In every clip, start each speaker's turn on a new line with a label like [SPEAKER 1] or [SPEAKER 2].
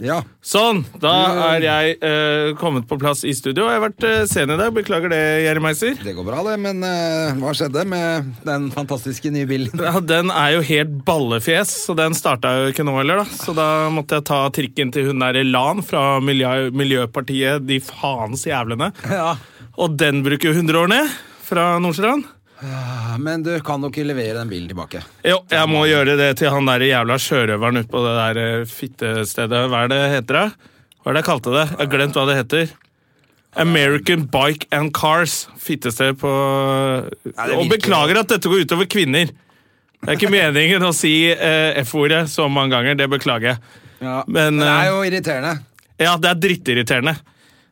[SPEAKER 1] Ja.
[SPEAKER 2] Sånn, da er jeg eh, kommet på plass i studio. Jeg har vært eh, sen i dag. Beklager det, Gjermeiser.
[SPEAKER 1] Det går bra, det, men eh, hva skjedde med den fantastiske nye bilen?
[SPEAKER 2] Ja, den er jo helt ballefjes, så den starta jo ikke nå heller, da. Så da måtte jeg ta trikken til hun der Lan fra miljø Miljøpartiet De Faens Jævlene.
[SPEAKER 1] Ja.
[SPEAKER 2] Og den bruker jo 100 år ned fra Nordstrand.
[SPEAKER 1] Men du kan jo ikke levere den bilen tilbake.
[SPEAKER 2] Jo, jeg må gjøre det til han der jævla sjørøveren ute på det der eh, fittestedet. Hva er det heter det? Hva er det jeg kalte det? Jeg har glemt hva det heter. American Bike and Cars. Fittested på
[SPEAKER 1] det er
[SPEAKER 2] Og
[SPEAKER 1] virkelig-
[SPEAKER 2] beklager at dette går utover kvinner. Det er ikke meningen å si eh, F-ordet så mange ganger. Det beklager jeg.
[SPEAKER 1] Ja.
[SPEAKER 2] Men,
[SPEAKER 1] det
[SPEAKER 2] eh,
[SPEAKER 1] er jo irriterende.
[SPEAKER 2] Ja, det er drittirriterende.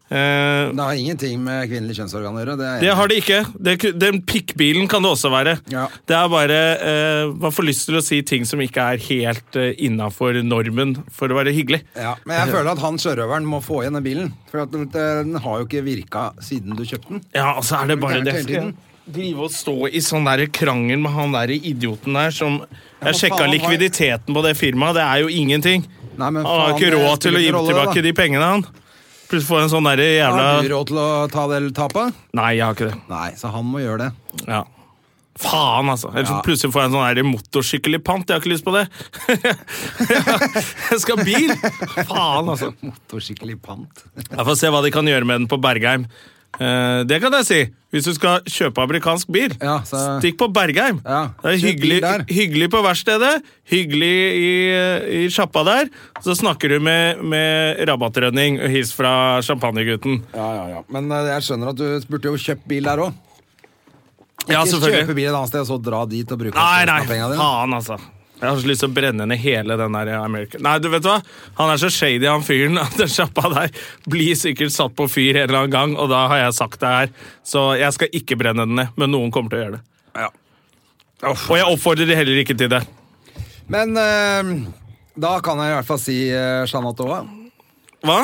[SPEAKER 2] Eh,
[SPEAKER 1] Det har ingenting med kvinnelige kjønnsorgan å gjøre. Det er-
[SPEAKER 2] det har de ikke. Det, ku- den pikkbilen kan det også være.
[SPEAKER 1] Ja.
[SPEAKER 2] Det er bare eh, Man får lyst til å si ting som ikke er helt eh, innafor normen, for å være hyggelig.
[SPEAKER 1] Ja, men jeg føler at han sjørøveren må få igjen den bilen. For at den- den har jo ikke virka siden du kjøpte den.
[SPEAKER 2] Ja, altså er det bare
[SPEAKER 1] Det er
[SPEAKER 2] det.
[SPEAKER 1] hele tiden.
[SPEAKER 2] Drive og stå i sånn der krangel med han der idioten der som Jeg
[SPEAKER 1] for
[SPEAKER 2] sjekka
[SPEAKER 1] faen, hva-
[SPEAKER 2] likviditeten på det firmaet, det er jo ingenting.
[SPEAKER 1] Nei, men
[SPEAKER 2] Han har
[SPEAKER 1] faen,
[SPEAKER 2] ikke
[SPEAKER 1] det
[SPEAKER 2] råd til
[SPEAKER 1] spiller
[SPEAKER 2] å gi
[SPEAKER 1] ikke rolle,
[SPEAKER 2] tilbake de pengene, han. Plutselig får en sånn derre
[SPEAKER 1] da. Har du
[SPEAKER 2] jævla
[SPEAKER 1] råd til å ta det tapet?
[SPEAKER 2] Nei, jeg har ikke det.
[SPEAKER 1] Nei, så han må gjøre det.
[SPEAKER 2] Ja. Faen, altså. Ellers
[SPEAKER 1] Ja.
[SPEAKER 2] plutselig får jeg en sånn her motorsykkel i pant. Jeg har ikke lyst på det. jeg skal ha bil! Faen, altså.
[SPEAKER 1] Motorsykkel i pant.
[SPEAKER 2] Jeg får se hva de kan gjøre med den på Bergheim. Eh, det kan jeg si. Hvis du skal kjøpe amerikansk bil,
[SPEAKER 1] Ja, så-
[SPEAKER 2] stikk på Bergheim.
[SPEAKER 1] Ja,
[SPEAKER 2] det er
[SPEAKER 1] kjøp
[SPEAKER 2] hyggelig,
[SPEAKER 1] bil der.
[SPEAKER 2] hyggelig på verkstedet, hyggelig i, i sjappa der. Så snakker du med, med rabattrønning og hils fra champagnegutten.
[SPEAKER 1] Ja, ja, ja. Men eh, jeg skjønner at du burde jo kjøpt bil der òg.
[SPEAKER 2] Ja,
[SPEAKER 1] Ikke kjøpe
[SPEAKER 2] selvfølgelig.
[SPEAKER 1] bil et annet sted og så dra dit og bruke
[SPEAKER 2] Nei,
[SPEAKER 1] resten
[SPEAKER 2] nei,
[SPEAKER 1] av pengene dine.
[SPEAKER 2] faen, altså. Jeg har så lyst til å brenne ned hele den der American Nei, du vet hva? Han er så shady, han fyren. at Den sjappa der blir sikkert satt på fyr en eller annen gang, og da har jeg sagt det her. Så jeg skal ikke brenne den ned, men noen kommer til å gjøre det. Og jeg oppfordrer de heller ikke til det.
[SPEAKER 1] Men eh, da kan jeg i hvert fall si eh, Jeanette Aua.
[SPEAKER 2] Hva?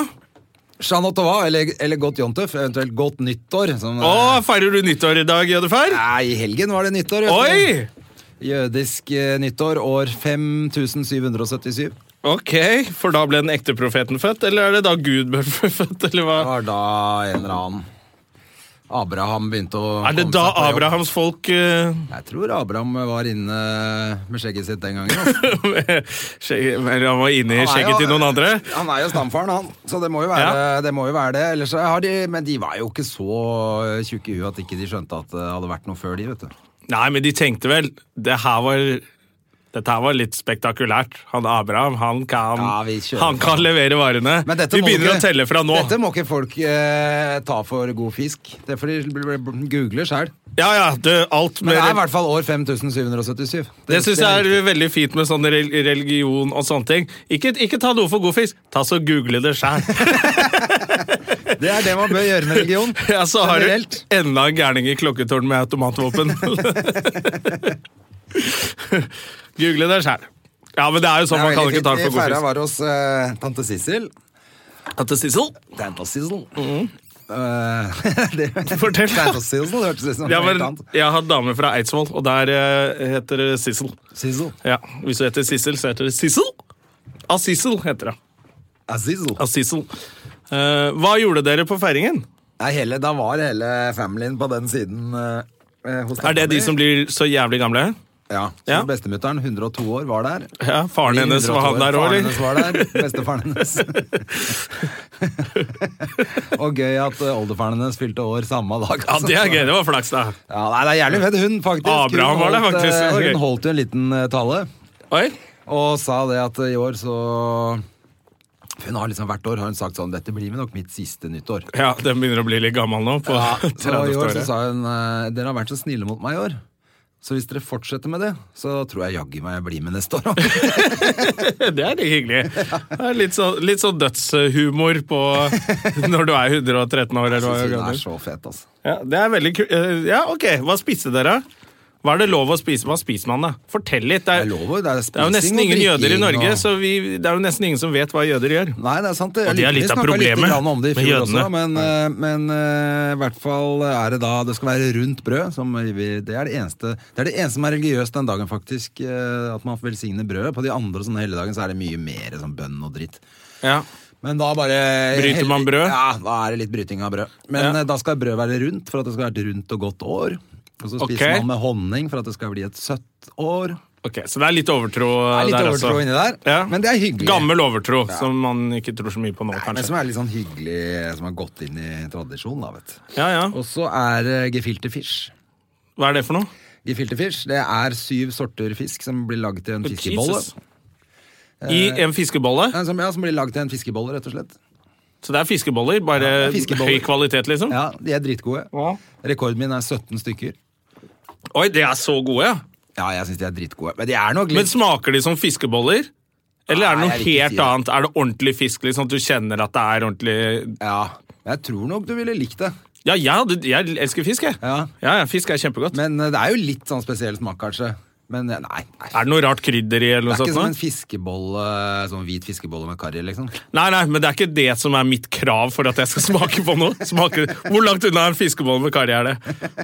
[SPEAKER 1] Jeanette Aua, eller, eller godt jontøff, eventuelt godt nyttår. Som, eh,
[SPEAKER 2] Å, feirer du nyttår i dag, Jødefar?
[SPEAKER 1] Nei, i helgen var det nyttår. vet du.
[SPEAKER 2] Oi!
[SPEAKER 1] Jødisk eh, nyttår år 5777.
[SPEAKER 2] Ok, for da ble den ekte profeten født, eller er det da Gud ble født, eller hva?
[SPEAKER 1] Det var da en eller annen Abraham begynte å
[SPEAKER 2] Er det
[SPEAKER 1] komme seg
[SPEAKER 2] da
[SPEAKER 1] på jobb.
[SPEAKER 2] Abrahams folk eh,
[SPEAKER 1] Jeg tror Abraham var inne med skjegget sitt den gangen. altså.
[SPEAKER 2] skjegg- Eller han var inne i
[SPEAKER 1] Han er
[SPEAKER 2] skjegget
[SPEAKER 1] jo-
[SPEAKER 2] til noen andre?
[SPEAKER 1] Han er jo stamfaren, han. Så det må jo være, det, må jo være det. Ellers så har de, men de var jo ikke så øh, tjukke i huet at ikke de skjønte at det hadde vært noe før de, vet du.
[SPEAKER 2] Nei, men de tenkte vel det her var, Dette her var litt spektakulært. Han Abraham, han kan,
[SPEAKER 1] Ja, vi kjører
[SPEAKER 2] han
[SPEAKER 1] fra.
[SPEAKER 2] kan levere varene.
[SPEAKER 1] Men dette
[SPEAKER 2] vi
[SPEAKER 1] må
[SPEAKER 2] begynner
[SPEAKER 1] ikke-
[SPEAKER 2] å telle fra nå.
[SPEAKER 1] Dette må ikke folk eh, ta for god fisk. Det får de bl- bl- google sjøl.
[SPEAKER 2] Ja, ja, det, alt
[SPEAKER 1] Men det er i
[SPEAKER 2] mer,
[SPEAKER 1] hvert fall år 5777.
[SPEAKER 2] det syns jeg er veldig fint med sånn rel- religion og sånne ting. Ikke, ikke ta noe for god fisk. Ta så Google det sjæl.
[SPEAKER 1] Det er det man bør gjøre med religion.
[SPEAKER 2] Ja, så har du
[SPEAKER 1] Generelt.
[SPEAKER 2] enda en gærning i klokketårnet med automatvåpen. Google det sjæl. Ja, men det er jo sånn. Man kan ikke ta det for
[SPEAKER 1] Vi
[SPEAKER 2] god
[SPEAKER 1] feira
[SPEAKER 2] fisk.
[SPEAKER 1] var hos eh, tante Sissel.
[SPEAKER 2] Tante Sissel,
[SPEAKER 1] Tante Sissel. Eh, det-
[SPEAKER 2] Mm. Fortell, da.
[SPEAKER 1] Tante Sissel det hørtes ut som
[SPEAKER 2] Jeg,
[SPEAKER 1] noe helt
[SPEAKER 2] var,
[SPEAKER 1] annet.
[SPEAKER 2] jeg har dame fra Eidsvoll, og der eh, heter det Sissel.
[SPEAKER 1] Sissel.
[SPEAKER 2] Ja, Hvis du heter Sissel, så heter det Sissel. Av Sissel heter det.
[SPEAKER 1] Ja, Sissel.
[SPEAKER 2] Av Sissel. Eh, hva gjorde dere på feiringen?
[SPEAKER 1] Nei, hele, da var hele familien på den siden eh, eh, hos
[SPEAKER 2] Er det
[SPEAKER 1] tante
[SPEAKER 2] de
[SPEAKER 1] mi.
[SPEAKER 2] som blir så jævlig gamle?
[SPEAKER 1] Ja. Så
[SPEAKER 2] Ja.
[SPEAKER 1] Bestemutteren, 102 år, var der.
[SPEAKER 2] Ja, Faren hennes var han der òg,
[SPEAKER 1] Faren hennes
[SPEAKER 2] eller?
[SPEAKER 1] var der. Bestefaren hennes. og gøy at eh, oldefaren hennes fylte år samme dag.
[SPEAKER 2] Ja,
[SPEAKER 1] altså.
[SPEAKER 2] Det er gøy. Det var flaks, da.
[SPEAKER 1] Ja, nei, det er jævlig fett. Hun faktisk
[SPEAKER 2] Abraham
[SPEAKER 1] hun
[SPEAKER 2] var der,
[SPEAKER 1] holdt,
[SPEAKER 2] faktisk.
[SPEAKER 1] eh,
[SPEAKER 2] Det var gøy.
[SPEAKER 1] Hun holdt jo en liten eh, tale
[SPEAKER 2] Oi.
[SPEAKER 1] og sa det at eh, i år så Hun har liksom hvert år har hun sagt sånn Dette blir vel nok mitt siste nyttår.
[SPEAKER 2] Ja, Den begynner å bli litt gammel nå. på
[SPEAKER 1] Ja, så i år så
[SPEAKER 2] 30-året.
[SPEAKER 1] sa hun eh, Dere har vært så snille mot meg i år. Så hvis dere fortsetter med det, så tror jeg jaggu meg jeg blir med neste år òg.
[SPEAKER 2] Det er litt hyggelig. Det er litt sånn, litt sånn dødshumor på når du er 113 år. Eller hva
[SPEAKER 1] Hun
[SPEAKER 2] gammel.
[SPEAKER 1] er så fet, altså.
[SPEAKER 2] Ja, det er veldig kul. Eh, Ja, ok. Hva spiste dere? Hva er det lov å spise? Hva spiser man, da? Fortell litt. Det
[SPEAKER 1] Det
[SPEAKER 2] er,
[SPEAKER 1] er lov, å- det er
[SPEAKER 2] det er jo nesten ingen jøder i Norge,
[SPEAKER 1] og...
[SPEAKER 2] så vi, det er jo nesten ingen som vet hva jøder gjør.
[SPEAKER 1] Nei, det er sant. det.
[SPEAKER 2] Og det er
[SPEAKER 1] Vi
[SPEAKER 2] litt av
[SPEAKER 1] snakket lite
[SPEAKER 2] problemet
[SPEAKER 1] grann om det i
[SPEAKER 2] med
[SPEAKER 1] fjor også,
[SPEAKER 2] jødene.
[SPEAKER 1] men eh, men eh, i hvert fall er det da Det skal være rundt brød. Som vi, det, er det, eneste, det er det eneste som er religiøst den dagen, faktisk. eh, At man velsigner brødet. På de andre sånne helligdagene så er det mye mer sånn bønn og dritt.
[SPEAKER 2] Ja.
[SPEAKER 1] Men da bare
[SPEAKER 2] Bryter man brød?
[SPEAKER 1] Ja, da er det litt bryting av brød. Men
[SPEAKER 2] Ja.
[SPEAKER 1] eh, da skal brød være rundt for at det skal være et rundt og godt år. Og så spiser
[SPEAKER 2] Ok.
[SPEAKER 1] man med honning for at det skal bli et søtt år.
[SPEAKER 2] Ok, Så det er litt overtro
[SPEAKER 1] Det er litt
[SPEAKER 2] der
[SPEAKER 1] overtro
[SPEAKER 2] også.
[SPEAKER 1] inni der,
[SPEAKER 2] Ja.
[SPEAKER 1] men det er hyggelig.
[SPEAKER 2] Gammel overtro som man ikke tror så mye på nå,
[SPEAKER 1] Men
[SPEAKER 2] kanskje.
[SPEAKER 1] som er litt sånn hyggelig, som har gått inn i tradisjonen, da, vet du.
[SPEAKER 2] Ja, ja.
[SPEAKER 1] Og så er uh, gefilte fish.
[SPEAKER 2] Hva er det for noe?
[SPEAKER 1] Gefilte fish, det er syv sorter fisk som blir laget til en fiskebolle.
[SPEAKER 2] Jesus. I en fiskebolle?
[SPEAKER 1] Ja, som, ja, som blir laget til en fiskebolle, rett og slett.
[SPEAKER 2] Så det er fiskeboller, bare
[SPEAKER 1] Ja, det er fiskeboller.
[SPEAKER 2] høy kvalitet, liksom?
[SPEAKER 1] Ja, De er dritgode.
[SPEAKER 2] Ja.
[SPEAKER 1] Rekorden min er 17 stykker.
[SPEAKER 2] Oi, de er så gode, ja!
[SPEAKER 1] Ja, jeg syns de er dritgode. Men de er nok
[SPEAKER 2] Men
[SPEAKER 1] litt
[SPEAKER 2] smaker de som fiskeboller? Eller er det
[SPEAKER 1] Nei,
[SPEAKER 2] noe
[SPEAKER 1] jeg vil ikke
[SPEAKER 2] helt
[SPEAKER 1] si det.
[SPEAKER 2] annet? Er det ordentlig fisk, liksom, at du kjenner at det er ordentlig
[SPEAKER 1] Ja, jeg tror nok du ville likt det.
[SPEAKER 2] Ja, jeg, hadde, jeg elsker fisk, jeg.
[SPEAKER 1] Ja.
[SPEAKER 2] ja, ja, fisk er kjempegodt.
[SPEAKER 1] Men eh, det er jo litt sånn spesiell smak, kanskje. Men eh, nei. nei.
[SPEAKER 2] er det noe rart krydder i,
[SPEAKER 1] Det
[SPEAKER 2] eller noe
[SPEAKER 1] er ikke
[SPEAKER 2] sånt?
[SPEAKER 1] som
[SPEAKER 2] nå?
[SPEAKER 1] en fiskebolle, sånn hvit fiskebolle med karri, liksom.
[SPEAKER 2] Nei, nei, men det er ikke det som er mitt krav for at jeg skal smake på noe. Smaker, hvor langt unna en fiskebolle med karri er det?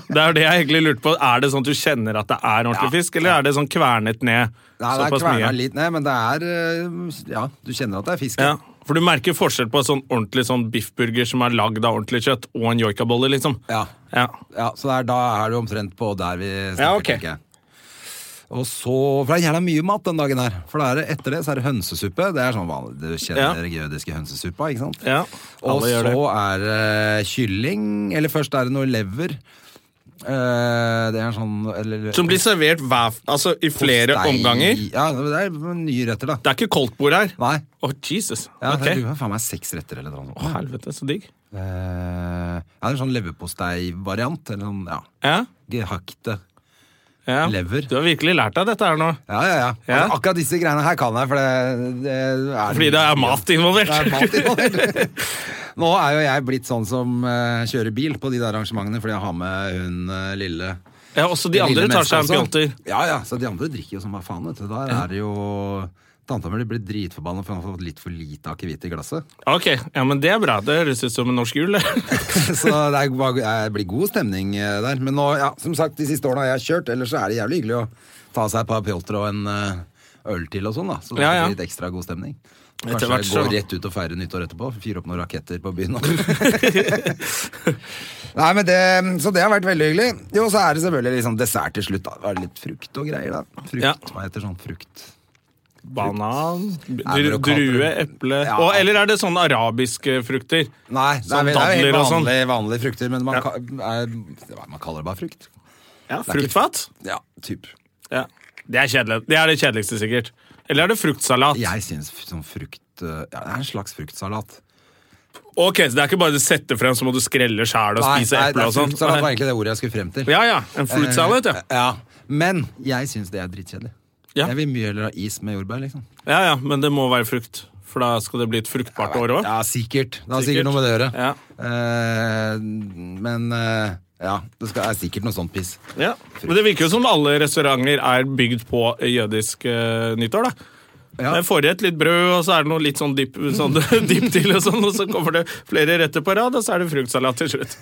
[SPEAKER 2] Det er jo det jeg egentlig lurte på. Er det sånn at du kjenner at det er ordentlig
[SPEAKER 1] Ja.
[SPEAKER 2] fisk, eller er det sånn kvernet ned
[SPEAKER 1] Nei, det er
[SPEAKER 2] såpass
[SPEAKER 1] kverna
[SPEAKER 2] mye?
[SPEAKER 1] litt ned, men det er eh, Ja, du kjenner at det er fisk.
[SPEAKER 2] Ja, for du merker forskjell på en sånn ordentlig sånn biffburger som er lagd av ordentlig kjøtt, og en joikabolle, liksom.
[SPEAKER 1] Ja.
[SPEAKER 2] Ja.
[SPEAKER 1] Ja, så det er, da er du omtrent på der vi snakker,
[SPEAKER 2] Ja, ok.
[SPEAKER 1] tenker jeg. Og så, for det er gjerne mye mat den dagen her. For da er det, etter det så er det hønsesuppe. Det er sånn vanlig, du
[SPEAKER 2] Ja.
[SPEAKER 1] kjenner den jødiske hønsesuppa, ikke sant?
[SPEAKER 2] Ja,
[SPEAKER 1] Og
[SPEAKER 2] alle gjør det.
[SPEAKER 1] så er det kylling, eller først er det noe lever. Eh, det er sånn eller,
[SPEAKER 2] Som blir servert hver, altså, i flere
[SPEAKER 1] Postei-
[SPEAKER 2] omganger.
[SPEAKER 1] Ja, det er nye retter, da.
[SPEAKER 2] Det er ikke koldtbord her. Å,
[SPEAKER 1] Nei.
[SPEAKER 2] Jesus.
[SPEAKER 1] Ja,
[SPEAKER 2] ok.
[SPEAKER 1] Du har faen meg seks retter eller noe sånt.
[SPEAKER 2] Å, helvete, så digg.
[SPEAKER 1] Eh, ja, det er en sånn leverpostei-variant. Eller sånn, ja.
[SPEAKER 2] Ja,
[SPEAKER 1] Gehakte.
[SPEAKER 2] ja.
[SPEAKER 1] Lever.
[SPEAKER 2] Du har virkelig lært deg dette her nå.
[SPEAKER 1] Ja, ja, ja.
[SPEAKER 2] Ja.
[SPEAKER 1] Altså, akkurat disse greiene her kan jeg, for det, det er
[SPEAKER 2] Fordi det er mat involvert.
[SPEAKER 1] Det er mat involvert. Nå er jo jeg blitt sånn som eh, kjører bil på de der arrangementene, fordi jeg har med hun eh, lille
[SPEAKER 2] Ja, også de
[SPEAKER 1] det lille
[SPEAKER 2] andre tar seg en
[SPEAKER 1] mennesket altså. også.
[SPEAKER 2] pjolter.
[SPEAKER 1] Ja, ja. Så de andre drikker jo som hva faen, vet du. Da er det jo Tanta mi blir dritforbanna for hun har fått litt for lite akevitt i glasset.
[SPEAKER 2] Ok, ja, men det er bra. Det høres ut som en norsk jul. det.
[SPEAKER 1] Så det, er, bare- det blir god stemning eh, der. Men nå, ja, som sagt, de siste årene har jeg kjørt, ellers så er det jævlig hyggelig å ta seg et par pjolter og en eh, øl til og sånn, da. Så det
[SPEAKER 2] Ja, ja.
[SPEAKER 1] blir litt ekstra god stemning.
[SPEAKER 2] Etter
[SPEAKER 1] Kanskje
[SPEAKER 2] hvert
[SPEAKER 1] jeg går
[SPEAKER 2] så-
[SPEAKER 1] rett ut og feirer nyttår etterpå. Fyre opp noen raketter på byen. Nei, men det, så det har vært veldig hyggelig. Jo, så er det selvfølgelig liksom dessert til slutt. da. Det var litt frukt og greier, da. Frukt,
[SPEAKER 2] Ja.
[SPEAKER 1] Hva heter sånn frukt?
[SPEAKER 2] Banan, dru-
[SPEAKER 1] Nei, men du kan-
[SPEAKER 2] drue, eple
[SPEAKER 1] Ja.
[SPEAKER 2] Å, Eller er det sånne arabiske frukter?
[SPEAKER 1] Nei, det
[SPEAKER 2] Sånn
[SPEAKER 1] er, vel- det er jo
[SPEAKER 2] dadler og
[SPEAKER 1] helt
[SPEAKER 2] sånn.
[SPEAKER 1] vanlige, vanlige frukter, men man,
[SPEAKER 2] Ja.
[SPEAKER 1] ka- er, hva- man kaller det bare frukt.
[SPEAKER 2] Ja,
[SPEAKER 1] er ikke-
[SPEAKER 2] Fruktfat?
[SPEAKER 1] Ja, typ.
[SPEAKER 2] Ja. Det er kjedelig. Det er det kjedeligste, sikkert. Eller er det fruktsalat?
[SPEAKER 1] Jeg syns f- sånn frukt øh, Ja, det er en slags fruktsalat.
[SPEAKER 2] Ok, Så det er ikke bare du setter frem, så må du skrelle sjæl og spise
[SPEAKER 1] nei, det
[SPEAKER 2] eple
[SPEAKER 1] er
[SPEAKER 2] og sånn?
[SPEAKER 1] fruktsalat var egentlig det ordet jeg skulle frem til.
[SPEAKER 2] Ja ja. En fruit salad, ja.
[SPEAKER 1] Eh, ja. Men jeg syns det er drittkjedelig.
[SPEAKER 2] Ja.
[SPEAKER 1] Jeg vil mye heller ha is med jordbær, liksom.
[SPEAKER 2] ja ja. Men det må være frukt, for da skal det bli et fruktbart år òg.
[SPEAKER 1] Ja, sikkert. Det har sikkert,
[SPEAKER 2] Sikkert.
[SPEAKER 1] noe med det å gjøre.
[SPEAKER 2] Ja.
[SPEAKER 1] Eh, men eh, ja, det skal, er sikkert noe sånt piss.
[SPEAKER 2] Ja. Men det virker jo som alle restauranter er bygd på jødisk eh, nyttår, da.
[SPEAKER 1] Ja.
[SPEAKER 2] Det er forrett, litt brød, og så er det noe litt sånn dypp sånn, dypp til, og sånn, og så kommer det flere retter på rad, og så er det fruktsalat til slutt.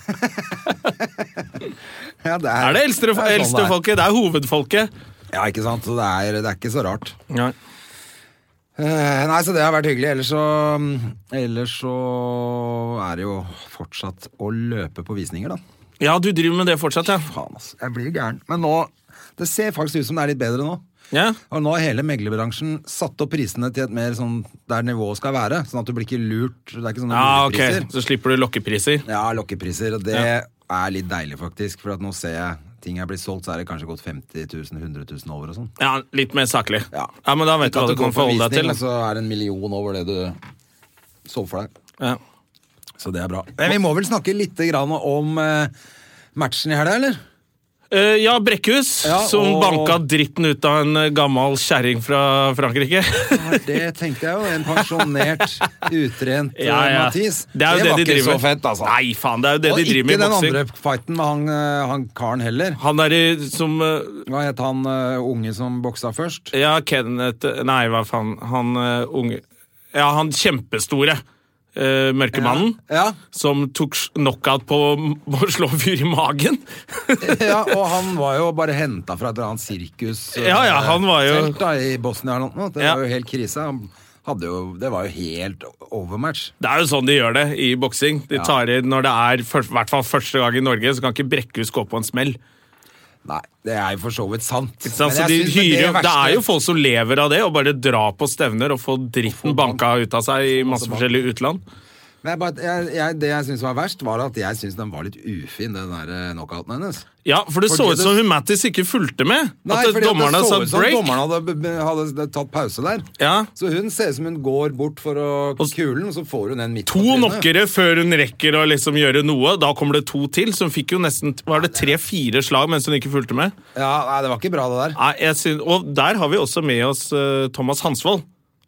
[SPEAKER 1] Ja, det
[SPEAKER 2] Det er det eldste,
[SPEAKER 1] det er sånn
[SPEAKER 2] eldste
[SPEAKER 1] det er.
[SPEAKER 2] folket, det er hovedfolket.
[SPEAKER 1] Ja, ikke sant? Så det er, det er ikke så rart.
[SPEAKER 2] Ja.
[SPEAKER 1] Eh, nei, så det har vært hyggelig. Ellers så Ellers så er det jo fortsatt å løpe på visninger, da.
[SPEAKER 2] Ja, du driver med det fortsatt, ja.
[SPEAKER 1] Faen, altså. Jeg blir gæren. Men nå Det ser faktisk ut som det er litt bedre nå.
[SPEAKER 2] ja.
[SPEAKER 1] Og nå har hele meglerbransjen satt opp prisene til et mer sånn der nivået skal være. Sånn at du blir ikke lurt. Det er ikke sånne
[SPEAKER 2] Ja, ok,
[SPEAKER 1] lurepriser.
[SPEAKER 2] så slipper du lokkepriser.
[SPEAKER 1] Ja, lokkepriser. Og det
[SPEAKER 2] Ja.
[SPEAKER 1] er litt deilig, faktisk. For at nå ser jeg ting er blitt solgt, så er det kanskje gått 50 000, 100 000 over og sånn.
[SPEAKER 2] Ja, litt mer saklig.
[SPEAKER 1] Ja.
[SPEAKER 2] Ja, men da vet du
[SPEAKER 1] At
[SPEAKER 2] hva du
[SPEAKER 1] går
[SPEAKER 2] kan
[SPEAKER 1] på
[SPEAKER 2] forholde deg
[SPEAKER 1] visning, Og
[SPEAKER 2] til.
[SPEAKER 1] så er det en million over det du så for deg.
[SPEAKER 2] Ja.
[SPEAKER 1] Så det er bra. Men vi må vel snakke litt grann om eh, matchen i helga, eller?
[SPEAKER 2] Eh, ja, Brekkhus,
[SPEAKER 1] Ja,
[SPEAKER 2] som
[SPEAKER 1] og-
[SPEAKER 2] banka dritten ut av en eh, gammel kjerring fra Frankrike.
[SPEAKER 1] Ja, Det tenkte jeg jo. En pensjonert, utrent eh,
[SPEAKER 2] Ja, ja.
[SPEAKER 1] Mathis.
[SPEAKER 2] Det er jo det,
[SPEAKER 1] var
[SPEAKER 2] de
[SPEAKER 1] ikke
[SPEAKER 2] driver
[SPEAKER 1] så fett, altså.
[SPEAKER 2] Nei, faen, det er jo det
[SPEAKER 1] og
[SPEAKER 2] de driver med
[SPEAKER 1] ikke
[SPEAKER 2] i
[SPEAKER 1] den
[SPEAKER 2] boksing.
[SPEAKER 1] andre fighten med han, eh, han karen heller.
[SPEAKER 2] Han derre som eh,
[SPEAKER 1] Hva het han eh, unge som boksa først?
[SPEAKER 2] Ja, Kenneth Nei, hva faen. Han eh, unge Ja, han kjempestore eh, mørkemannen.
[SPEAKER 1] Ja,
[SPEAKER 2] Som tok s- knockout på m- å slå en fyr i magen.
[SPEAKER 1] ja, og han var jo bare henta fra et eller annet sirkus eh,
[SPEAKER 2] Ja, ja, han var jo-
[SPEAKER 1] telt da, i Bosnia eller noe. Det
[SPEAKER 2] Ja.
[SPEAKER 1] var jo helt krise. Han hadde jo, det var jo helt overmatch.
[SPEAKER 2] Det er jo sånn de gjør det i boksing. De tar inn Når det er før- i hvert fall første gang i Norge, så kan ikke Brekkhus gå på en smell.
[SPEAKER 1] Nei, det er jo for så vidt sant.
[SPEAKER 2] Ikke sant?
[SPEAKER 1] Men
[SPEAKER 2] Så
[SPEAKER 1] jeg
[SPEAKER 2] de
[SPEAKER 1] synes
[SPEAKER 2] hyrer, det,
[SPEAKER 1] verste-
[SPEAKER 2] er jo folk som lever av det, å bare dra på stevner og få dritten banka ut av seg i masse forskjellige utland.
[SPEAKER 1] Men jeg, bare- jeg, jeg, det jeg syns var verst, var at jeg syns den var litt ufin, den der eh, knockouten hennes.
[SPEAKER 2] Ja, for det så
[SPEAKER 1] Fordi
[SPEAKER 2] ut som
[SPEAKER 1] det-
[SPEAKER 2] hun Mattis ikke fulgte med.
[SPEAKER 1] Nei,
[SPEAKER 2] at
[SPEAKER 1] fordi at
[SPEAKER 2] dommerne
[SPEAKER 1] det så
[SPEAKER 2] sa
[SPEAKER 1] ut som
[SPEAKER 2] break.
[SPEAKER 1] Dommeren hadde, b- b- hadde tatt pause der.
[SPEAKER 2] Ja.
[SPEAKER 1] Så hun ser ut som hun går bort for å
[SPEAKER 2] Og s-
[SPEAKER 1] kule den, og så får hun en midt på
[SPEAKER 2] To
[SPEAKER 1] trynet.
[SPEAKER 2] knockere før hun rekker å liksom gjøre noe. Da kommer det to til, så hun fikk jo nesten var det tre-fire slag mens hun ikke fulgte med.
[SPEAKER 1] Ja, nei, det var ikke bra, det der.
[SPEAKER 2] Nei, jeg syn- og der har vi også med oss eh, Thomas Hansvold.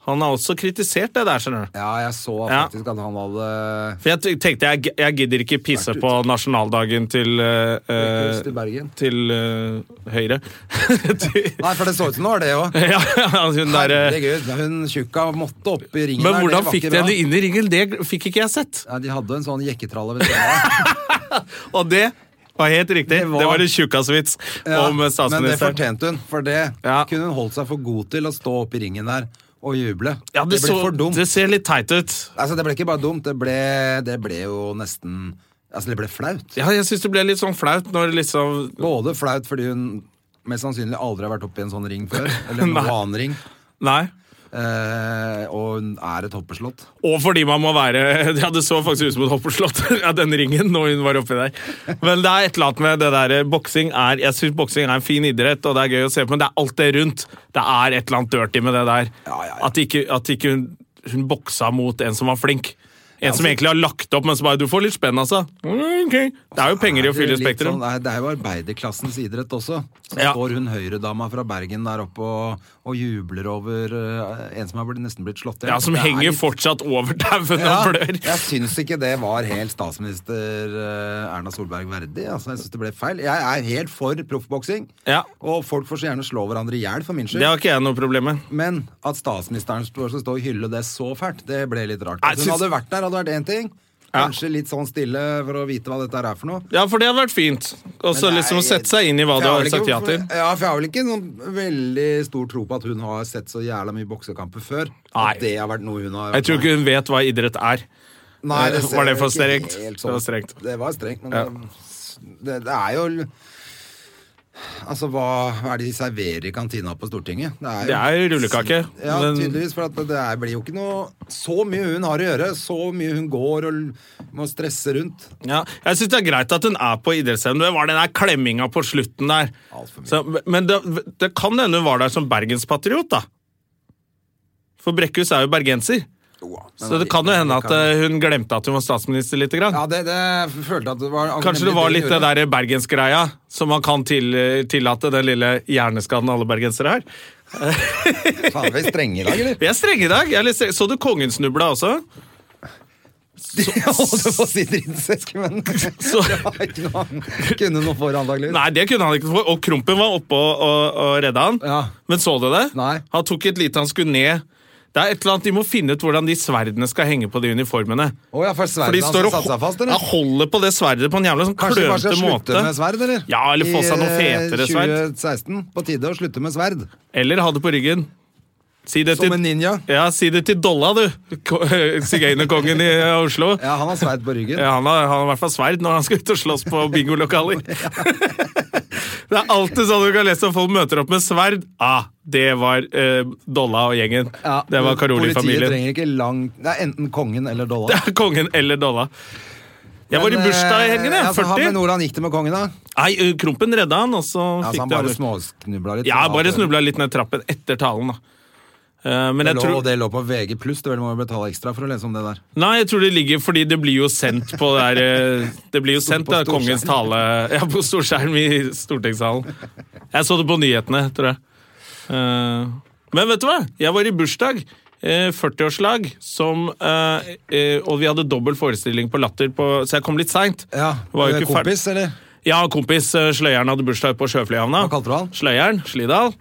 [SPEAKER 2] Han har også kritisert det der, skjønner du.
[SPEAKER 1] Ja, jeg så
[SPEAKER 2] Ja.
[SPEAKER 1] faktisk at han hadde
[SPEAKER 2] For jeg t- tenkte jeg, g- jeg gidder ikke pisse på nasjonaldagen til eh, eh,
[SPEAKER 1] Brekkhus til Bergen.
[SPEAKER 2] Til eh, Høyre. til,
[SPEAKER 1] Nei, for det så ut som det var det òg.
[SPEAKER 2] ja, hun der, eh,
[SPEAKER 1] Herregud, hun tjukka måtte opp i ringen
[SPEAKER 2] Men
[SPEAKER 1] der,
[SPEAKER 2] hvordan
[SPEAKER 1] var ikke
[SPEAKER 2] fikk de
[SPEAKER 1] bra.
[SPEAKER 2] henne inn i ringen? Det fikk ikke jeg sett.
[SPEAKER 1] Ja, de hadde en sånn jekketralle ved siden av.
[SPEAKER 2] Og det var helt riktig.
[SPEAKER 1] Det
[SPEAKER 2] Det
[SPEAKER 1] var-
[SPEAKER 2] var, en tjukkasvits
[SPEAKER 1] Ja,
[SPEAKER 2] om
[SPEAKER 1] Men det
[SPEAKER 2] statsministeren.
[SPEAKER 1] fortjente hun, for det
[SPEAKER 2] Ja.
[SPEAKER 1] kunne hun holdt seg for god til å stå opp i ringen der og juble.
[SPEAKER 2] Ja, det,
[SPEAKER 1] ble
[SPEAKER 2] så,
[SPEAKER 1] for dumt.
[SPEAKER 2] det ser litt teit ut.
[SPEAKER 1] Altså, det ble ikke bare dumt, det ble, det ble jo nesten Altså, det ble flaut.
[SPEAKER 2] Ja, jeg syns det ble litt sånn flaut når liksom
[SPEAKER 1] Både flaut fordi hun mest sannsynlig aldri har vært oppe i en sånn ring før, eller
[SPEAKER 2] Nei.
[SPEAKER 1] noen annen ring,
[SPEAKER 2] Nei.
[SPEAKER 1] eh, og hun er et hoppeslott.
[SPEAKER 2] Og fordi man må være Ja, det så faktisk ut som et hoppeslott av den ringen når hun var oppi der. Men det er et eller annet med det der eh, boksing er Jeg syns boksing er en fin idrett, og det er gøy å se på, men det er alt det rundt. Det er et eller annet dirty med det der.
[SPEAKER 1] Ja, ja, ja.
[SPEAKER 2] At ikke, at ikke hun, hun boksa mot en som var flink. En
[SPEAKER 1] altså-
[SPEAKER 2] som egentlig har lagt opp, men som bare Du får litt spenn, altså. Mm, ok. Det er jo penger
[SPEAKER 1] Det
[SPEAKER 2] i å
[SPEAKER 1] er
[SPEAKER 2] fylle
[SPEAKER 1] litt
[SPEAKER 2] Spektrum.
[SPEAKER 1] sånn- nei, det er jo arbeiderklassens idrett også. Så
[SPEAKER 2] Ja.
[SPEAKER 1] står hun høyredama fra Bergen der oppe og, og jubler over eh, en som har blitt, nesten blitt slått
[SPEAKER 2] Ja, Som
[SPEAKER 1] Det er
[SPEAKER 2] henger
[SPEAKER 1] litt-
[SPEAKER 2] fortsatt over dauen
[SPEAKER 1] Ja,
[SPEAKER 2] og blør.
[SPEAKER 1] jeg syns ikke det var helt statsminister eh, Erna Solberg verdig. Altså, jeg syns det ble feil. Jeg er helt for proffboksing,
[SPEAKER 2] Ja.
[SPEAKER 1] og folk får så gjerne slå hverandre i hjel, for min
[SPEAKER 2] Det
[SPEAKER 1] skyld.
[SPEAKER 2] har ikke jeg noe problem med.
[SPEAKER 1] Men at statsministeren står skal stå og hylle det så fælt, det ble litt rart.
[SPEAKER 2] Nei,
[SPEAKER 1] At hun
[SPEAKER 2] syns-
[SPEAKER 1] hadde vært der, hadde vært én ting.
[SPEAKER 2] Ja.
[SPEAKER 1] Kanskje litt sånn stille for å vite hva dette her er for noe.
[SPEAKER 2] Ja, for det hadde vært fint. Og
[SPEAKER 1] Men
[SPEAKER 2] så
[SPEAKER 1] det er-
[SPEAKER 2] liksom sette seg inn i hva
[SPEAKER 1] For
[SPEAKER 2] du
[SPEAKER 1] jeg
[SPEAKER 2] har
[SPEAKER 1] vel ikke-
[SPEAKER 2] sagt ja til.
[SPEAKER 1] Ja, for jeg har vel ikke noen veldig stor tro på at hun har sett så jævla mye boksekamper før.
[SPEAKER 2] Nei.
[SPEAKER 1] At det har vært noe hun har
[SPEAKER 2] Jeg tror ikke hun vet hva idrett er.
[SPEAKER 1] Nei,
[SPEAKER 2] Eh,
[SPEAKER 1] ser
[SPEAKER 2] var det
[SPEAKER 1] jo
[SPEAKER 2] for
[SPEAKER 1] ikke
[SPEAKER 2] strengt?
[SPEAKER 1] helt sånn.
[SPEAKER 2] Det var strengt.
[SPEAKER 1] Det var strengt, men
[SPEAKER 2] Ja.
[SPEAKER 1] det, det er jo l- Altså, hva hva er det de serverer i kantina på Stortinget? jo-
[SPEAKER 2] Det er jo rullekake,
[SPEAKER 1] Ja,
[SPEAKER 2] men-
[SPEAKER 1] tydeligvis, for at det er, blir jo ikke noe Så mye hun har å gjøre, så mye hun går og l- må stresse rundt.
[SPEAKER 2] Ja, jeg syns det er greit at hun er på idrettsevne. Det var den der klemminga på slutten der.
[SPEAKER 1] Alt for mye.
[SPEAKER 2] Så, men det, det kan hende hun var der som bergenspatriot, da. For Brekkhus er jo bergenser.
[SPEAKER 1] Jo, ja, men
[SPEAKER 2] Så det kan jo hende at
[SPEAKER 1] kan-
[SPEAKER 2] eh, hun glemte at hun var statsminister lite grann.
[SPEAKER 1] Ja, det, det følte at det var
[SPEAKER 2] Kanskje det var litt det der bergensgreia som man kan til, eh, tillate den lille hjerneskaden alle bergensere har.
[SPEAKER 1] der Faen, vi er strenge i dag, eller?
[SPEAKER 2] Vi er strenge i dag. Jeg er litt streng. Så du kongen snubla også?
[SPEAKER 1] Jeg holdt på å si drittsekk, men
[SPEAKER 2] Så,
[SPEAKER 1] det var ikke noe han kunne noe for, antakeligvis.
[SPEAKER 2] Nei, det kunne han ikke få. Og Krompen var oppe og, og, og redda han.
[SPEAKER 1] Ja.
[SPEAKER 2] Men så du det?
[SPEAKER 1] Nei.
[SPEAKER 2] Han tok et lite han skulle ned. Det er et eller annet, De må finne ut hvordan de sverdene skal henge på de uniformene.
[SPEAKER 1] Å ja, for
[SPEAKER 2] For de
[SPEAKER 1] sverdet hans
[SPEAKER 2] står
[SPEAKER 1] har
[SPEAKER 2] og
[SPEAKER 1] satt seg fast,
[SPEAKER 2] ja,
[SPEAKER 1] eller?
[SPEAKER 2] holder på det sverdet på en jævla sånn
[SPEAKER 1] Kanskje de bare skal
[SPEAKER 2] klønete
[SPEAKER 1] slutte
[SPEAKER 2] måte.
[SPEAKER 1] med sverd, eller?
[SPEAKER 2] Ja, eller få seg noe fetere sverd.
[SPEAKER 1] I eh, 2016. På tide å slutte med sverd.
[SPEAKER 2] Eller ha det på ryggen. Si det
[SPEAKER 1] Som en
[SPEAKER 2] til,
[SPEAKER 1] ninja.
[SPEAKER 2] ja, si det til Dolla, du. Ko- Sigøynerkongen i Oslo.
[SPEAKER 1] Ja, han har sverd på ryggen.
[SPEAKER 2] Ja, han har, han har i hvert fall sverd når han skal ut og slåss på bingolokaler. det er alltid sånn du kan lese om folk møter opp med sverd. Ah, det var eh, Dolla og gjengen.
[SPEAKER 1] Ja,
[SPEAKER 2] det
[SPEAKER 1] men
[SPEAKER 2] var
[SPEAKER 1] Politiet
[SPEAKER 2] Karoli-familien.
[SPEAKER 1] trenger ikke lang Det er enten kongen eller
[SPEAKER 2] Det
[SPEAKER 1] dollar.
[SPEAKER 2] er kongen eller Dolla. Jeg var i
[SPEAKER 1] Men,
[SPEAKER 2] bursdag i helgen,
[SPEAKER 1] eh,
[SPEAKER 2] jeg.
[SPEAKER 1] altså, han-
[SPEAKER 2] 40.
[SPEAKER 1] Men hvordan gikk det med kongen, da?
[SPEAKER 2] Nei, eh, Krompen redda han, og så
[SPEAKER 1] Altså,
[SPEAKER 2] fikk
[SPEAKER 1] han
[SPEAKER 2] de
[SPEAKER 1] bare
[SPEAKER 2] andre.
[SPEAKER 1] småsnubla litt.
[SPEAKER 2] Ja,
[SPEAKER 1] så
[SPEAKER 2] bare
[SPEAKER 1] han-
[SPEAKER 2] snubla litt ned trappen etter talen, da. Eh, men
[SPEAKER 1] Det
[SPEAKER 2] jeg
[SPEAKER 1] lå,
[SPEAKER 2] tror,
[SPEAKER 1] og det lå på VG+, du vel må betale ekstra for å lese om det der.
[SPEAKER 2] Nei, jeg tror det ligger fordi det blir jo sendt på det der eh, Det blir jo sendt,
[SPEAKER 1] på
[SPEAKER 2] da, kongens
[SPEAKER 1] storskjerm.
[SPEAKER 2] tale Ja, på storskjerm i stortingssalen. Jeg så det på nyhetene, tror jeg. Eh, Men vet du hva? Jeg var i bursdag. eh, 40-årslag, som eh, eh, Og vi hadde dobbel forestilling på Latter, på, så jeg kom litt seint.
[SPEAKER 1] Ja,
[SPEAKER 2] Var jo ikke
[SPEAKER 1] Eh,
[SPEAKER 2] ferdig.
[SPEAKER 1] Kompis, eller?
[SPEAKER 2] Ja, kompis eh, Sløyeren hadde bursdag på Sjøflyhavna.
[SPEAKER 1] Hva kalte du han?
[SPEAKER 2] Sløyeren. Slidal.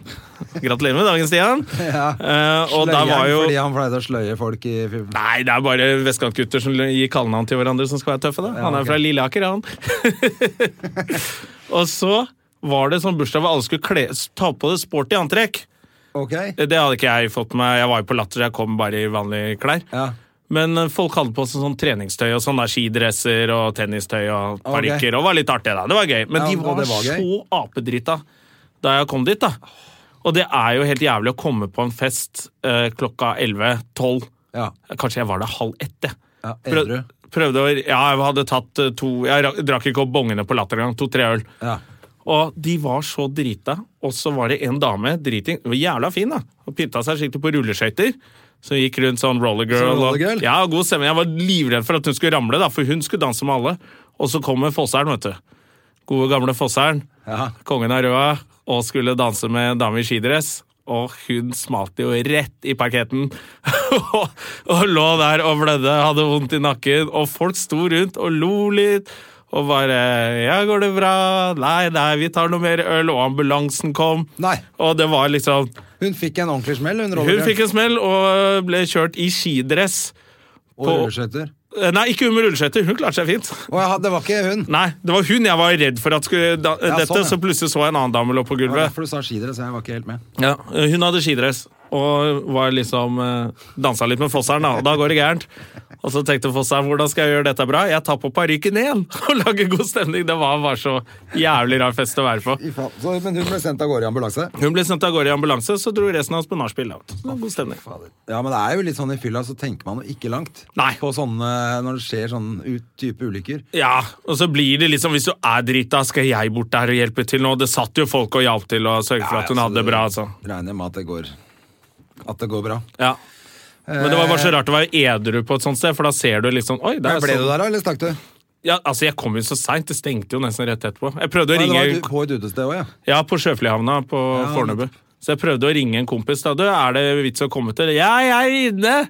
[SPEAKER 2] Gratulerer med dagen, Stian.
[SPEAKER 1] Ja.
[SPEAKER 2] Eh, og da
[SPEAKER 1] Sløyer
[SPEAKER 2] var jo
[SPEAKER 1] Fordi han pleide å sløye folk i film.
[SPEAKER 2] Nei, det er bare vestkantgutter som gir kallenavn til hverandre som skal være tøffe. da. Han er fra Lilleaker, han. og så var det sånn bursdag hvor alle skulle kle, ta på det sporty antrekk. Eh,
[SPEAKER 1] Ok?
[SPEAKER 2] Det hadde ikke jeg fått med. Jeg var jo på Latter, jeg kom bare i vanlige klær.
[SPEAKER 1] Ja.
[SPEAKER 2] Men eh, folk hadde på seg sånn treningstøy og sånne skidresser og tennistøy og parykker. Og var litt artig, da. Det var gøy. Men
[SPEAKER 1] Ja,
[SPEAKER 2] de
[SPEAKER 1] og
[SPEAKER 2] var,
[SPEAKER 1] det var gøy.
[SPEAKER 2] så apedrita da jeg kom dit, da. Og det er jo helt jævlig å komme på en fest eh, klokka 11-12.
[SPEAKER 1] ja.
[SPEAKER 2] Kanskje jeg var der halv ett, jeg.
[SPEAKER 1] ja
[SPEAKER 2] Prøv-
[SPEAKER 1] Edru.
[SPEAKER 2] Prøvde å Ja, jeg hadde tatt eh, to Jeg ra- drakk ikke opp bongene på latter engang. To-tre øl.
[SPEAKER 1] Ja.
[SPEAKER 2] Og de var så drita. Og så var det en dame, driting, hun var jævla fin, da. Og pynta seg skikkelig på rulleskøyter. Så hun gikk rundt sånn roller girl.
[SPEAKER 1] Sånn roller girl?
[SPEAKER 2] Og, ja, god stemning. Jeg var livredd for at hun skulle ramle, da, for hun skulle danse med alle. Og så kommer Fossern, vet du. Gode, gamle Fossern.
[SPEAKER 1] Ja.
[SPEAKER 2] Kongen av Røa. Og skulle danse med en dame i skidress. Og hun smalt jo rett i parketten. og, og lå der og blødde, hadde vondt i nakken. Og folk sto rundt og lo litt. Og bare 'Ja, går det bra?' 'Nei, nei, vi tar noe mer øl.' Og ambulansen kom.
[SPEAKER 1] Nei,
[SPEAKER 2] Og det var liksom
[SPEAKER 1] hun fikk en ordentlig smell, hun
[SPEAKER 2] Hun fikk
[SPEAKER 1] rollegren.
[SPEAKER 2] en smell og ble kjørt i skidress.
[SPEAKER 1] Og rulleskøyter.
[SPEAKER 2] Eh, Nei, ikke hun med rulleskøyter. Hun klarte seg fint.
[SPEAKER 1] Å ja, det var ikke hun. Det
[SPEAKER 2] Nei, det var hun jeg var redd for at skulle da,
[SPEAKER 1] Ja,
[SPEAKER 2] dette,
[SPEAKER 1] sånn, ja.
[SPEAKER 2] så plutselig så jeg en annen dame lå på
[SPEAKER 1] var
[SPEAKER 2] gulvet.
[SPEAKER 1] derfor du sa skidere, så jeg var ikke helt med.
[SPEAKER 2] Ja, hun hadde skidress og var liksom eh, dansa litt med Fosseren, da, og da går det gærent. Og så tenkte Fosseren hvordan skal jeg gjøre dette bra? Jeg tar på parykken igjen og lager god stemning. Det var bare så jævlig rar fest å være på.
[SPEAKER 1] Fy faen. Så, men hun ble sendt av gårde i ambulanse?
[SPEAKER 2] Hun ble sendt av gårde i ambulanse, så dro resten av oss på nachspiel. da. Så God stemning.
[SPEAKER 1] Ja, men det er jo litt sånn i fylla, så tenker man jo ikke langt.
[SPEAKER 2] Nei.
[SPEAKER 1] På sånne, når det skjer sånne ut- type ulykker.
[SPEAKER 2] Ja, og så blir det liksom Hvis du er drita, skal jeg bort der og hjelpe til nå? Det satt jo folk og hjalp til og sørget for
[SPEAKER 1] Ja,
[SPEAKER 2] at hun
[SPEAKER 1] ja, så
[SPEAKER 2] hadde det bra. altså.
[SPEAKER 1] Regner med at det går At det går bra.
[SPEAKER 2] Ja. Men det var bare så rart å være edru på et sånt sted, for da ser du liksom Oi, der
[SPEAKER 1] Men
[SPEAKER 2] er
[SPEAKER 1] ble
[SPEAKER 2] sånn.
[SPEAKER 1] du der, da, eller stakk du?
[SPEAKER 2] Ja, altså, jeg kom jo så seint. Det stengte jo nesten rett etterpå. Jeg prøvde å
[SPEAKER 1] Nei, det
[SPEAKER 2] ringe
[SPEAKER 1] var et- på et utested òg, ja.
[SPEAKER 2] Ja, på Sjøflyhavna på
[SPEAKER 1] Ja,
[SPEAKER 2] Fornebu. Så jeg prøvde å ringe en kompis. da, du, Er det vits å komme til? Ja, jeg er inne!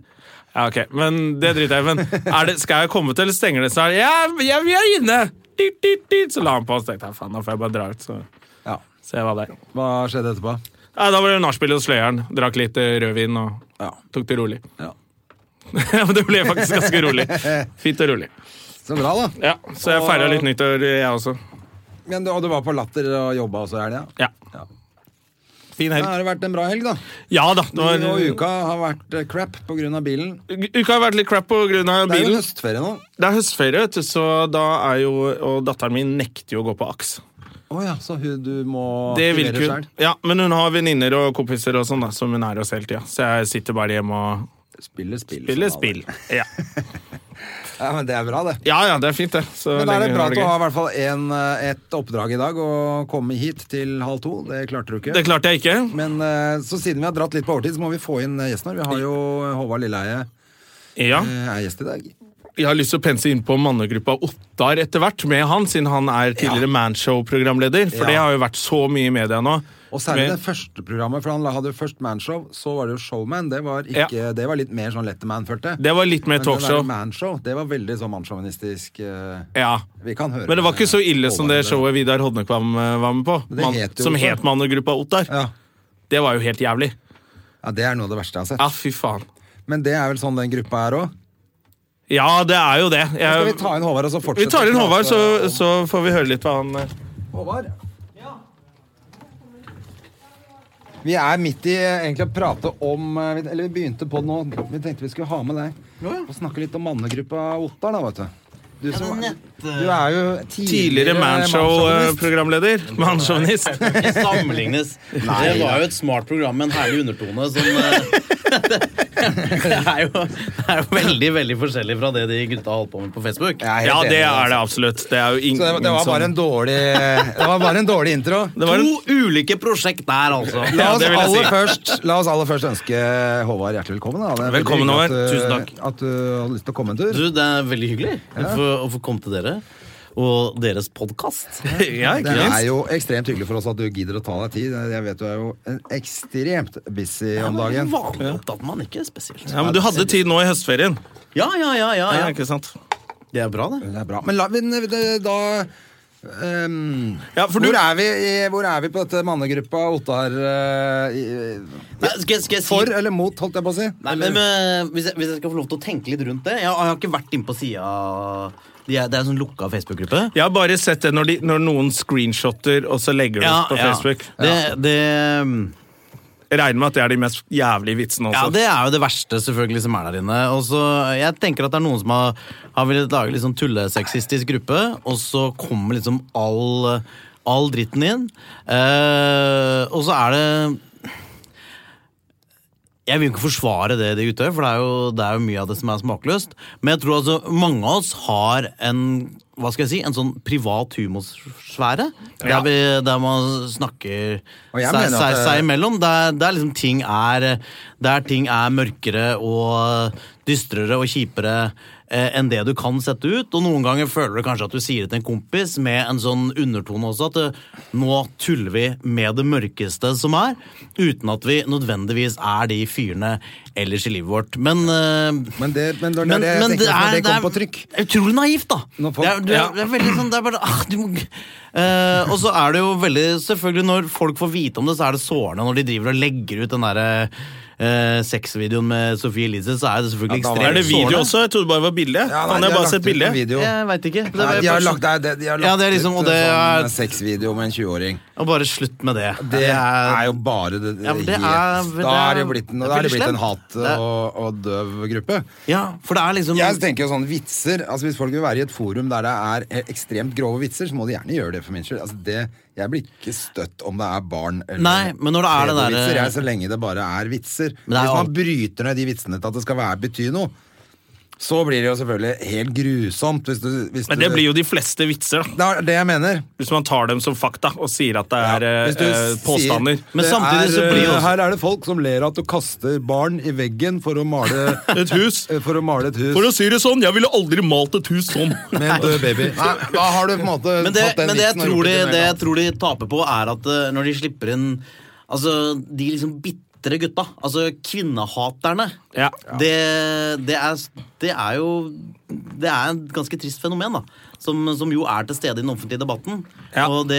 [SPEAKER 2] Ja, ok, men det driter jeg i. Men er det, skal jeg komme til, eller stenger det snart? Ja, ja, vi er inne! Dit, dit, dit. Så la han på, og så tenkte jeg faen, da får jeg bare dra ut. Så,
[SPEAKER 1] ja.
[SPEAKER 2] så jeg var der.
[SPEAKER 1] Hva skjedde etterpå?
[SPEAKER 2] Ja, da var det nachspiel hos Sløyeren. Drakk litt eh, rødvin og
[SPEAKER 1] Ja.
[SPEAKER 2] tok det rolig.
[SPEAKER 1] ja.
[SPEAKER 2] Ja, men det ble faktisk ganske rolig. Fint og rolig.
[SPEAKER 1] Så bra, da.
[SPEAKER 2] Ja, Så jeg feira litt nyttår, jeg også.
[SPEAKER 1] Men du, og du var på Latter og jobba også i helga? Ja.
[SPEAKER 2] Ja. Fin
[SPEAKER 1] Da
[SPEAKER 2] helg.
[SPEAKER 1] har det vært en bra helg, da.
[SPEAKER 2] Ja da. Det var,
[SPEAKER 1] Og uka har vært eh, crap pga. bilen.
[SPEAKER 2] uka har vært litt crap pga.
[SPEAKER 1] Det er jo
[SPEAKER 2] bilen.
[SPEAKER 1] høstferie nå.
[SPEAKER 2] Det er høstferie, vet du, så da er jo Og datteren min nekter jo å gå på aks.
[SPEAKER 1] Å ja, så hun, du må
[SPEAKER 2] Det vil ikke hun.
[SPEAKER 1] selv.
[SPEAKER 2] Ja, Men hun har venninner og kompiser og sånn da, som hun er hos hele tida. Så jeg sitter bare hjemme og
[SPEAKER 1] Spille spill.
[SPEAKER 2] spiller
[SPEAKER 1] som
[SPEAKER 2] spill.
[SPEAKER 1] vanlig.
[SPEAKER 2] Ja.
[SPEAKER 1] Ja, men Det er bra, det.
[SPEAKER 2] ja ja, det er fint, det. Så
[SPEAKER 1] Men da er
[SPEAKER 2] lenge
[SPEAKER 1] det
[SPEAKER 2] hun
[SPEAKER 1] bra
[SPEAKER 2] har
[SPEAKER 1] at du har
[SPEAKER 2] gøy.
[SPEAKER 1] i hvert fall en, eh, et oppdrag i dag, å komme hit til halv to. Det klarte du ikke.
[SPEAKER 2] Det klarte jeg ikke.
[SPEAKER 1] Men eh, så siden vi har dratt litt på overtid, så må vi få inn eh, gjesten vår. Vi har jo Håvard Lilleheie
[SPEAKER 2] Ja.
[SPEAKER 1] eh, er gjest i dag.
[SPEAKER 2] Jeg har lyst til å pense inn på mannegruppa Ottar etter hvert, med han, siden han er tidligere Manshow-programleder. For
[SPEAKER 1] Ja.
[SPEAKER 2] det har jo vært så mye i media nå.
[SPEAKER 1] Og særlig
[SPEAKER 2] Med-
[SPEAKER 1] det første programmet, for han hadde jo først Manshow, så var det jo Showman. Det var, ikke, det var litt mer sånn Letterman, følte jeg.
[SPEAKER 2] Det var litt mer
[SPEAKER 1] Men det
[SPEAKER 2] talkshow.
[SPEAKER 1] der Manshow, det var veldig sånn mannssjåvinistisk. eh,
[SPEAKER 2] Ja.
[SPEAKER 1] Vi kan høre
[SPEAKER 2] Men det var ikke så ille som det
[SPEAKER 1] Håvard
[SPEAKER 2] showet Vidar Hodnekvam eh, var med på,
[SPEAKER 1] det
[SPEAKER 2] Man,
[SPEAKER 1] het jo
[SPEAKER 2] som
[SPEAKER 1] Ottar.
[SPEAKER 2] het Mannegruppa Ottar.
[SPEAKER 1] Lilleheie. Ja.
[SPEAKER 2] Det var jo helt jævlig.
[SPEAKER 1] ja, det er noe av det verste jeg har sett.
[SPEAKER 2] Ja, fy faen.
[SPEAKER 1] Men det er vel sånn den gruppa er òg.
[SPEAKER 2] Ja, det er jo det.
[SPEAKER 1] Skal
[SPEAKER 2] Jeg,
[SPEAKER 1] vi ta inn Håvard, og så
[SPEAKER 2] vi
[SPEAKER 1] fortsette?
[SPEAKER 2] tar inn
[SPEAKER 1] å
[SPEAKER 2] Håvard,
[SPEAKER 1] prate
[SPEAKER 2] så,
[SPEAKER 1] om-
[SPEAKER 2] så får vi høre litt hva han eh,
[SPEAKER 1] Håvard? Vi er midt i eh, egentlig å prate om eh, vi- Eller vi begynte på det nå. Vi tenkte vi skulle ha med deg og snakke litt om mannegruppa Ottar, da, vet du. Du, som, du er jo tidligere
[SPEAKER 2] Tidligere eh,
[SPEAKER 1] mannssjåvinist.
[SPEAKER 2] Manshow-programleder. Mannsjåvinist.
[SPEAKER 3] sammenlignes. det var jo et smart program med en herlig undertone som eh, Det er jo, det er jo veldig veldig forskjellig fra det de gutta holdt på med på Facebook.
[SPEAKER 1] Jeg helt
[SPEAKER 2] Ja,
[SPEAKER 1] enig,
[SPEAKER 2] det er
[SPEAKER 1] altså.
[SPEAKER 2] det absolutt. Det er jo ingen
[SPEAKER 1] Så det, var- det var bare en dårlig Det var bare en dårlig intro.
[SPEAKER 2] det var en-
[SPEAKER 3] To ulike prosjekt der, altså.
[SPEAKER 1] La
[SPEAKER 2] Ja,
[SPEAKER 1] oss,
[SPEAKER 2] det vil jeg
[SPEAKER 1] aller
[SPEAKER 2] si.
[SPEAKER 1] først, la oss aller først ønske Håvard hjertelig velkommen. da. Det er veldig
[SPEAKER 2] Velkommen,
[SPEAKER 1] hyggelig
[SPEAKER 2] Håvard.
[SPEAKER 1] at, uh,
[SPEAKER 2] Tusen takk.
[SPEAKER 1] At du hadde lyst til å komme en tur.
[SPEAKER 3] Du, det er veldig hyggelig å få- å få komme til dere og deres podkast.
[SPEAKER 2] Ja,
[SPEAKER 1] Det
[SPEAKER 2] ikke
[SPEAKER 1] er
[SPEAKER 2] minst.
[SPEAKER 1] jo ekstremt hyggelig for oss at du gidder å ta deg tid. Jeg vet du er jo en ekstremt busy om dagen.
[SPEAKER 3] Vanlig opptatt man ikke spesielt.
[SPEAKER 2] Ja, men du hadde tid nå i høstferien.
[SPEAKER 3] Ja, ja, ja, ja,
[SPEAKER 2] Ja,
[SPEAKER 3] ja.
[SPEAKER 2] ikke sant?
[SPEAKER 3] Det er bra, det.
[SPEAKER 1] Det er bra. Men la, men eh, det- da ehm,
[SPEAKER 2] Ja, for du-
[SPEAKER 1] hvor, er vi, i- hvor er vi på dette mannegruppa Ottar eh, i-
[SPEAKER 3] Nei, skal, jeg- skal jeg si
[SPEAKER 1] For eller mot, holdt jeg på å si?
[SPEAKER 3] Nei, men, men hvis, jeg, hvis jeg skal få lov til å tenke litt rundt det Jeg, jeg har ikke vært inne på sida Det er det er en sånn lukka Facebook-gruppe.
[SPEAKER 2] Jeg har bare sett det når, de, når noen screenshotter, og så legger de det ut på Facebook.
[SPEAKER 3] Det, det,
[SPEAKER 2] Jeg regner med at det er de mest jævlige vitsene
[SPEAKER 3] ja,
[SPEAKER 2] også.
[SPEAKER 3] det er jo det verste selvfølgelig som er der inne. Og så, Jeg tenker at det er noen som har, har villet lage litt sånn tullesexistisk gruppe, og så kommer liksom all, all dritten inn. Eh, og så er det Jeg vil jo ikke forsvare det de utøver, for det er, jo, det er jo mye av det som er smakløst. Men jeg tror altså mange av oss har en hva skal jeg si, en sånn privat humorsfære. Der, vi, der man snakker
[SPEAKER 1] Og jeg
[SPEAKER 3] seg,
[SPEAKER 1] mener at eh,
[SPEAKER 3] seg,
[SPEAKER 1] det-
[SPEAKER 3] seg imellom. Der, der liksom ting er Der ting er mørkere og dystrere og kjipere eh, enn det du kan sette ut. Og noen ganger føler du kanskje at du sier det til en kompis med en sånn undertone også, at eh, nå tuller vi med det mørkeste som er, uten at vi nødvendigvis er de fyrene ellers i livet vårt. Men eh,
[SPEAKER 1] Men det, men det, men, det, jeg
[SPEAKER 3] men
[SPEAKER 1] tenker at når det
[SPEAKER 3] er-
[SPEAKER 1] kom på trykk.
[SPEAKER 3] det er utrolig naivt, da.
[SPEAKER 1] Når folk-
[SPEAKER 3] det, er, det, er,
[SPEAKER 2] Ja.
[SPEAKER 3] det er veldig sånn, det er bare ah, du må... Eh, Og så er det jo veldig Selvfølgelig, når folk får vite om det, så er det sårende når de driver og legger ut den derre eh, sexvideoen med Sophie Elise, så er det selvfølgelig
[SPEAKER 1] Sånn, Ja, da
[SPEAKER 3] ekstremt
[SPEAKER 1] var
[SPEAKER 2] Er det video også? Jeg trodde bare det var bilde.
[SPEAKER 1] Ja, nei,
[SPEAKER 2] Faen,
[SPEAKER 1] de
[SPEAKER 2] jeg
[SPEAKER 1] har
[SPEAKER 2] har bare
[SPEAKER 1] lagt ut
[SPEAKER 2] sett
[SPEAKER 1] en
[SPEAKER 2] bilde.
[SPEAKER 1] video.
[SPEAKER 3] Jeg veit ikke. Det
[SPEAKER 1] Nei,
[SPEAKER 3] var
[SPEAKER 1] de har
[SPEAKER 3] bare-
[SPEAKER 1] lagt, det, er- de har lagt
[SPEAKER 3] Ja, det er liksom-
[SPEAKER 1] ut
[SPEAKER 3] og det
[SPEAKER 1] en
[SPEAKER 3] er-
[SPEAKER 1] sånn sexvideo med en 20-åring.
[SPEAKER 3] og bare slutt med det.
[SPEAKER 1] Det er jo bare det,
[SPEAKER 3] Ja, men det
[SPEAKER 1] helt-
[SPEAKER 3] er- det
[SPEAKER 1] Da er det jo
[SPEAKER 3] er-
[SPEAKER 1] blitt, en-
[SPEAKER 3] det er
[SPEAKER 1] da er det
[SPEAKER 3] veldig
[SPEAKER 1] blitt en
[SPEAKER 3] slemt.
[SPEAKER 1] hat
[SPEAKER 3] Det er-
[SPEAKER 1] og, og døv gruppe.
[SPEAKER 3] Ja, for det er liksom
[SPEAKER 1] Jeg tenker jo sånn vitser Altså Hvis folk vil være i et forum der det er e- ekstremt grove vitser, så må de gjerne gjøre det for min skyld. Altså det, Jeg blir ikke støtt om det er barn eller
[SPEAKER 3] Nei, men når det er det der- eh,
[SPEAKER 1] pedovitser, jeg, så lenge det bare er vitser.
[SPEAKER 3] Men det er
[SPEAKER 1] hvis man
[SPEAKER 3] alt-
[SPEAKER 1] bryter ned de vitsene til at det skal være bety noe, så blir det jo selvfølgelig helt grusomt. Hvis du, hvis
[SPEAKER 2] Men det
[SPEAKER 1] du,
[SPEAKER 2] blir jo de fleste vitser,
[SPEAKER 1] Det
[SPEAKER 2] da.
[SPEAKER 1] er det jeg mener.
[SPEAKER 2] Hvis man tar dem som fakta og sier at det er
[SPEAKER 1] Ja, hvis du
[SPEAKER 2] eh,
[SPEAKER 1] sier-
[SPEAKER 2] påstander.
[SPEAKER 3] Men
[SPEAKER 1] det
[SPEAKER 3] samtidig
[SPEAKER 1] er,
[SPEAKER 3] så blir jo
[SPEAKER 1] eh,
[SPEAKER 3] også-
[SPEAKER 1] Her er det folk som ler av at du kaster barn i veggen for å male, eh,
[SPEAKER 2] Et hus.
[SPEAKER 1] for å male et hus.
[SPEAKER 2] For å si det sånn, jeg ville aldri malt et hus sånn.
[SPEAKER 1] Med en død baby. Nei, da har du på en måte
[SPEAKER 3] Men det,
[SPEAKER 1] tatt den
[SPEAKER 3] men det, jeg,
[SPEAKER 1] vitsen og gjort
[SPEAKER 3] tror de,
[SPEAKER 1] til en
[SPEAKER 3] det
[SPEAKER 1] helt
[SPEAKER 3] jeg tror de taper på, er at eh, når de slipper inn Altså, de liksom bitre gutta, altså kvinnehaterne,
[SPEAKER 2] Ja.
[SPEAKER 3] det, det, er, det er jo Det er et ganske trist fenomen, da. Som, som jo er til stede i den offentlige debatten.
[SPEAKER 2] Ja.
[SPEAKER 3] Og det,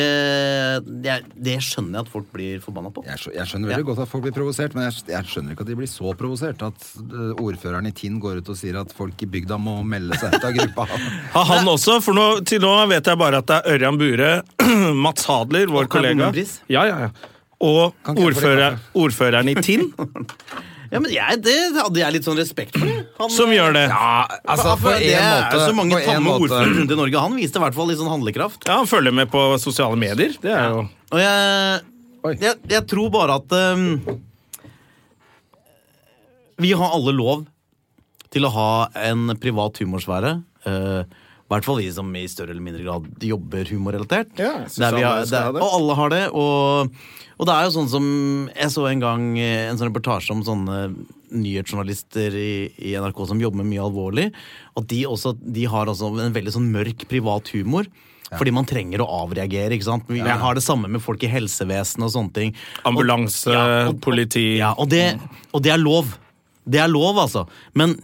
[SPEAKER 3] det, er- det skjønner jeg at folk blir forbanna på.
[SPEAKER 1] Jeg, skjø- jeg skjønner veldig godt at folk blir provosert, men jeg, skj- jeg skjønner ikke at de blir så provosert at øh, ordføreren i Tinn går ut og sier at folk i bygda må melde seg ut av gruppa.
[SPEAKER 2] Har han også? For nå, til nå vet jeg bare at det er Ørjan Bure, Mats Hadler, vår
[SPEAKER 3] Kai
[SPEAKER 2] kollega
[SPEAKER 3] Bommepris.
[SPEAKER 2] ja, ja, ja. Og
[SPEAKER 1] Kan ikke jeg få det
[SPEAKER 2] ordfører, ordføreren i Tinn,
[SPEAKER 3] Ja, men jeg, Det hadde jeg litt sånn respekt for. Han,
[SPEAKER 2] som gjør det. Ja,
[SPEAKER 1] altså, på
[SPEAKER 3] det
[SPEAKER 1] en måte,
[SPEAKER 3] er så mange
[SPEAKER 1] på en
[SPEAKER 3] tamme
[SPEAKER 1] måte.
[SPEAKER 3] ordførere rundt i Norge. Han viste i hvert fall litt sånn handlekraft.
[SPEAKER 2] Han følger med på sosiale medier. Det er jo
[SPEAKER 3] Og jeg,
[SPEAKER 1] Oi.
[SPEAKER 3] jeg, jeg tror bare at ehm, Vi har alle lov til å ha en privat humorsfære. eh, I hvert fall vi som i større eller mindre grad jobber humorrelatert.
[SPEAKER 2] Ja, jeg synes
[SPEAKER 3] Der vi
[SPEAKER 2] alle
[SPEAKER 3] har,
[SPEAKER 2] skal ha
[SPEAKER 3] der,
[SPEAKER 2] det.
[SPEAKER 3] og alle har det. Og, og det er jo sånn som Jeg så en gang eh, en sånn reportasje om sånne nyhetsjournalister i, i NRK som jobber med mye alvorlig. At de, også, de har også en veldig sånn mørk privat humor. Fordi man trenger å avreagere. ikke sant? Vi har det samme med folk i helsevesenet og sånne ting.
[SPEAKER 2] ambulanse,
[SPEAKER 3] Ja, og-
[SPEAKER 2] politi
[SPEAKER 3] Ja, og det, og det er lov. Det er lov, altså. Men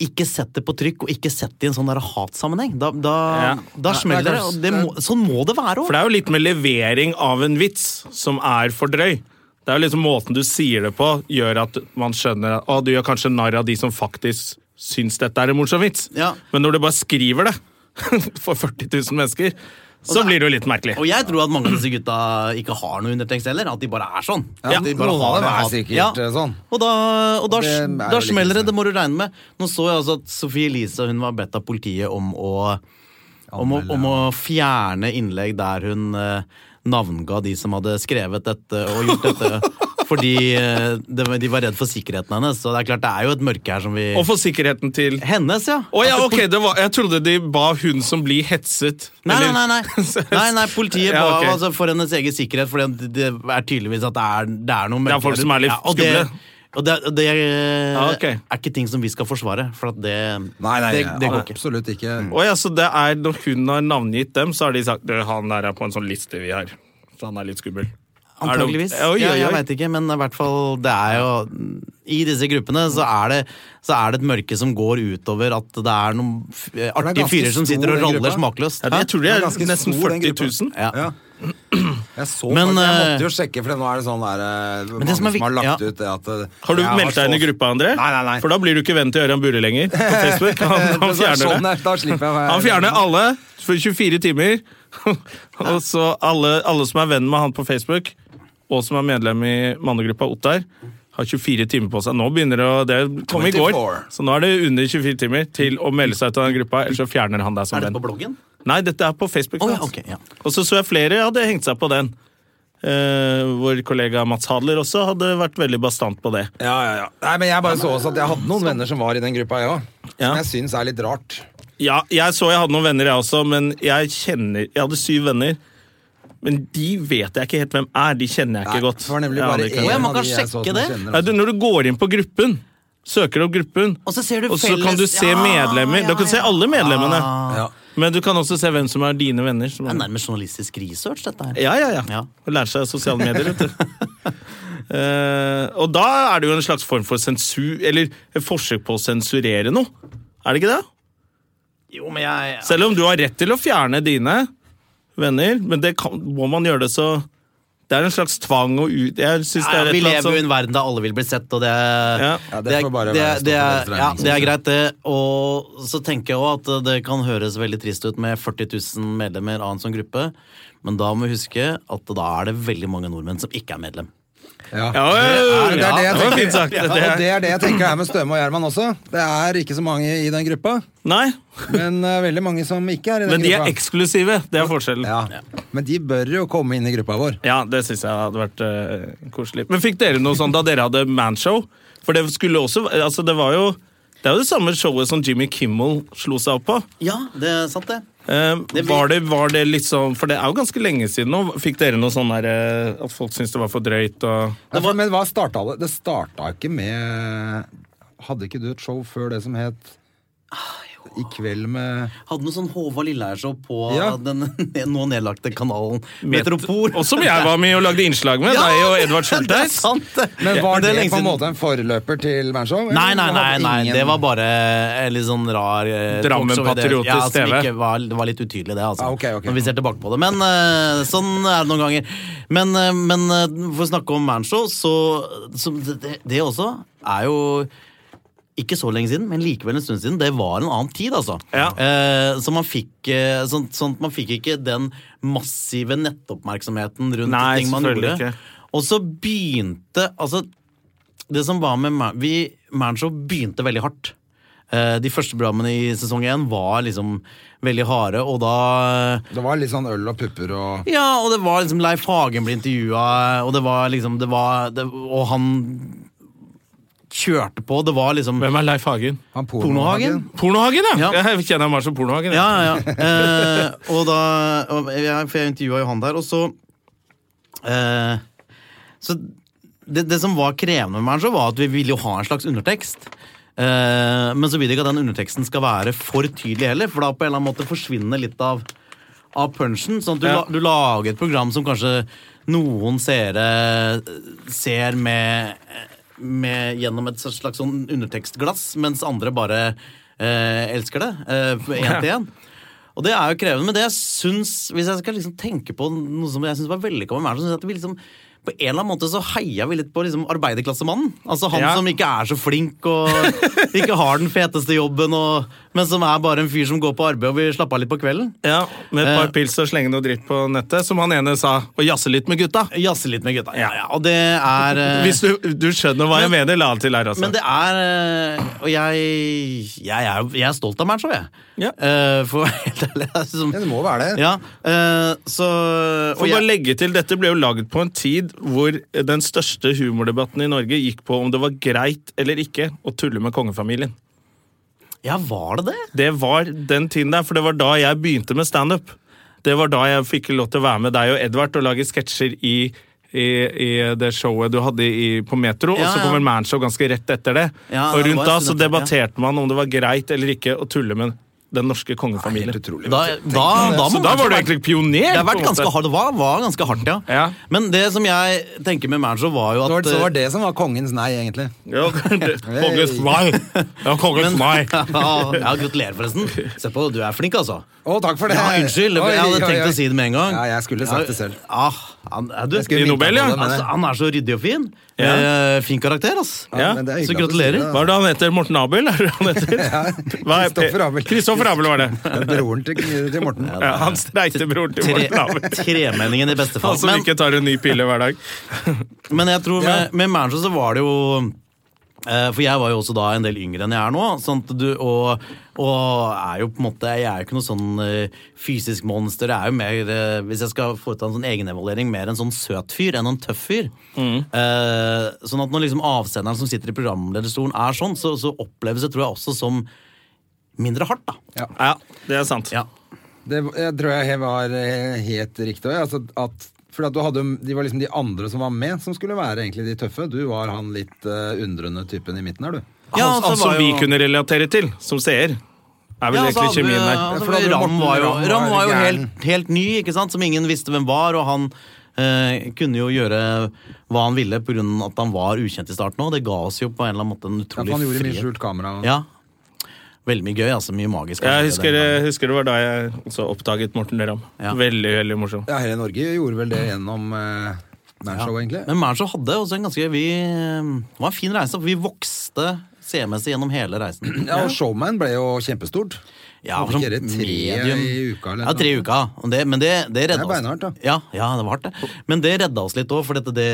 [SPEAKER 3] ikke sett det på trykk, og ikke sett det i en sånn der hatsammenheng. Da, da,
[SPEAKER 2] Ja.
[SPEAKER 3] da smeller det.
[SPEAKER 1] kanskje-
[SPEAKER 3] og det må, sånn må det være
[SPEAKER 2] For
[SPEAKER 3] òg.
[SPEAKER 2] det er jo litt med levering av en vits som er for drøy. Det er jo liksom måten du sier det på, gjør at man skjønner at å, du gjør kanskje narr av de som faktisk syns dette er en morsom vits.
[SPEAKER 3] Ja.
[SPEAKER 2] Men når du bare skriver det for 40 000 mennesker, så blir det jo litt merkelig.
[SPEAKER 3] Og jeg tror at mange av disse gutta ikke har noe undertekst heller. At de bare er sånn.
[SPEAKER 1] Ja,
[SPEAKER 3] at de bare
[SPEAKER 1] noen
[SPEAKER 3] har
[SPEAKER 1] av dem
[SPEAKER 3] det
[SPEAKER 1] er
[SPEAKER 3] hat.
[SPEAKER 1] sikkert,
[SPEAKER 3] Ja.
[SPEAKER 1] eh, sånn.
[SPEAKER 3] Og da, og da,
[SPEAKER 1] Det er jo
[SPEAKER 3] da
[SPEAKER 1] like
[SPEAKER 3] smeller det.
[SPEAKER 1] liksom.
[SPEAKER 3] Det må du regne med. Nå så jeg altså at Sophie Elise hun var bedt av politiet om å om å, om å fjerne innlegg der hun eh, navnga de som hadde skrevet dette og gjort dette. Fordi eh, det var- de var redd for sikkerheten hennes. Så det er klart, det er jo et mørke her som vi
[SPEAKER 2] Og for sikkerheten til
[SPEAKER 3] Hennes, ja.
[SPEAKER 2] Å ja,
[SPEAKER 3] Altså,
[SPEAKER 2] ok, det var, Jeg trodde de ba hun som blir hetset.
[SPEAKER 3] Nei,
[SPEAKER 2] eller-
[SPEAKER 3] nei, nei, nei. nei, nei Politiet ba
[SPEAKER 2] Ja, ok.
[SPEAKER 3] altså, for hennes egen sikkerhet, for det det er tydeligvis at det er, det er noe
[SPEAKER 2] Det er folk som er litt
[SPEAKER 3] og det-
[SPEAKER 2] skumle.
[SPEAKER 3] Og det, og det eh,
[SPEAKER 2] Ja, ok.
[SPEAKER 3] er ikke ting som vi skal forsvare, for at det,
[SPEAKER 1] Nei, nei,
[SPEAKER 3] det, det går ikke.
[SPEAKER 1] absolutt ikke.
[SPEAKER 2] Å ja, så det er Når hun har navngitt dem, så har de sagt «Du, han der er på en sånn liste vi har. Så han er litt skummel. Er det-
[SPEAKER 3] Antageligvis.
[SPEAKER 2] Oi, oi,
[SPEAKER 3] Ja, jeg
[SPEAKER 2] oi.
[SPEAKER 3] veit ikke, men i hvert fall det er jo I disse gruppene så er det, så er det et mørke som går utover at det er noen f- eh, artige
[SPEAKER 1] ganske
[SPEAKER 3] fyrer som sitter og
[SPEAKER 1] stor, den
[SPEAKER 3] raller
[SPEAKER 1] gruppa.
[SPEAKER 3] smakløst.
[SPEAKER 2] Ja, det- jeg tror det
[SPEAKER 1] Den
[SPEAKER 2] er
[SPEAKER 1] er ganske
[SPEAKER 2] nesten
[SPEAKER 1] stor, den
[SPEAKER 2] 40
[SPEAKER 1] gruppa.
[SPEAKER 2] 000.
[SPEAKER 3] Ja.
[SPEAKER 1] Ja. Jeg så
[SPEAKER 3] Men,
[SPEAKER 1] faktisk, jeg
[SPEAKER 3] eh,
[SPEAKER 1] måtte jo sjekke, for nå er det sånn der eh, mange
[SPEAKER 3] det som er
[SPEAKER 1] som har
[SPEAKER 3] vik-
[SPEAKER 1] lagt
[SPEAKER 3] ja.
[SPEAKER 1] ut det at eh,
[SPEAKER 2] Har du
[SPEAKER 1] jeg
[SPEAKER 2] meldt deg inn i
[SPEAKER 1] så-
[SPEAKER 2] gruppa, André?
[SPEAKER 1] Nei, nei, nei.
[SPEAKER 2] For da blir du ikke venn til Ørjan Bure lenger på Facebook.
[SPEAKER 1] Så er
[SPEAKER 2] Han, han
[SPEAKER 1] det
[SPEAKER 2] fjerner
[SPEAKER 1] sånn,
[SPEAKER 2] det.
[SPEAKER 1] eh, Da slipper jeg å være-
[SPEAKER 2] Han fjerner alle for 24 timer. og så alle, alle som er venn med han på Facebook, og som er medlem i mannegruppa Ottar, har 24 timer på seg. Nå begynner det å Det kom i går,
[SPEAKER 1] 24.
[SPEAKER 2] så nå er det under 24 timer til å melde seg ut av den gruppa, ellers så fjerner han deg som
[SPEAKER 3] Er det
[SPEAKER 2] venn.
[SPEAKER 3] på bloggen?
[SPEAKER 2] Nei, dette er på Facebook.
[SPEAKER 3] Å,
[SPEAKER 2] da.
[SPEAKER 3] ja, ok, ja.
[SPEAKER 2] Og så så jeg flere hadde hengt seg på den. Eh, vår kollega Mats Hadler også hadde vært veldig bastant på det.
[SPEAKER 1] Ja, ja, ja. Nei, men jeg bare så også at jeg hadde noen venner som var i den gruppa, jeg òg.
[SPEAKER 2] Ja.
[SPEAKER 1] Som jeg syns er litt rart.
[SPEAKER 2] Ja, jeg så jeg hadde noen venner, jeg også, men jeg kjenner Jeg hadde syv venner. Men de vet jeg ikke helt hvem er. De kjenner jeg ikke
[SPEAKER 1] Nei,
[SPEAKER 2] godt.
[SPEAKER 1] Det var nemlig
[SPEAKER 2] Jeg
[SPEAKER 1] bare
[SPEAKER 2] aner ikke hvem
[SPEAKER 3] Ja,
[SPEAKER 1] én
[SPEAKER 3] man
[SPEAKER 1] av
[SPEAKER 3] kan
[SPEAKER 1] de jeg så
[SPEAKER 3] sjekke
[SPEAKER 1] som
[SPEAKER 3] det.
[SPEAKER 1] kjenner.
[SPEAKER 2] det er. Nei, du, når du går inn på gruppen, søker opp gruppen,
[SPEAKER 3] Og så ser du
[SPEAKER 2] og så
[SPEAKER 3] felles-
[SPEAKER 2] kan du se
[SPEAKER 3] Ja,
[SPEAKER 2] medlemmer.
[SPEAKER 3] ja,
[SPEAKER 2] Du kan se
[SPEAKER 3] ja.
[SPEAKER 2] alle medlemmene,
[SPEAKER 1] Ja.
[SPEAKER 2] men du kan også se hvem som er dine venner. Som
[SPEAKER 3] Det er nærmest journalistisk research, dette her.
[SPEAKER 2] Ja, ja, ja.
[SPEAKER 3] Ja.
[SPEAKER 2] Og lære seg sosiale medier, vet du. Eh, og da er det jo en slags form for sensur, eller et forsøk på å sensurere noe. Er det ikke det?
[SPEAKER 3] Jo, men jeg
[SPEAKER 2] Selv om du har rett til å fjerne dine venner, men det kan, må man gjøre det så Det er en slags tvang og ut... Jeg synes det
[SPEAKER 3] Ja,
[SPEAKER 2] er et
[SPEAKER 3] vi lever jo
[SPEAKER 2] eller
[SPEAKER 3] i
[SPEAKER 2] annet sånn-
[SPEAKER 3] en verden der alle vil bli sett, og det
[SPEAKER 2] Ja.
[SPEAKER 1] Ja, det
[SPEAKER 3] det,
[SPEAKER 1] får bare
[SPEAKER 3] det, det,
[SPEAKER 1] være Stoltenbergs
[SPEAKER 3] ja,
[SPEAKER 1] regning,
[SPEAKER 3] det er
[SPEAKER 1] synes jeg.
[SPEAKER 3] greit, det. Og så tenker jeg òg at det kan høres veldig trist ut med 40 000 medlemmer av en sånn gruppe, men da må vi huske at da er det veldig mange nordmenn som ikke er medlem.
[SPEAKER 1] Ja.
[SPEAKER 2] Ja, ja, ja,
[SPEAKER 1] Det
[SPEAKER 2] ja,
[SPEAKER 1] er det jeg
[SPEAKER 2] det var
[SPEAKER 1] tenker.
[SPEAKER 2] fint sagt.
[SPEAKER 1] Ja,
[SPEAKER 2] Det er-
[SPEAKER 1] Og det er det jeg tenker er med Støme og Gjerman også. Det er ikke så mange i den gruppa,
[SPEAKER 2] sånn. Nei,
[SPEAKER 1] men eh, veldig mange som ikke er i den
[SPEAKER 2] men de er
[SPEAKER 1] gruppa.
[SPEAKER 2] eksklusive. Det er forskjellen. Ja,
[SPEAKER 1] ja. Men de bør jo komme inn i gruppa vår.
[SPEAKER 2] det syns jeg hadde vært eh, koselig. Men fikk dere noe sånn da dere hadde manshow? For det skulle også Altså, det var jo det er jo det samme showet som Jimmy Kimmel slo seg opp på.
[SPEAKER 3] Ja, det er sant, det.
[SPEAKER 2] Eh,
[SPEAKER 3] Det blir-
[SPEAKER 2] var, det, var det liksom For det er jo ganske lenge siden nå. Fikk dere noe sånn der eh, at folk syntes det var for drøyt og
[SPEAKER 1] Ja, for, men hva starta det? Det starta ikke med Hadde ikke du et show før det som het I kveld med
[SPEAKER 3] Hadde noe sånn Håvard Lilleheie-show på
[SPEAKER 1] Ja.
[SPEAKER 3] den nå nedlagte kanalen Metropol.
[SPEAKER 2] Og som jeg var med og lagde innslag med. deg og Edvard
[SPEAKER 3] det er
[SPEAKER 2] Schulteis.
[SPEAKER 3] sant! det.
[SPEAKER 1] Men var
[SPEAKER 3] er
[SPEAKER 1] det,
[SPEAKER 3] lenge
[SPEAKER 1] på en
[SPEAKER 3] siden.
[SPEAKER 1] måte en forløper til Manshow? eller?
[SPEAKER 3] Nei, nei, nei,
[SPEAKER 1] Hadde
[SPEAKER 3] nei,
[SPEAKER 1] ingen-
[SPEAKER 3] det var bare en litt sånn rar eh,
[SPEAKER 2] Drammen
[SPEAKER 3] talkshow i det-
[SPEAKER 2] Patriotisk
[SPEAKER 3] ja, som
[SPEAKER 2] TV.
[SPEAKER 3] Ikke var, det var litt utydelig, det, altså.
[SPEAKER 1] Ah, ok, ok.
[SPEAKER 3] Når vi ser tilbake på det. Men eh, sånn er det noen ganger. Men, eh, men eh, for å snakke om Manshow, så, så det, det også er jo ikke så lenge siden, men likevel en stund siden. Det var en annen tid, altså.
[SPEAKER 2] Ja.
[SPEAKER 3] Eh, så man fikk eh, sånn, sånn at man fikk ikke den massive nettoppmerksomheten rundt
[SPEAKER 2] Nei,
[SPEAKER 3] ting man
[SPEAKER 2] selvfølgelig
[SPEAKER 3] gjorde.
[SPEAKER 2] ikke.
[SPEAKER 3] Og så begynte Altså, det som var med Man- vi, Manshow begynte veldig hardt. Eh, De første programmene i sesong én var liksom veldig harde, og da
[SPEAKER 1] Det var litt sånn øl og pupper og
[SPEAKER 3] Ja, og det var liksom Leif Hagen ble intervjua, og det var liksom det var, det, Og han kjørte på. Det var liksom
[SPEAKER 2] Hvem er Leif Hagen?
[SPEAKER 1] han
[SPEAKER 3] Pornohagen?
[SPEAKER 2] Pornohagen, ja!
[SPEAKER 3] Ja.
[SPEAKER 2] Jeg kjenner ham bare som Pornohagen. jeg.
[SPEAKER 3] Ja, ja, ja. Eh, og da og jeg, For jeg intervjua jo han der, og så eh, Så det, det som var krevende med Manshow, var at vi ville jo ha en slags undertekst. Eh, men så vil jeg ikke at den underteksten skal være for tydelig heller, for da på en eller annen måte forsvinner litt av, av punchen. Sånn at du,
[SPEAKER 2] Ja.
[SPEAKER 3] la, du lager et program som kanskje noen seere eh, ser med, med gjennom et slags sånn undertekstglass, mens andre bare eh, elsker det. Én til én. Og det er jo krevende, men det jeg syns, hvis jeg skal liksom tenke på noe som jeg syns var vellykka med Mæren, så syns jeg at vi liksom på en eller annen måte så heia vi litt på liksom arbeiderklassemannen. Altså han
[SPEAKER 2] Ja.
[SPEAKER 3] som ikke er så flink og ikke har den feteste jobben og men som er bare en fyr som går på arbeid og vil slappe av litt på kvelden.
[SPEAKER 2] Ja, Med et
[SPEAKER 3] Eh.
[SPEAKER 2] par pils og slenge noe dritt på nettet, som han ene sa. Og jazze litt med gutta.
[SPEAKER 3] Jazze litt med gutta. Ja, ja, og det er eh,
[SPEAKER 2] Hvis du, du skjønner hva jeg
[SPEAKER 3] Men-
[SPEAKER 2] mener, la det til her, altså.
[SPEAKER 3] Men det er eh, Og jeg, jeg, er, jeg er stolt av Manchow, jeg.
[SPEAKER 2] Ja.
[SPEAKER 3] Eh, For å være helt ærlig. det er
[SPEAKER 1] Ja,
[SPEAKER 3] Som,
[SPEAKER 1] det må være det.
[SPEAKER 3] ja, eh, så
[SPEAKER 2] Får
[SPEAKER 3] og jeg,
[SPEAKER 2] bare legge til, Dette ble jo lagd på en tid hvor den største humordebatten i Norge gikk på om det var greit eller ikke å tulle med kongefamilien.
[SPEAKER 3] ja, var det det?
[SPEAKER 2] Det var den tiden der, for det var da jeg begynte med standup. Det var da jeg fikk lov til å være med deg og Edvard og lage sketsjer i, i, i det showet du hadde i, på Metro, og
[SPEAKER 3] Ja,
[SPEAKER 2] så
[SPEAKER 3] ja.
[SPEAKER 2] kom vel Manshow ganske rett etter det.
[SPEAKER 3] Ja, det var
[SPEAKER 2] og
[SPEAKER 3] sånn
[SPEAKER 2] rundt da
[SPEAKER 3] en
[SPEAKER 2] så
[SPEAKER 3] stund etter,
[SPEAKER 2] debatterte man om det var greit eller ikke å tulle med den norske kongefamilien.
[SPEAKER 1] Helt utrolig.
[SPEAKER 3] Da, da, da,
[SPEAKER 2] så
[SPEAKER 3] må Manchow
[SPEAKER 2] da var du
[SPEAKER 3] være-
[SPEAKER 2] egentlig pioner!
[SPEAKER 3] Det har
[SPEAKER 2] på
[SPEAKER 3] vært
[SPEAKER 2] en måte.
[SPEAKER 3] ganske hardt, det var, var ganske hardt, ja.
[SPEAKER 2] Ja.
[SPEAKER 3] Men det som jeg tenker med Manchow, var jo
[SPEAKER 1] Det
[SPEAKER 3] at eh,
[SPEAKER 1] var, så var det som var kongens nei, egentlig.
[SPEAKER 2] Ja, det- Kongens nei! Ja, kongens nei!
[SPEAKER 3] ja, gratulerer, forresten. Se på, du er flink, altså.
[SPEAKER 1] Å, takk for det!
[SPEAKER 3] Ja, unnskyld,
[SPEAKER 1] Oi,
[SPEAKER 3] jeg hadde
[SPEAKER 1] oi,
[SPEAKER 3] tenkt
[SPEAKER 1] oi.
[SPEAKER 3] å si det med en gang.
[SPEAKER 1] Ja, jeg skulle sagt det selv.
[SPEAKER 3] Ah, han, er du,
[SPEAKER 1] Jeg skulle
[SPEAKER 2] I
[SPEAKER 1] minnet
[SPEAKER 2] Nobel,
[SPEAKER 1] på
[SPEAKER 2] ja.
[SPEAKER 1] det, men
[SPEAKER 3] altså,
[SPEAKER 1] det-
[SPEAKER 3] han er så ryddig og fin. Eh, fin karakter, ass.
[SPEAKER 2] Ja,
[SPEAKER 1] men det er
[SPEAKER 3] så
[SPEAKER 1] hyggelig at du sier
[SPEAKER 3] gratulerer.
[SPEAKER 1] det,
[SPEAKER 2] Hva er det han heter? Morten Abel? Er det han heter? Hva er-
[SPEAKER 1] Kristoffer Abel.
[SPEAKER 2] Kristoffer Abel var det.
[SPEAKER 1] da. Det er Broren til, til Morten.
[SPEAKER 2] Ja, han streite bror til
[SPEAKER 3] Tre,
[SPEAKER 2] Morten Abel.
[SPEAKER 3] tremenningen i beste fall.
[SPEAKER 1] Altså,
[SPEAKER 3] Men,
[SPEAKER 2] Han som ikke tar en ny pille hver dag.
[SPEAKER 3] men jeg tror
[SPEAKER 1] Ja.
[SPEAKER 3] med, med Manchester så var det jo eh, For jeg var jo også da en del yngre enn jeg er nå, sånn at du, og, og er jo på en måte Jeg er jo ikke noe sånn eh, fysisk monster. Jeg er jo mer, eh, hvis jeg skal foreta en sånn egenevaluering, mer en sånn søt fyr enn en tøff fyr.
[SPEAKER 2] Mm.
[SPEAKER 3] Eh, sånn at når liksom avsenderen som sitter i programlederstolen er sånn, så, så oppleves det tror jeg også som mindre hardt, da.
[SPEAKER 2] Ja, det er sant.
[SPEAKER 3] Ja.
[SPEAKER 1] Det jeg tror jeg var eh, helt riktig. også, Altså, at, fordi at du hadde, de var liksom de andre som var med, som skulle være egentlig de tøffe. Du var han litt eh, undrende typen i midten her, du.
[SPEAKER 3] Ja,
[SPEAKER 2] Han,
[SPEAKER 3] altså,
[SPEAKER 2] han som
[SPEAKER 3] var
[SPEAKER 2] vi
[SPEAKER 3] jo-
[SPEAKER 2] kunne relatere til, som seer, er vel
[SPEAKER 3] Ja, altså,
[SPEAKER 2] egentlig kjemien
[SPEAKER 3] hadde-
[SPEAKER 2] der.
[SPEAKER 1] Ja, for da hadde
[SPEAKER 3] Ram
[SPEAKER 1] Morten
[SPEAKER 3] var jo,
[SPEAKER 1] Ramm var
[SPEAKER 3] Ram var jo
[SPEAKER 1] gæren.
[SPEAKER 3] helt, helt ny, ikke sant? som ingen visste hvem var, og han eh, kunne jo gjøre hva han ville pga. at han var ukjent i starten òg. Det ga oss jo på en eller annen måte en
[SPEAKER 1] Ja,
[SPEAKER 3] utrolig
[SPEAKER 1] for han gjorde mye
[SPEAKER 3] frihet.
[SPEAKER 1] skjult kamera.
[SPEAKER 3] Ja. Veldig mye gøy, altså. Mye magisk.
[SPEAKER 2] Jeg husker,
[SPEAKER 3] Den gangen.
[SPEAKER 2] jeg
[SPEAKER 1] eh,
[SPEAKER 2] husker det var da jeg også oppdaget Morten Ramm.
[SPEAKER 3] Ja.
[SPEAKER 2] Veldig, veldig morsom.
[SPEAKER 1] Ja, hele Norge gjorde vel det gjennom eh, Manshow, egentlig.
[SPEAKER 3] Men Manchow hadde også en ganske vi, eh, Det var en fin reise, for vi vokste seermessig gjennom hele reisen.
[SPEAKER 1] Ja, og Showman ble jo kjempestort.
[SPEAKER 3] Ja,
[SPEAKER 1] Hadde
[SPEAKER 3] for
[SPEAKER 1] ikke
[SPEAKER 3] sånn
[SPEAKER 1] dere tre
[SPEAKER 3] medium-
[SPEAKER 1] i uka, eller
[SPEAKER 3] Ja, tre i
[SPEAKER 1] noe?
[SPEAKER 3] uka. Og det, men det, det redda
[SPEAKER 1] Det er beinhardt, da.
[SPEAKER 3] oss. Ja, ja, det var hardt, det. Men det redda oss litt òg, for dette, det,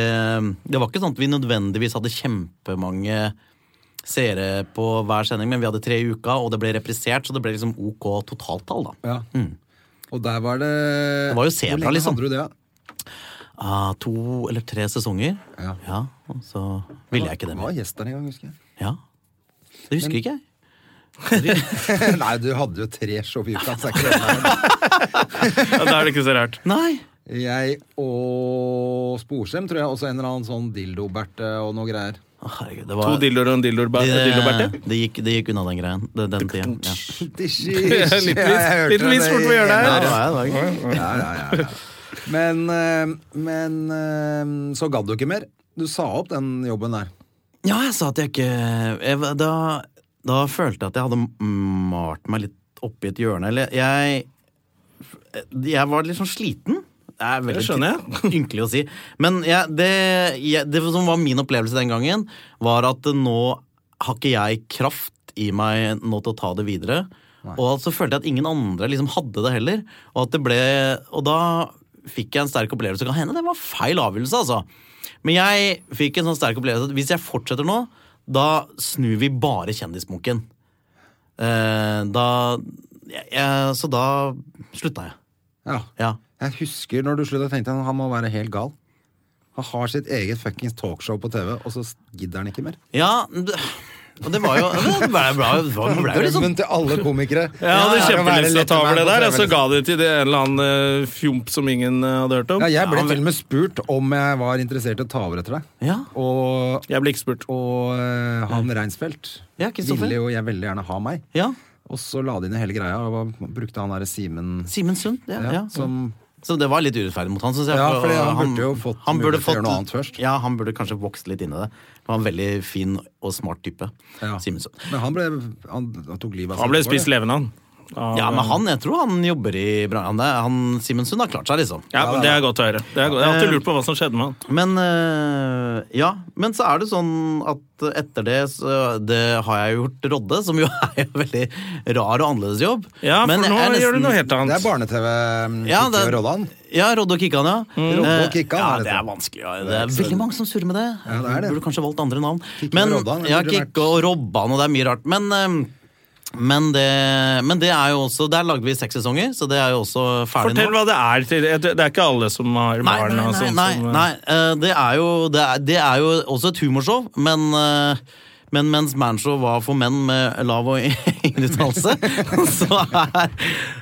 [SPEAKER 3] det var ikke sånn at vi nødvendigvis hadde kjempemange seere på hver sending, men vi hadde tre i uka, og det ble reprisert, så det ble liksom OK totaltall, da.
[SPEAKER 1] Ja. Og der var det
[SPEAKER 3] Mm. Det var jo
[SPEAKER 1] Hvor
[SPEAKER 3] sebra,
[SPEAKER 1] lenge
[SPEAKER 3] liksom.
[SPEAKER 1] Hadde du det, da?
[SPEAKER 3] Ah, to eller tre sesonger.
[SPEAKER 1] Ja.
[SPEAKER 3] og så ville jeg ikke det
[SPEAKER 1] Det var
[SPEAKER 3] mer.
[SPEAKER 1] gjest der en gang, husker jeg.
[SPEAKER 3] Ja. Det husker ikke jeg.
[SPEAKER 1] Nei, du hadde jo tre show i uka. så det er ikke det.
[SPEAKER 2] Ja, da er det ikke så rart.
[SPEAKER 3] Nei.
[SPEAKER 1] Jeg og Sporsem, tror jeg. Også en eller annen sånn dildobert eh, og noe greier.
[SPEAKER 3] Å, herregud, det var
[SPEAKER 2] To dildoer og en dildorba- dildoberte.
[SPEAKER 3] det, det, gikk, det gikk unna den greien. Den, den tiden. Ja.
[SPEAKER 2] Liten
[SPEAKER 1] Litt
[SPEAKER 2] vits- liten vits fort på å gjøre det her.
[SPEAKER 3] Ja, det var gøy.
[SPEAKER 1] Ja, ja, ja, ja. Men, eh, men eh, så gadd du ikke mer. Du sa opp den jobben der.
[SPEAKER 3] Ja, jeg sa at jeg ikke jeg, da, da følte jeg at jeg hadde malt meg litt oppi et hjørne. Eller jeg Jeg var litt sånn sliten. Det er veldig
[SPEAKER 2] Det skjønner
[SPEAKER 3] jeg. ynkelig å si. Men jeg, det, jeg, det som var min opplevelse den gangen, var at nå har ikke jeg kraft i meg nå til å ta det videre. Og så følte jeg at ingen andre liksom hadde det heller. Og, at det ble, og da fikk jeg en sterk opplevelse. Kan hende det var feil avgjørelse, altså. Men jeg fikk en sånn sterk opplevelse at hvis jeg fortsetter nå, da snur vi bare kjendismunken. Eh, da jeg, jeg, Så da slutta jeg.
[SPEAKER 1] Ja.
[SPEAKER 3] Ja.
[SPEAKER 1] Jeg husker når du sluttet, tenkte jeg han må være helt gal. Han har sitt eget fuckings talkshow på TV, og så gidder han ikke mer.
[SPEAKER 3] Ja, det- og det var jo Det ble, ble, ble, ble jo litt sånn
[SPEAKER 1] Drømmen til alle komikere.
[SPEAKER 2] Jeg hadde
[SPEAKER 1] Ja, det å være
[SPEAKER 2] kjempelyst til å
[SPEAKER 1] lett
[SPEAKER 2] ta over
[SPEAKER 1] være
[SPEAKER 2] det
[SPEAKER 1] på liksom.
[SPEAKER 2] der,
[SPEAKER 1] TV,
[SPEAKER 2] altså, og så ga det til det en eller annen eh, fjomp som ingen eh, hadde hørt om.
[SPEAKER 1] Ja, jeg ble
[SPEAKER 3] Ja, men-
[SPEAKER 1] til og med spurt om jeg var interessert i å ta over etter deg.
[SPEAKER 3] Ja.
[SPEAKER 1] Og,
[SPEAKER 2] Jeg ble ikke spurt.
[SPEAKER 1] og eh, han Reinsfeldt
[SPEAKER 3] Ja, Kristoffer.
[SPEAKER 1] ville jo jeg veldig gjerne ha meg.
[SPEAKER 3] ja.
[SPEAKER 1] Og så la de inn hele greia, og hva- brukte han derre Simen
[SPEAKER 3] Simen Sund. Ja,
[SPEAKER 1] ja,
[SPEAKER 3] ja.
[SPEAKER 1] som
[SPEAKER 3] Så det var litt urettferdig mot han, synes jeg.
[SPEAKER 1] Ja,
[SPEAKER 3] for-
[SPEAKER 1] fordi han
[SPEAKER 3] og
[SPEAKER 1] burde jo fått
[SPEAKER 3] han burde
[SPEAKER 1] mulighet til å
[SPEAKER 3] fått-
[SPEAKER 1] gjøre noe annet først.
[SPEAKER 3] Ja, han burde kanskje vokst litt inn i det. Han var en veldig fin og smart type.
[SPEAKER 1] ja.
[SPEAKER 3] Simensson.
[SPEAKER 1] Men han, ble, han, han tok livet av
[SPEAKER 2] Han ble
[SPEAKER 1] etterpå,
[SPEAKER 2] spist
[SPEAKER 1] eller?
[SPEAKER 2] levende, han. av-
[SPEAKER 3] Ja, men han, jeg tror han jobber i bransjen. Han, han Simensund har klart seg, liksom.
[SPEAKER 2] Ja, men Det er godt å høre. Det er godt. Jeg har alltid lurt på hva som skjedde med han.
[SPEAKER 3] Men øh, ja, men så er det sånn at etter det så det har jeg gjort Rodde, som jo er en veldig rar og annerledes jobb.
[SPEAKER 2] Ja, for
[SPEAKER 3] men
[SPEAKER 2] nå
[SPEAKER 3] jeg er
[SPEAKER 2] gjør du noe helt
[SPEAKER 1] Det
[SPEAKER 2] annet.
[SPEAKER 1] er barne-TV.
[SPEAKER 3] Ja,
[SPEAKER 1] Kikki
[SPEAKER 3] det-
[SPEAKER 1] og Rollan.
[SPEAKER 3] Ja, Rodde og Kikkan, ja.
[SPEAKER 1] Mm. Rodde
[SPEAKER 3] Eh,
[SPEAKER 1] og Kikkan,
[SPEAKER 3] ja,
[SPEAKER 1] er det sånn?
[SPEAKER 3] det er
[SPEAKER 1] det.
[SPEAKER 3] vanskelig. Ja. Det er veldig mange som surrer med det.
[SPEAKER 1] Ja, det er det.
[SPEAKER 3] Burde kanskje valgt andre navn.
[SPEAKER 1] Kikke
[SPEAKER 3] Men,
[SPEAKER 1] og Robban, det
[SPEAKER 3] ja,
[SPEAKER 1] burde vært-
[SPEAKER 3] Kikke og Robban, og det er mye rart. Men, eh, men, det, men det er jo også Der lagde vi seks sesonger, så det er jo også ferdig nå.
[SPEAKER 2] Fortell hva det er til Det er ikke alle som har
[SPEAKER 3] Nei,
[SPEAKER 2] barn
[SPEAKER 3] nei,
[SPEAKER 2] og
[SPEAKER 3] nei,
[SPEAKER 2] sånn.
[SPEAKER 3] nei,
[SPEAKER 2] som-
[SPEAKER 3] nei. eh, Det, er jo, det, er, det er jo også et humorshow, men, eh, men mens Manshow var for menn med lav og innutdannelse, så er,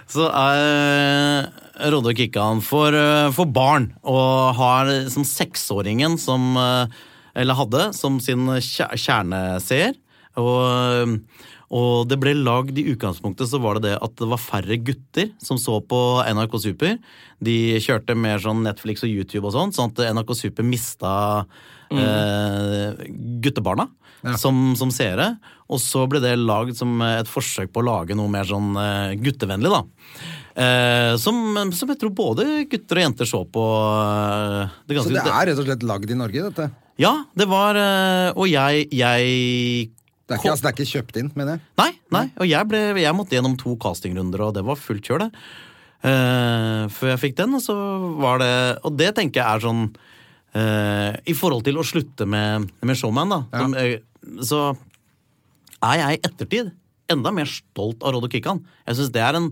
[SPEAKER 3] så er eh, Rodde og Kikkan for, eh, for barn, og har som seksåringen som eh, Eller hadde som sin kje- kjerneseer. Og, um, og det ble lagd i utgangspunktet så var det det at det var færre gutter som så på NRK Super. De kjørte mer sånn Netflix og YouTube og sånn, sånn at NRK Super mista
[SPEAKER 1] Mm.
[SPEAKER 3] eh, guttebarna som, som seere. Og så ble det lagd som et forsøk på å lage noe mer sånn eh, guttevennlig, da. Eh, som, som jeg tror både gutter og jenter så på. eh, det
[SPEAKER 1] Så
[SPEAKER 3] ganske-
[SPEAKER 1] det er rett og slett lagd i Norge, dette?
[SPEAKER 3] Ja, det var eh, Og jeg, jeg
[SPEAKER 1] Det er ikke, altså, det er ikke kjøpt inn, mener jeg.
[SPEAKER 3] Nei, nei. Og jeg, ble, jeg måtte gjennom to castingrunder, og det var fullt kjør, det. Eh, før jeg fikk den, og så var det Og det tenker jeg er sånn eh, I forhold til å slutte med, med showman, da, som, eh, så er jeg i ettertid enda mer stolt av Rodde Kikkan. Jeg syns det er en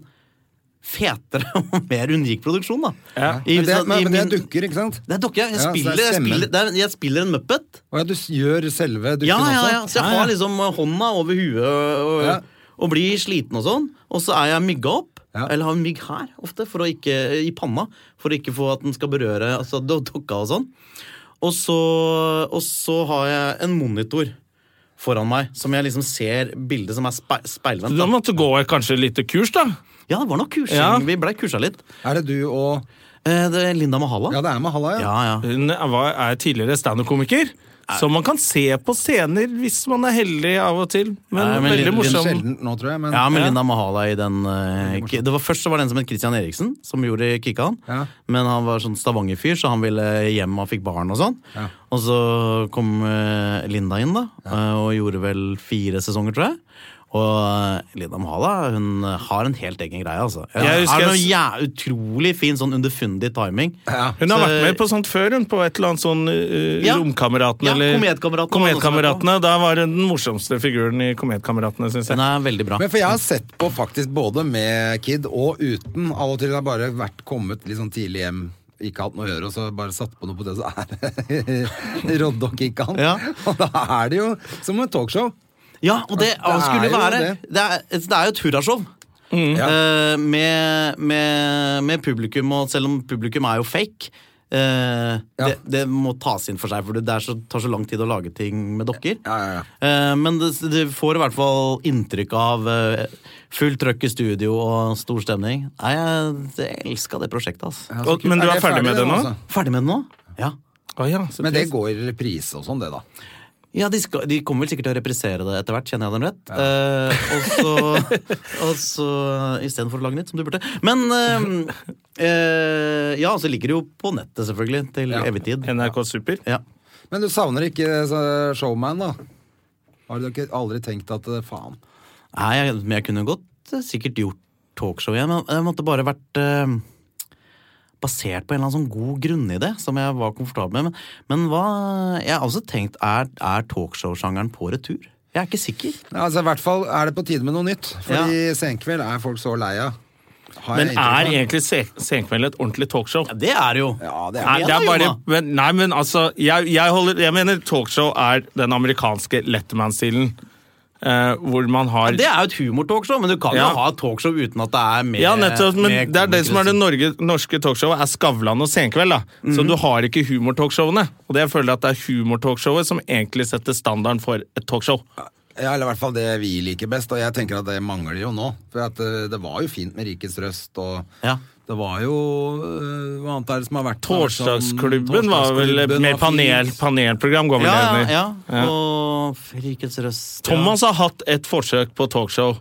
[SPEAKER 3] fetere og mer unik produksjon, da.
[SPEAKER 2] Ja.
[SPEAKER 3] I-
[SPEAKER 1] Men det,
[SPEAKER 3] så- i
[SPEAKER 1] men, men det
[SPEAKER 3] min-
[SPEAKER 1] er dukker, ikke sant?
[SPEAKER 3] Det er dukker, jeg. Jeg
[SPEAKER 1] Ja, så det er
[SPEAKER 3] spiller, jeg
[SPEAKER 1] stemmen.
[SPEAKER 3] spiller, det er, jeg spiller en muppet.
[SPEAKER 1] Å ja, du s- gjør selve dukken
[SPEAKER 3] Ja, ja,
[SPEAKER 1] også?
[SPEAKER 3] ja. Så jeg har liksom hånda over huet og,
[SPEAKER 1] Ja.
[SPEAKER 3] og blir sliten og sånn. Og så er jeg mygga opp.
[SPEAKER 1] Ja.
[SPEAKER 3] Eller har en mygg her ofte, for å ikke, i panna, for å ikke få at den skal berøre altså, do- dokka og sånn. Og så, og så har jeg en monitor foran meg, som jeg liksom ser bildet som er spe, speilvendt.
[SPEAKER 2] Da
[SPEAKER 3] da.
[SPEAKER 2] måtte du gå kanskje et lite kurs, da.
[SPEAKER 3] Ja, det var nok kursing.
[SPEAKER 2] Ja.
[SPEAKER 3] Vi blei kursa litt.
[SPEAKER 1] Er det du og
[SPEAKER 3] Eh, det er Linda Mahala.
[SPEAKER 1] Ja, det er med Halla, ja.
[SPEAKER 3] ja, ja.
[SPEAKER 2] Hun var- er tidligere standup-komiker. Som man kan se på scener hvis man er heldig av og til. Men,
[SPEAKER 3] Nei, men
[SPEAKER 2] veldig
[SPEAKER 3] litt- litt
[SPEAKER 2] morsom.
[SPEAKER 1] Sjelden nå, tror jeg, men
[SPEAKER 3] Ja, men
[SPEAKER 2] Ja.
[SPEAKER 3] Linda Mahala i den eh, ki- Det var Først så var det en som het Christian Eriksen, som gjorde Kikkan.
[SPEAKER 1] Ja.
[SPEAKER 3] Men han var sånn Stavanger-fyr, så han ville hjem og fikk barn og sånn.
[SPEAKER 1] Ja.
[SPEAKER 3] Og så kom eh, Linda inn, da, eh, og gjorde vel fire sesonger, tror jeg. Og eh, Linda Mahala hun eh, har en helt egen greie, altså. Hun
[SPEAKER 2] Jeg
[SPEAKER 3] har
[SPEAKER 2] husker
[SPEAKER 3] noe
[SPEAKER 2] jeg s-
[SPEAKER 3] jæ utrolig fin sånn underfundig timing.
[SPEAKER 1] Ja.
[SPEAKER 2] Hun har
[SPEAKER 3] Så-
[SPEAKER 2] vært med på sånt før, hun, på et eller annet sånn uh,
[SPEAKER 3] Ja.
[SPEAKER 2] Romkameratene.
[SPEAKER 3] Ja,
[SPEAKER 2] eller-
[SPEAKER 3] Kometkameratene var det også
[SPEAKER 2] Kometkameratene. Da var hun den morsomste figuren i Kometkameratene, syns jeg.
[SPEAKER 3] Hun er veldig bra.
[SPEAKER 1] Men for jeg har sett på faktisk både med Kid og uten. Av og til har jeg bare vært kommet litt sånn tidlig hjem, ikke hatt noe å gjøre, og så bare satt på noe på det, så er det Roddok ikke han.
[SPEAKER 3] Ja.
[SPEAKER 1] Og da er det jo som et talkshow.
[SPEAKER 3] Ja, og det,
[SPEAKER 1] er
[SPEAKER 3] skulle
[SPEAKER 1] jo
[SPEAKER 3] være
[SPEAKER 1] det.
[SPEAKER 3] Det er, altså, det er jo et hurrashow.
[SPEAKER 1] Ja.
[SPEAKER 3] Eh, med, med, med publikum, og selv om publikum er jo fake eh,
[SPEAKER 1] Ja.
[SPEAKER 3] det, det må tas inn for seg, for det er så, tar så lang tid å lage ting med dokker.
[SPEAKER 1] Ja, ja, ja.
[SPEAKER 3] Eh, men det, det får i hvert fall inntrykk av eh, fullt trøkk i studio og stor stemning. Nei, jeg, jeg elska det prosjektet, altså.
[SPEAKER 1] så
[SPEAKER 2] Og-
[SPEAKER 1] kult.
[SPEAKER 2] men du er
[SPEAKER 1] det
[SPEAKER 2] ferdig med det nå?
[SPEAKER 1] altså?
[SPEAKER 3] Ferdig med det nå? Ja.
[SPEAKER 2] Å ja, så
[SPEAKER 1] Men det
[SPEAKER 2] trist.
[SPEAKER 1] går i reprise og sånn, det, da.
[SPEAKER 3] Ja, de, skal, de kommer vel sikkert til å reprisere det etter hvert, kjenner jeg dem rett. Eh, og så, og så Istedenfor å lage nytt, som du burde. Men eh, eh, Ja, og så ligger det jo på nettet, selvfølgelig, til
[SPEAKER 1] Ja.
[SPEAKER 3] evig tid.
[SPEAKER 2] NRK Super.
[SPEAKER 3] Ja.
[SPEAKER 1] Men du savner ikke så- showman, da? Har du ikke aldri tenkt at eh, faen
[SPEAKER 3] Nei, jeg, men jeg kunne godt eh, sikkert gjort talkshow igjen, men jeg måtte bare vært eh, basert på en eller annen sånn god grunnidé som jeg var komfortabel med. Men, men hva Jeg har også tenkt, er, er talkshow-sjangeren på retur? Jeg er ikke sikker.
[SPEAKER 1] Ja, Altså, I hvert fall er det på tide med noe nytt. Fordi Senkveld er folk så lei av. Har jeg
[SPEAKER 2] Men
[SPEAKER 1] inntrykk
[SPEAKER 2] er
[SPEAKER 1] av.
[SPEAKER 2] egentlig se- Senkveld et ordentlig talkshow?
[SPEAKER 3] Ja, det er det jo.
[SPEAKER 1] Ja, det
[SPEAKER 2] Nei,
[SPEAKER 1] er
[SPEAKER 2] det
[SPEAKER 3] Ja,
[SPEAKER 2] er bare,
[SPEAKER 3] Jonna.
[SPEAKER 2] men, nei, men altså jeg, jeg, holder, jeg mener talkshow er den amerikanske Letterman-stilen. eh, hvor man har
[SPEAKER 3] Det er jo et humortalkshow, men du kan
[SPEAKER 2] Ja.
[SPEAKER 3] jo ha et talkshow uten at det er med
[SPEAKER 2] Ja, nettopp, men
[SPEAKER 3] med
[SPEAKER 2] det er det som er det
[SPEAKER 3] komikere.
[SPEAKER 2] Norge, norske talkshowet, er Skavlan og Senkveld. da. Så
[SPEAKER 3] Mhm.
[SPEAKER 2] du har ikke humortalkshowene. Og det jeg føler at det er humortalkshowet som egentlig setter standarden for et talkshow.
[SPEAKER 1] Ja, eller i hvert fall det vi liker best, og jeg tenker at det mangler jo nå. For at eh, det var jo fint med Rikets Røst, og
[SPEAKER 3] Ja.
[SPEAKER 1] det var jo eh, Hva annet er det som har vært
[SPEAKER 3] altså,
[SPEAKER 2] Torsdagsklubben var vel
[SPEAKER 1] Torsdagsklubben
[SPEAKER 2] mer
[SPEAKER 1] var
[SPEAKER 2] panel,
[SPEAKER 1] fint.
[SPEAKER 2] panelprogram, går vel
[SPEAKER 3] ja,
[SPEAKER 2] det ned i.
[SPEAKER 3] ja, ja. Og Rikets Røst.
[SPEAKER 2] Thomas har hatt et forsøk på talkshow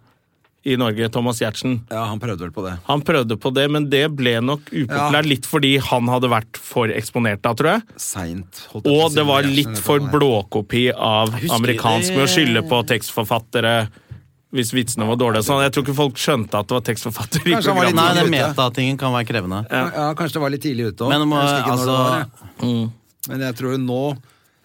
[SPEAKER 2] i Norge, Thomas Giertsen.
[SPEAKER 1] Ja, han prøvde vel på det.
[SPEAKER 2] Han prøvde på det, men det ble nok upopulært
[SPEAKER 1] Ja.
[SPEAKER 2] litt fordi han hadde vært for eksponert da, tror jeg.
[SPEAKER 1] Seint. holdt jeg på å
[SPEAKER 2] Og
[SPEAKER 1] si,
[SPEAKER 2] det var
[SPEAKER 1] men jeg
[SPEAKER 2] litt
[SPEAKER 1] skjønner
[SPEAKER 2] for
[SPEAKER 1] hva det er.
[SPEAKER 2] blåkopi av
[SPEAKER 3] husker
[SPEAKER 2] amerikansk
[SPEAKER 3] det-
[SPEAKER 2] med å skylde på tekstforfattere hvis vitsene var dårlige. Sånn, jeg tror ikke folk skjønte at det var tekstforfatter i
[SPEAKER 1] Kanskje han var litt
[SPEAKER 3] Nei,
[SPEAKER 2] programmet.
[SPEAKER 3] den
[SPEAKER 1] tidlig ute.
[SPEAKER 3] metatingen kan være krevende.
[SPEAKER 1] Ja, kanskje det var litt tidlig ute òg.
[SPEAKER 3] Men, må, altså,
[SPEAKER 1] men jeg tror nå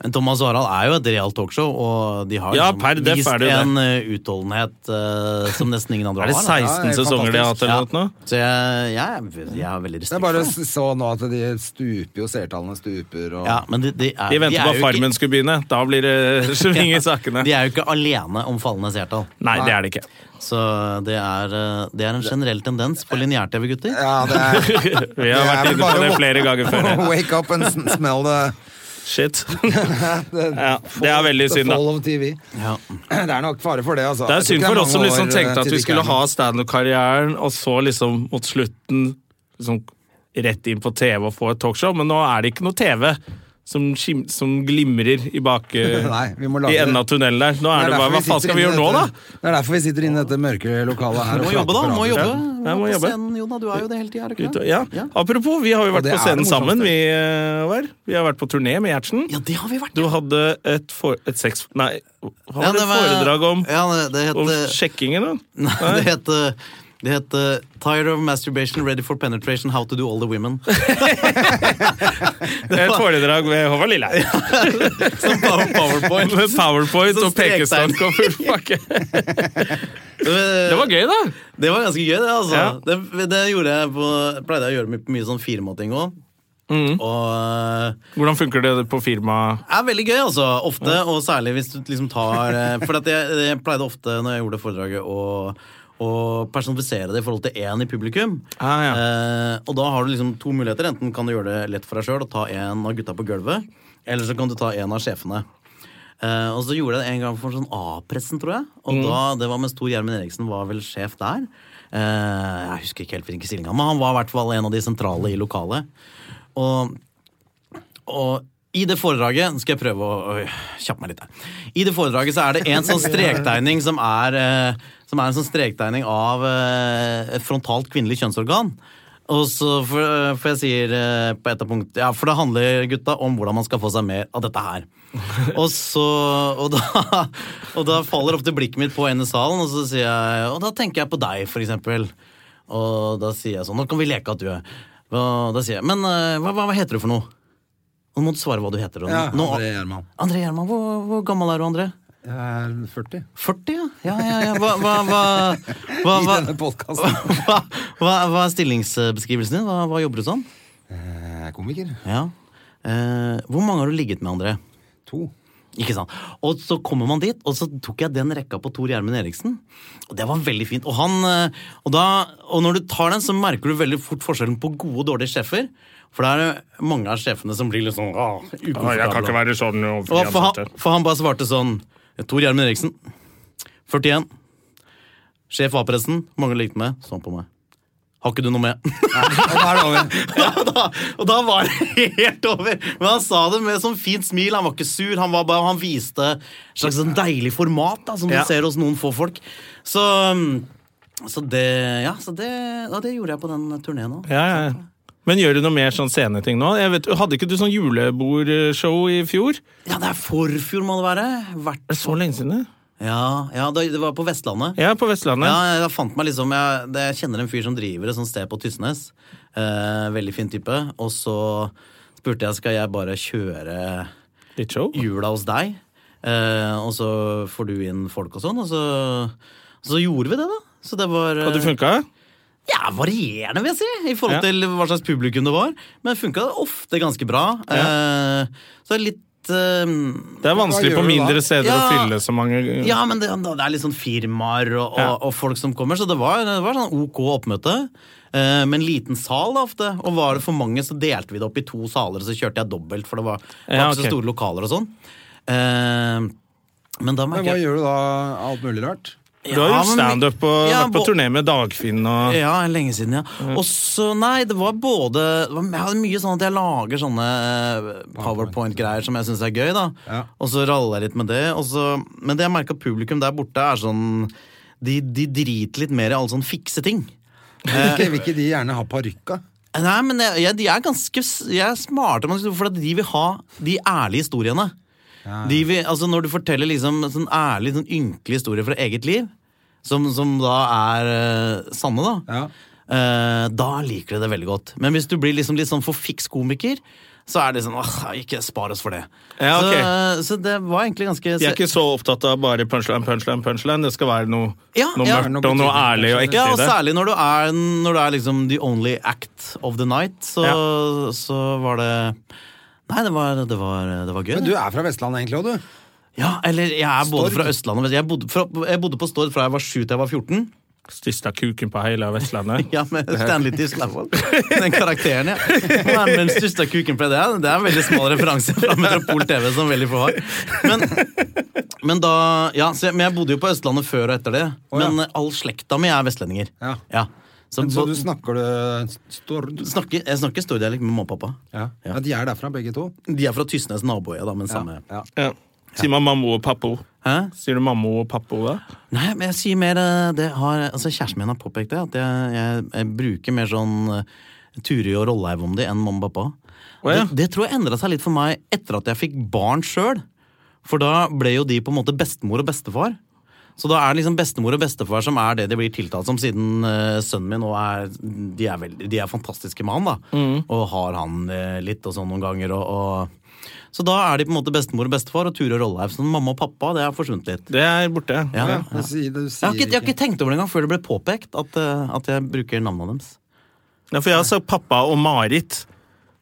[SPEAKER 3] men Thomas og Harald er jo et realt talkshow, og de har liksom
[SPEAKER 2] Ja, per def
[SPEAKER 3] vist
[SPEAKER 2] er det jo det.
[SPEAKER 3] en eh, utholdenhet eh, som nesten ingen andre
[SPEAKER 2] Er det
[SPEAKER 3] har. da.
[SPEAKER 1] Ja,
[SPEAKER 2] 16
[SPEAKER 1] det er
[SPEAKER 2] sesonger de har hatt eller
[SPEAKER 3] Ja.
[SPEAKER 2] noe? sånt nå?
[SPEAKER 3] Så jeg, jeg, jeg har veldig
[SPEAKER 1] Jeg
[SPEAKER 3] respekt for
[SPEAKER 1] bare
[SPEAKER 3] det.
[SPEAKER 1] så nå at de stuper jo, seertallene stuper og
[SPEAKER 3] Ja, men de, de er,
[SPEAKER 2] De
[SPEAKER 3] er
[SPEAKER 2] venter på at
[SPEAKER 3] jo ikke-
[SPEAKER 2] Farmen skulle begynne. Da blir det sving i sakene.
[SPEAKER 3] De er jo ikke alene om fallende seertall.
[SPEAKER 2] Nei, det er det ikke.
[SPEAKER 3] Så det er, eh, det er en generell tendens på lineær-TV, gutter.
[SPEAKER 1] ja det er
[SPEAKER 2] Vi har
[SPEAKER 1] vel
[SPEAKER 2] vært inne på
[SPEAKER 1] bare
[SPEAKER 2] det
[SPEAKER 1] å-
[SPEAKER 2] flere ganger før.
[SPEAKER 1] Wake up and s- smell the,
[SPEAKER 2] Shit. Ja, det er veldig
[SPEAKER 1] the
[SPEAKER 2] synd, da.
[SPEAKER 1] fall of TV.
[SPEAKER 3] Ja.
[SPEAKER 1] Det er nok fare for det, altså.
[SPEAKER 2] Det er
[SPEAKER 1] Jeg tror
[SPEAKER 2] synd
[SPEAKER 1] ikke
[SPEAKER 2] for
[SPEAKER 1] det
[SPEAKER 2] oss som
[SPEAKER 1] mange
[SPEAKER 2] liksom
[SPEAKER 1] år,
[SPEAKER 2] tenkte
[SPEAKER 1] eh,
[SPEAKER 2] at
[SPEAKER 1] til
[SPEAKER 2] vi
[SPEAKER 1] det
[SPEAKER 2] skulle
[SPEAKER 1] ikke
[SPEAKER 2] ha
[SPEAKER 1] er
[SPEAKER 2] standup-karrieren, og så liksom mot slutten liksom rett inn på TV og få et talkshow, men nå er det ikke noe TV som, skim, som glimrer i bak eh,
[SPEAKER 1] noe. Nei, vi må lage
[SPEAKER 2] i enden av tunnelen der. Nå
[SPEAKER 1] Det
[SPEAKER 2] er det bare
[SPEAKER 1] derfor
[SPEAKER 2] Hva faen skal vi
[SPEAKER 1] sitter
[SPEAKER 2] gjøre nå,
[SPEAKER 1] inne i
[SPEAKER 2] da?
[SPEAKER 1] dette- Det er derfor vi sitter inne i dette mørke lokalet her.
[SPEAKER 3] Du
[SPEAKER 1] og
[SPEAKER 3] må jobbe, da. Må
[SPEAKER 1] prater for
[SPEAKER 3] jobbe.
[SPEAKER 1] andre.
[SPEAKER 2] Ja, må
[SPEAKER 3] På
[SPEAKER 2] jobbe.
[SPEAKER 3] Scenen, Jona, du er jo det hele tida, er du
[SPEAKER 2] Ut,
[SPEAKER 3] ikke det?
[SPEAKER 2] ja. Apropos, vi har
[SPEAKER 1] Og
[SPEAKER 2] jo vært
[SPEAKER 1] det
[SPEAKER 2] på
[SPEAKER 1] er
[SPEAKER 2] scenen
[SPEAKER 1] det
[SPEAKER 2] sammen,
[SPEAKER 1] morsomste.
[SPEAKER 2] vi, eh, var. Vi har vært på turné med Gjertsen.
[SPEAKER 3] Ja, det har vi vært.
[SPEAKER 2] Du hadde et, for, et sex... Nei, hva
[SPEAKER 3] Ja,
[SPEAKER 2] var det
[SPEAKER 3] var-
[SPEAKER 2] foredrag om?
[SPEAKER 3] Ja, det, det
[SPEAKER 2] Om
[SPEAKER 3] het
[SPEAKER 2] sjekkingen, da?
[SPEAKER 3] Nei, det het eh, det het eh, Tired of masturbation, ready for penetration, how to do all the women.
[SPEAKER 2] Det er et foredrag ved Håvard Lilleheie.
[SPEAKER 3] Som power- PowerPoint.
[SPEAKER 2] Med powerpoint
[SPEAKER 3] Så
[SPEAKER 2] og
[SPEAKER 3] strektegn.
[SPEAKER 2] pekestokk og full pakke. Det var gøy, da.
[SPEAKER 3] Det var ganske gøy, det. altså.
[SPEAKER 2] Ja.
[SPEAKER 3] Det, det gjorde jeg på, pleide jeg å gjøre mye, mye sånn firmating òg.
[SPEAKER 2] Mm.
[SPEAKER 3] Og eh,
[SPEAKER 2] Hvordan funker det på firma?
[SPEAKER 3] det er veldig gøy, altså. Ofte, og særlig hvis du liksom tar eh, For at jeg, jeg pleide ofte når jeg gjorde det foredraget, å, å personifisere det i forhold til én i publikum.
[SPEAKER 2] Ah, ja.
[SPEAKER 3] Eh, og da har du liksom to muligheter. Enten kan du gjøre det lett for deg sjøl og ta en av gutta på gulvet, eller så kan du ta en av sjefene. Eh, og så gjorde jeg det en gang for sånn A-pressen, tror jeg. Og
[SPEAKER 2] Mm.
[SPEAKER 3] da, det var mens Tor Gjermund Eriksen var vel sjef der. Eh, jeg husker ikke helt hvilken stilling han var, men han var i hvert fall en av de sentrale i lokalet. Og, og i det foredraget Skal jeg prøve å, å kjappe meg litt her. I det foredraget så er det en sånn strektegning som er, eh, som er en sånn strektegning av eh, et frontalt kvinnelig kjønnsorgan. Og så får får jeg sier eh, på et av punkt Ja, for det handler, gutta, om hvordan man skal få seg mer av dette her. Og så Og da, og da faller ofte blikket mitt på en i salen, og så sier jeg Og da tenker jeg på deg, for eksempel. Og da sier jeg sånn Nå kan vi leke at du er Og da sier jeg Men eh, hva, hva hva heter du for noe? Og nå må du svare hva du heter. Og
[SPEAKER 1] Ja,
[SPEAKER 3] nå,
[SPEAKER 1] André Gjerman.
[SPEAKER 3] André Gjerman, hvor, hvor gammel er du, André?
[SPEAKER 1] Jeg er 40
[SPEAKER 3] 40, ja? Ja, ja, ja. Hva, hva, hva, hva,
[SPEAKER 1] i
[SPEAKER 3] hva,
[SPEAKER 1] denne podkasten.
[SPEAKER 3] hva, hva, hva er stillingsbeskrivelsen din? Hva, hva jobber du som?
[SPEAKER 1] Jeg er komiker.
[SPEAKER 3] Ja. Eh, hvor mange har du ligget med, André?
[SPEAKER 1] To.
[SPEAKER 3] Ikke sant? Og så kommer man dit, og så tok jeg den rekka på Tor Gjermund Eriksen. Og det var veldig fint. Og, han, eh, og, da, og når du tar den, så merker du veldig fort forskjellen på gode og dårlige sjefer. For det er det mange av sjefene som blir litt sånn ah, ukomfortable.
[SPEAKER 2] være sånn overfor
[SPEAKER 3] Og for, han, for han bare svarte sånn Tor Gjermund Eriksen, 41. Sjef A-pressen, mange likte meg. Sånn på meg. Har ikke du noe med?
[SPEAKER 1] Og da er det over.
[SPEAKER 3] Ja, da, og da var det helt over. Men han sa det med sånn fint smil. Han var ikke sur. Han, var bare, han viste et slags sånn deilig format da, som
[SPEAKER 2] Ja.
[SPEAKER 3] du ser hos noen få folk. Så, så det Ja, så det, ja, det gjorde jeg på den turneen òg.
[SPEAKER 2] Ja, ja. Men gjør du noe mer sånn sceneting nå? Jeg vet, hadde ikke du sånn julebordshow i fjor?
[SPEAKER 3] Ja, det er forfjor, må det være. Hvert,
[SPEAKER 2] Det er så lenge siden. det.
[SPEAKER 3] ja, ja, det det var på Vestlandet.
[SPEAKER 2] Jeg er på Vestlandet.
[SPEAKER 3] Ja, jeg, jeg fant meg liksom jeg, det- jeg kjenner en fyr som driver et sånt sted på Tysnes. Eh, veldig fin type. Og så spurte jeg skal jeg bare kjøre
[SPEAKER 2] Litt show.
[SPEAKER 3] jula hos deg. Eh, og så får du inn folk og sånn. Og så, så gjorde vi det, da. Så det var eh,
[SPEAKER 2] Hadde det funka?
[SPEAKER 3] ja, varierende, vil jeg si, i forhold
[SPEAKER 2] Ja.
[SPEAKER 3] til hva slags publikum det var. Men funka ofte ganske bra. Eh, så litt eh,
[SPEAKER 2] Det er vanskelig
[SPEAKER 1] Hva gjør du
[SPEAKER 2] på
[SPEAKER 1] da?
[SPEAKER 2] mindre steder å
[SPEAKER 3] Ja.
[SPEAKER 2] fylle så mange
[SPEAKER 3] Ja, men det, det er litt sånn firmaer og, og,
[SPEAKER 2] Ja.
[SPEAKER 3] og folk som kommer, så det var, det var sånn ok oppmøte. Eh, men liten sal da ofte, og var det for mange så delte vi det opp i to saler, så kjørte jeg dobbelt, for det var, det var
[SPEAKER 2] Ja,
[SPEAKER 3] ikke
[SPEAKER 2] ok.
[SPEAKER 3] så store lokaler og sånn. Eh, men da
[SPEAKER 1] Men
[SPEAKER 3] merker
[SPEAKER 1] hva
[SPEAKER 3] jeg
[SPEAKER 1] gjør du da? Alt mulig rart?
[SPEAKER 2] Du har
[SPEAKER 3] Ja,
[SPEAKER 2] jo
[SPEAKER 3] men-
[SPEAKER 2] standup og
[SPEAKER 3] Ja,
[SPEAKER 2] vært på
[SPEAKER 3] bo-
[SPEAKER 2] turné med Dagfinn og
[SPEAKER 3] Ja, lenge siden, ja. Og så, nei, det var både det var- Jeg hadde mye sånn at jeg lager sånne eh, powerpoint-greier som jeg syns er gøy, da.
[SPEAKER 1] Ja.
[SPEAKER 3] Og så raller jeg litt med det. Og så, men det jeg merka publikum der borte, er sånn de, de driter litt mer i alle sånne fikse ting.
[SPEAKER 1] Vil ikke, vil ikke de gjerne ha parykka?
[SPEAKER 3] Nei, men jeg, jeg, de er ganske s- jeg er smarte, men for at de vil ha de ærlige historiene. De vil, altså når du forteller liksom en sånn ærlig, sånn ynkelig historie fra eget liv, som, som da er eh, sanne, da,
[SPEAKER 1] Ja.
[SPEAKER 3] eh, da liker de det veldig godt. Men hvis du blir liksom litt sånn for fiks komiker, så er det sånn åh, ikke spar oss for det.
[SPEAKER 2] Ja, ok.
[SPEAKER 3] så, så det var egentlig ganske
[SPEAKER 2] De er ikke så opptatt av bare punchline, punchline, punchline. Det skal være noe,
[SPEAKER 3] Ja,
[SPEAKER 2] noe
[SPEAKER 3] ja.
[SPEAKER 2] mørkt og noe ærlig og ekte
[SPEAKER 3] Ja,
[SPEAKER 2] i
[SPEAKER 3] og
[SPEAKER 2] det.
[SPEAKER 3] særlig når du er, når du er liksom the only act of the night, så, så var det Nei, det var, det var, det var gøy.
[SPEAKER 1] Men
[SPEAKER 3] det.
[SPEAKER 1] du er fra Vestlandet egentlig òg, du.
[SPEAKER 3] ja, eller jeg er både
[SPEAKER 1] Stord?
[SPEAKER 3] fra Østlandet men jeg bodde, fra, jeg bodde på Stord fra jeg var 7 til jeg var 14.
[SPEAKER 2] Største kuken på hele Vestlandet.
[SPEAKER 3] Ja, med Stanley til Slavold. Den karakteren, ja. Han er den største kuken på det. er- Det er en veldig smal referanse fra Metropol TV, som veldig få har. Men, men da Ja, så jeg, men jeg bodde jo på Østlandet før og etter det.
[SPEAKER 1] Å, ja.
[SPEAKER 3] Men all slekta mi er vestlendinger.
[SPEAKER 1] Ja.
[SPEAKER 3] Så,
[SPEAKER 1] Så du snakker du Stord?
[SPEAKER 3] snakker, jeg snakker stordialekt med mamma og pappa.
[SPEAKER 1] Ja. ja, De er derfra, begge to.
[SPEAKER 3] De er fra Tysnes, naboøya, da, men samme
[SPEAKER 1] Ja.
[SPEAKER 2] Ja. Sier man mammo og pappo?
[SPEAKER 3] Hæ?
[SPEAKER 2] Sier du mammo og pappo da?
[SPEAKER 3] Nei, men jeg sier mer eh, det har, altså Kjæresten min har påpekt det, at jeg, jeg, jeg bruker mer sånn eh, Turi og Rollheim om de enn mamma og pappa.
[SPEAKER 2] Å, ja.
[SPEAKER 3] det, det tror jeg endra seg litt for meg etter at jeg fikk barn sjøl. For da ble jo de på en måte bestemor og bestefar. Så da er det liksom bestemor og bestefar som er det de blir tiltalt som, siden eh, sønnen min nå er De er, veld, de er fantastiske med han, da.
[SPEAKER 2] Mm.
[SPEAKER 3] Og har han eh, litt og sånn noen ganger. Og, og, så da er de på en måte bestemor og bestefar og Ture og Rollheim. Så mamma og pappa, det har forsvunnet litt.
[SPEAKER 2] Det er borte.
[SPEAKER 3] Ja,
[SPEAKER 1] Ja,
[SPEAKER 3] ja.
[SPEAKER 1] du sier, du
[SPEAKER 3] Jeg
[SPEAKER 1] sier
[SPEAKER 3] har, ikke, jeg har ikke tenkt over det engang før det ble påpekt at, eh, at jeg bruker navnet deres.
[SPEAKER 2] Ja, for jeg har sagt pappa og Marit.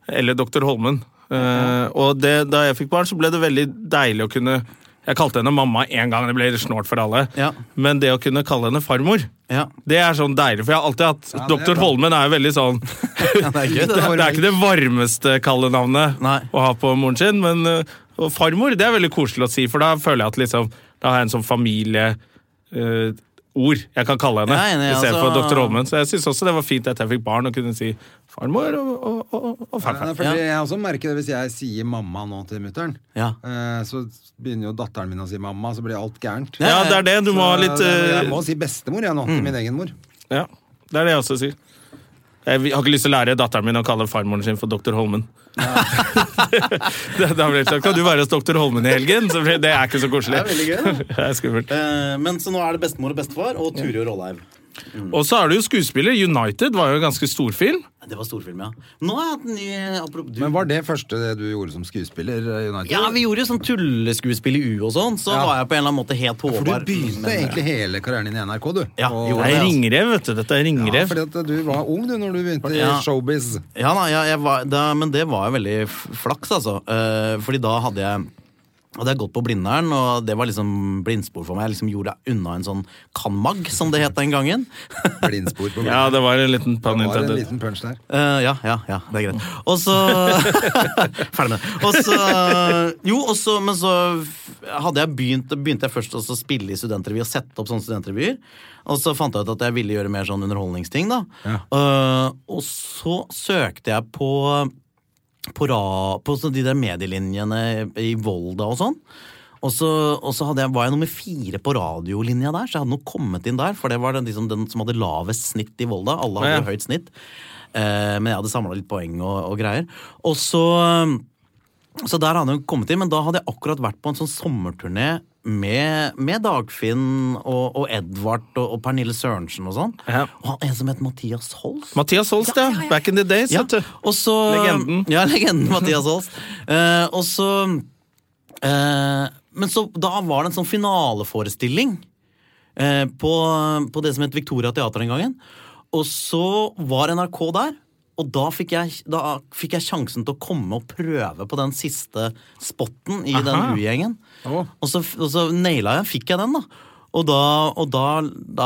[SPEAKER 2] Eller Dr. Holmen. Eh, og det, da jeg fikk barn, så ble det veldig deilig å kunne Jeg kalte henne mamma én gang, det ble snålt for alle.
[SPEAKER 3] Ja.
[SPEAKER 2] Men det å kunne kalle henne farmor,
[SPEAKER 3] Ja.
[SPEAKER 2] det er sånn deilig. For jeg har alltid hatt
[SPEAKER 1] det er
[SPEAKER 2] Dr.
[SPEAKER 1] bra.
[SPEAKER 2] Holmen er jo veldig sånn
[SPEAKER 3] Ja, det er gøy,
[SPEAKER 2] det,
[SPEAKER 3] det.
[SPEAKER 2] er- det er ikke det varmeste kallenavnet
[SPEAKER 3] Nei.
[SPEAKER 2] å ha på moren sin, men eh, og farmor det er veldig koselig å si, for da føler jeg at liksom, da har jeg en sånn familieord ord jeg kan kalle henne,
[SPEAKER 3] Jeg er enig,
[SPEAKER 2] istedenfor
[SPEAKER 3] altså-
[SPEAKER 2] Dr. Holmen. Så jeg syns også det var fint at jeg fikk barn og kunne si farmor og, og, og, og
[SPEAKER 1] Ja,
[SPEAKER 2] farfar.
[SPEAKER 1] fordi Jeg også merker det hvis jeg sier mamma nå til mutter'n.
[SPEAKER 3] Ja.
[SPEAKER 1] eh, Så begynner jo datteren min å si mamma, så blir alt gærent.
[SPEAKER 2] Ja, det er det. Du må ha
[SPEAKER 1] Så
[SPEAKER 2] litt
[SPEAKER 1] jeg,
[SPEAKER 2] eh, Mm.
[SPEAKER 1] jeg må si bestemor jeg nå til min egen mor.
[SPEAKER 2] Ja, det er det jeg også sier. Jeg vil- har ikke lyst til å lære datteren min å kalle farmoren sin for Dr. Holmen. det, da blir det sånn, Kan du være hos Dr. Holmen i helgen? Så blir, det er ikke så koselig.
[SPEAKER 3] Det er veldig gøy,
[SPEAKER 2] det er skummelt.
[SPEAKER 3] Eh, men så nå er det bestemor og bestefar og Turi og Rollheim.
[SPEAKER 2] Og så er du jo skuespiller. United var jo en ganske storfilm.
[SPEAKER 3] Det var storfilm, ja. Nå har jeg hatt en ny apropos, du,
[SPEAKER 1] Men var det første det du gjorde som skuespiller? eh, United?
[SPEAKER 3] Ja, vi gjorde jo sånn tulleskuespill i U og sånn, så
[SPEAKER 1] Ja.
[SPEAKER 3] var jeg på en eller annen måte helt hårbar.
[SPEAKER 1] For du begynte
[SPEAKER 3] Men- eh,
[SPEAKER 1] egentlig hele karrieren din i NRK, du.
[SPEAKER 3] Ja,
[SPEAKER 1] Og-
[SPEAKER 3] gjorde
[SPEAKER 2] Det er
[SPEAKER 3] altså.
[SPEAKER 2] ringrev, vet du. Dette er
[SPEAKER 1] ja,
[SPEAKER 2] ringrev.
[SPEAKER 1] fordi at du var ung du når du begynte i
[SPEAKER 3] Ja.
[SPEAKER 1] showbiz.
[SPEAKER 3] Ja, da, ja, jeg var, da, men det var jo veldig f- flaks, altså. Eh, fordi da hadde jeg hadde jeg gått på Blindern, og det var liksom blindspor for meg. Jeg liksom gjorde unna en sånn kanmag, som det het den gangen.
[SPEAKER 1] Blindspor på
[SPEAKER 2] Ja, det var en liten
[SPEAKER 1] Det
[SPEAKER 2] pun
[SPEAKER 1] var en
[SPEAKER 2] intended.
[SPEAKER 1] liten punch der.
[SPEAKER 3] Eh, ja, ja, ja, det er greit. Og så Ferdig med det. Og så Jo, og så Men så f- hadde jeg begynt, begynte jeg først også å spille i studentrevy og sette opp sånne studentrevyer. Og så fant jeg ut at jeg ville gjøre mer sånn underholdningsting, da. Eh, og så søkte jeg på på, ra, på så de der medielinjene i Volda og sånn. Og så, og så hadde jeg, var jeg nummer fire på radiolinja der, så jeg hadde nok kommet inn der. For det var den, liksom, den som hadde lavest snitt i Volda. Alle hadde
[SPEAKER 2] Ja, ja.
[SPEAKER 3] jo høyt snitt. Eh, men jeg hadde samla litt poeng og, og greier. Og så, så der hadde jeg kommet inn, men da hadde jeg akkurat vært på en sånn sommerturné med, med Dagfinn og, og Edvard og, og Pernille Sørensen og sånn.
[SPEAKER 2] Ja.
[SPEAKER 3] Og han- en som het Mathias Holst.
[SPEAKER 2] Mathias Holst, ja. Back in the days,
[SPEAKER 3] Ja,
[SPEAKER 2] vet du.
[SPEAKER 3] og så,
[SPEAKER 2] Legenden.
[SPEAKER 3] Ja, legenden Mathias Holst. Eh, og så eh, Men så, da var det en sånn finaleforestilling eh, på, på det som het Victoria Teater den gangen. Og så var NRK der, og da fikk jeg, da fikk jeg sjansen til å komme og prøve på den siste spotten i
[SPEAKER 2] Aha.
[SPEAKER 3] den U-gjengen.
[SPEAKER 1] Å.
[SPEAKER 3] Og så, og så naila jeg, fikk jeg den, da. Og da, og da, da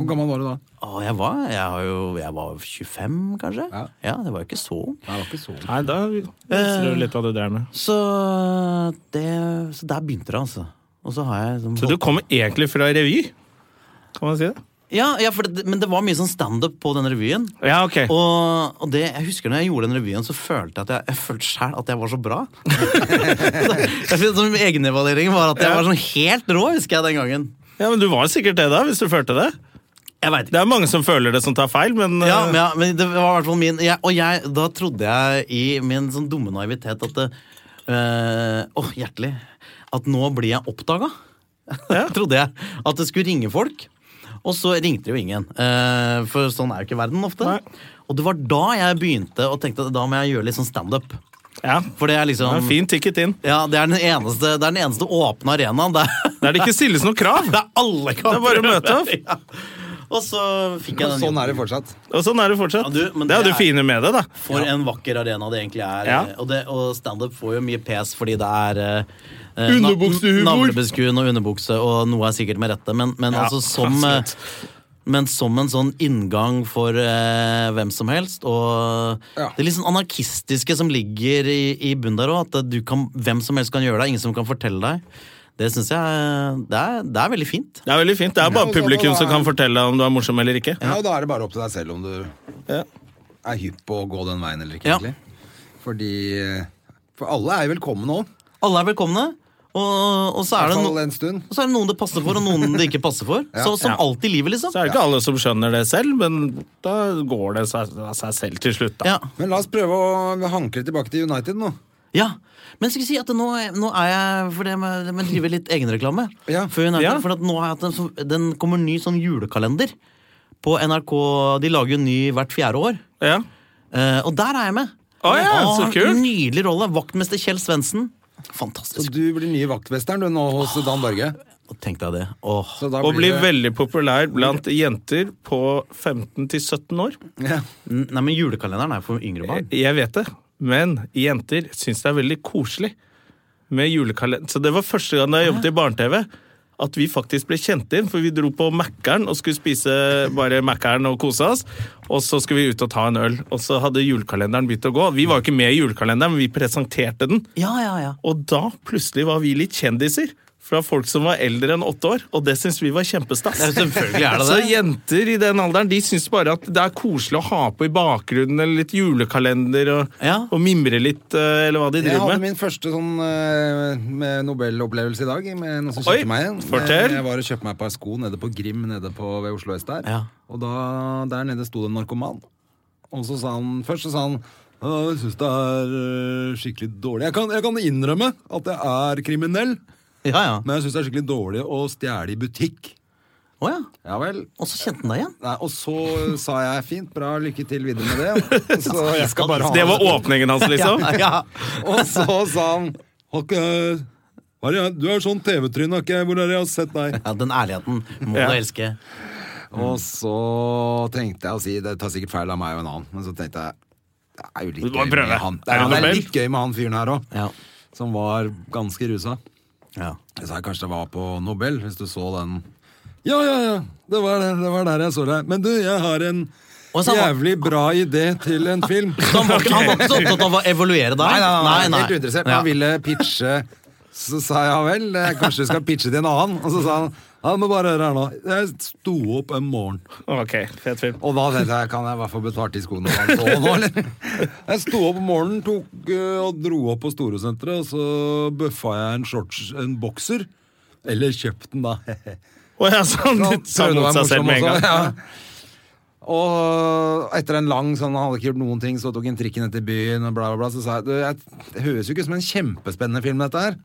[SPEAKER 1] Hvor gammel var du da?
[SPEAKER 3] å, jeg var, jeg, har jo, jeg var 25, kanskje. Ja.
[SPEAKER 1] Ja.
[SPEAKER 3] Jeg var jo ikke så ung.
[SPEAKER 1] Jeg var ikke så
[SPEAKER 2] Nei, da viser du litt hva du drev med.
[SPEAKER 3] Så, det, så der begynte det, altså. Og så har jeg sånn
[SPEAKER 2] Så du kommer egentlig fra revy? Kan man si det?
[SPEAKER 3] ja, ja, for det, Men det var mye sånn standup på den revyen.
[SPEAKER 2] Ja, ok.
[SPEAKER 3] Og, og det, jeg husker når jeg gjorde den revyen, så følte jeg at jeg, jeg følte selv at jeg var så bra. jeg synes, som Egenevalueringen var at jeg var sånn helt rå, husker jeg den gangen.
[SPEAKER 2] Ja, men Du var sikkert det, da, hvis du følte det.
[SPEAKER 3] Jeg veit
[SPEAKER 2] Det er mange som føler det, som tar feil, men
[SPEAKER 3] Ja,
[SPEAKER 2] eh,
[SPEAKER 3] men, ja, men det var i hvert fall min jeg, Og jeg, da trodde jeg i min sånn dumme naivitet at det, eh, Åh, hjertelig At nå blir jeg oppdaga. trodde jeg. At det skulle ringe folk. Og så ringte det jo ingen. eh, for sånn er jo ikke verden ofte.
[SPEAKER 2] Nei.
[SPEAKER 3] Og det var da jeg begynte å tenke at da må jeg gjøre litt sånn standup.
[SPEAKER 2] ja.
[SPEAKER 3] For det er
[SPEAKER 2] Det er
[SPEAKER 3] liksom
[SPEAKER 2] en fin ticket inn.
[SPEAKER 3] ja, det, er den eneste, det er den eneste åpne arenaen der,
[SPEAKER 2] Der det ikke stilles noe krav.
[SPEAKER 3] der alle kan
[SPEAKER 2] Det er bare å
[SPEAKER 3] prøve.
[SPEAKER 2] møte opp.
[SPEAKER 3] Ja. Og så fikk jeg den
[SPEAKER 1] Sånn
[SPEAKER 3] jobben.
[SPEAKER 1] er det fortsatt.
[SPEAKER 2] Og sånn er det fortsatt.
[SPEAKER 3] Ja, du, men
[SPEAKER 2] det er jo
[SPEAKER 3] det er-
[SPEAKER 2] det fine med det, da.
[SPEAKER 3] For en vakker arena det egentlig er.
[SPEAKER 2] Ja.
[SPEAKER 3] Og, det- og standup får jo mye pes fordi det er eh,
[SPEAKER 2] Underbuksehumor.
[SPEAKER 3] na- Navlebeskuende og underbukse, og noe er sikkert med rette, men, men
[SPEAKER 2] Ja,
[SPEAKER 3] altså som eh,
[SPEAKER 2] absolutt.
[SPEAKER 3] men som en sånn inngang for eh, hvem som helst. Og
[SPEAKER 1] Ja.
[SPEAKER 3] det litt sånn anarkistiske som ligger i, i bunnen der òg. At du kan, hvem som helst kan gjøre det. Ingen som kan fortelle deg. Det syns jeg eh, det er, det er veldig fint.
[SPEAKER 2] Det er veldig fint. Det er
[SPEAKER 1] Ja,
[SPEAKER 2] bare
[SPEAKER 1] og så-
[SPEAKER 2] publikum
[SPEAKER 1] og da
[SPEAKER 2] som
[SPEAKER 1] er-
[SPEAKER 2] kan fortelle om du er morsom eller ikke.
[SPEAKER 1] Ja, og da er det bare opp til deg selv om du
[SPEAKER 2] Ja.
[SPEAKER 1] er hypp på å gå den veien eller ikke.
[SPEAKER 3] Ja.
[SPEAKER 1] egentlig. Fordi For alle er jo velkomne nå.
[SPEAKER 3] Alle er velkomne. Og, og så
[SPEAKER 1] I
[SPEAKER 3] er
[SPEAKER 1] hvert
[SPEAKER 3] det
[SPEAKER 1] fall
[SPEAKER 3] no-
[SPEAKER 1] en stund.
[SPEAKER 3] og så er det noen det passer for, og noen det ikke passer for.
[SPEAKER 1] Ja.
[SPEAKER 3] Så, som
[SPEAKER 2] Ja.
[SPEAKER 3] alltid i livet, liksom.
[SPEAKER 2] Så er det ikke alle som skjønner det selv, men da går det seg, av seg selv til slutt, da.
[SPEAKER 3] Ja.
[SPEAKER 1] Men la oss prøve å hankle tilbake til United nå.
[SPEAKER 3] ja. Men skal jeg si at nå, nå er jeg For det med, med driver litt egenreklame.
[SPEAKER 1] Ja.
[SPEAKER 3] For, United,
[SPEAKER 2] Ja.
[SPEAKER 3] for at nå har jeg hatt en, sånn- den kommer en ny sånn julekalender på NRK. De lager jo en ny hvert fjerde år.
[SPEAKER 2] Ja.
[SPEAKER 3] Eh, og der er jeg med.
[SPEAKER 2] Å ja,
[SPEAKER 3] Og
[SPEAKER 2] så
[SPEAKER 3] har en
[SPEAKER 2] kult.
[SPEAKER 3] Nydelig rolle. Vaktmester Kjell Svendsen.
[SPEAKER 1] Så
[SPEAKER 3] Fantastisk.
[SPEAKER 1] du blir nye vaktmesteren du nå hos Dan Børge.
[SPEAKER 3] Tenk deg det. Åh.
[SPEAKER 1] Så da
[SPEAKER 2] Og blir
[SPEAKER 1] det-
[SPEAKER 2] veldig populær blant jenter på 15 til 17 år.
[SPEAKER 1] ja.
[SPEAKER 3] N- Nei, men Julekalenderen er for yngre barn.
[SPEAKER 2] Eh, Jeg vet det, men jenter syns det er veldig koselig med julekalender. Så det var første gang da jeg jobbet i barne-TV at vi faktisk ble kjent inn, for vi dro på Mækkern og skulle spise bare Mækkern og kose oss. Og så skulle vi ut og ta en øl, og så hadde julekalenderen begynt å gå. Vi var jo ikke med i julekalenderen, men vi presenterte den.
[SPEAKER 3] Ja, ja, ja.
[SPEAKER 2] Og da plutselig var vi litt kjendiser. Fra folk som var eldre enn åtte år, og det syns vi var kjempestas.
[SPEAKER 3] Ja, selvfølgelig er det
[SPEAKER 2] Så
[SPEAKER 3] det.
[SPEAKER 2] jenter i den alderen de syns bare at det er koselig å ha på i bakgrunnen eller litt julekalender og,
[SPEAKER 3] Ja.
[SPEAKER 2] og mimre litt, eh, eller hva de
[SPEAKER 1] Jeg
[SPEAKER 2] driver
[SPEAKER 1] hadde
[SPEAKER 2] med.
[SPEAKER 1] min første sånn eh, med Nobel-opplevelse i dag, med noen som
[SPEAKER 2] Oi,
[SPEAKER 1] kjøpte meg en. Eh,
[SPEAKER 2] fortell.
[SPEAKER 1] Jeg var og kjøpte meg et par sko nede på Grim nede på, ved Oslo S der.
[SPEAKER 3] Ja.
[SPEAKER 1] Og da, der nede sto det en narkoman. Og så sa han Først så sa han «Ja, jeg syns det er eh, skikkelig dårlig. Jeg kan, jeg kan innrømme at jeg er kriminell,
[SPEAKER 3] ja, ja.
[SPEAKER 1] men jeg syns det er skikkelig dårlig å stjele i butikk.
[SPEAKER 3] Å, ja.
[SPEAKER 1] Ja vel.
[SPEAKER 3] Og så kjente han deg igjen.
[SPEAKER 1] Nei, og så sa jeg fint, bra, lykke til videre med det. Så jeg skal bare ha
[SPEAKER 2] Det var åpningen hans, liksom.
[SPEAKER 3] Ja, ja.
[SPEAKER 1] Og så sa han «Har ikke jeg- hva er det jeg- Du er sånn TV-tryn, har ikke jeg- hvor er det jeg har sett deg?
[SPEAKER 3] ja, Den ærligheten må
[SPEAKER 2] Ja.
[SPEAKER 3] du elske.
[SPEAKER 1] Og så tenkte jeg å si Det tar sikkert feil av meg og en annen, men så tenkte jeg det er jo
[SPEAKER 2] Du
[SPEAKER 1] litt
[SPEAKER 2] må
[SPEAKER 1] gøy
[SPEAKER 2] prøve.
[SPEAKER 1] med han Det er,
[SPEAKER 2] Er det
[SPEAKER 1] det er
[SPEAKER 2] Nobel?
[SPEAKER 1] litt gøy med han fyren her òg,
[SPEAKER 3] Ja.
[SPEAKER 1] som var ganske rusa.
[SPEAKER 3] Ja.
[SPEAKER 1] Jeg sa kanskje det var på Nobel, hvis du så den. Ja, ja, ja. Det var, det, det var der jeg så deg. Men du, jeg har en
[SPEAKER 3] Og så han var-
[SPEAKER 1] jævlig bra idé til en film.
[SPEAKER 3] Så han var, ikke- han var ikke så opptatt av å evaluere deg?
[SPEAKER 1] Nei, nei, nei, helt uinteressert.
[SPEAKER 3] Ja.
[SPEAKER 1] Han ville pitche. Så sa jeg ja vel, eh, kanskje du skal pitche til en annen. Og så sa han ja, men bare hør her nå. Jeg sto opp en morgen.
[SPEAKER 2] Ok, fet film.
[SPEAKER 1] Og da tenkte jeg kan jeg i hvert fall betalt de skoene han så nå, eller? Jeg sto opp om morgenen tok, eh, og dro opp på Storosenteret, og så bøffa jeg en shorts, en bokser. Eller kjøpte den, da.
[SPEAKER 2] Og jeg sa han sånn sa
[SPEAKER 1] Prøvde å
[SPEAKER 2] mot
[SPEAKER 1] være
[SPEAKER 2] seg selv
[SPEAKER 1] morsom
[SPEAKER 2] med en
[SPEAKER 1] også,
[SPEAKER 2] gang.
[SPEAKER 1] ja. Og etter en lang sånn, han hadde ikke gjort noen ting, så tok han trikken etter byen, og bla, bla, bla. Så sa jeg du, jeg, det høres jo ikke som en kjempespennende film, dette her.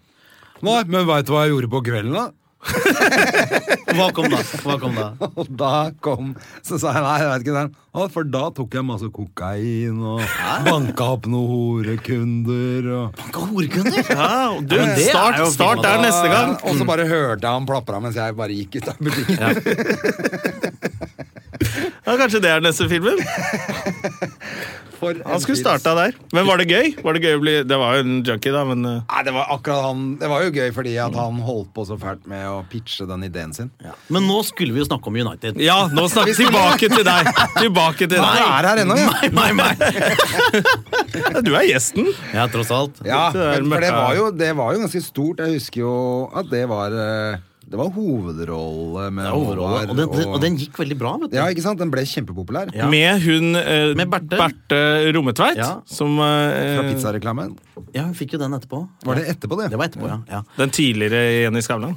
[SPEAKER 1] Nei, men veit du hva jeg gjorde på kvelden, da?
[SPEAKER 3] Hva kom da? Hva kom da?
[SPEAKER 1] Og da kom Så sa jeg nei, jeg veit ikke. det er». Å, for da tok jeg masse kokain og banka opp noen horekunder og
[SPEAKER 3] Banka horekunder?
[SPEAKER 2] Ja, og Ah, du,
[SPEAKER 3] Ja, men det er
[SPEAKER 2] start,
[SPEAKER 3] jo
[SPEAKER 2] start
[SPEAKER 3] fint.
[SPEAKER 2] der neste gang.
[SPEAKER 1] Og så bare hørte jeg han plapra mens jeg bare gikk ut av butikken.
[SPEAKER 2] Ja, kanskje det er neste filmen.
[SPEAKER 1] For en
[SPEAKER 2] Han skulle
[SPEAKER 1] tid.
[SPEAKER 2] starta der. Men var det gøy? Var Det gøy å bli Det var jo en junkie, da, men eh,
[SPEAKER 1] Nei, det var akkurat han Det var jo gøy fordi at han holdt på så fælt med å pitche den ideen sin.
[SPEAKER 3] Men nå skulle vi jo snakke om United.
[SPEAKER 2] Ja, nå snakker vi tilbake til deg! Tilbake til
[SPEAKER 1] Han
[SPEAKER 2] deg.
[SPEAKER 1] er her ennå, ja.
[SPEAKER 3] Nei, nei, nei.
[SPEAKER 2] Du er gjesten.
[SPEAKER 3] Ja, tross alt.
[SPEAKER 1] ja
[SPEAKER 2] Det er
[SPEAKER 1] men, for det
[SPEAKER 2] mørka.
[SPEAKER 1] var, jo, det var jo ganske stort. Jeg husker jo at det var eh, Det var hovedrolle med
[SPEAKER 3] Overholdet.
[SPEAKER 1] Håvard
[SPEAKER 3] Og, den, den, og den gikk veldig bra, vet du.
[SPEAKER 1] Ja, ikke sant? Den ble kjempepopulær.
[SPEAKER 3] Ja.
[SPEAKER 2] Med hun eh,
[SPEAKER 3] Med Berthe.
[SPEAKER 2] Rommetveit,
[SPEAKER 3] Ja.
[SPEAKER 2] som eh,
[SPEAKER 1] Fra pizzareklamen.
[SPEAKER 3] Ja, hun fikk jo den etterpå.
[SPEAKER 1] Var det etterpå, det?
[SPEAKER 3] Det var etterpå, ja. Ja,
[SPEAKER 2] den tidligere Jenny Skavlan.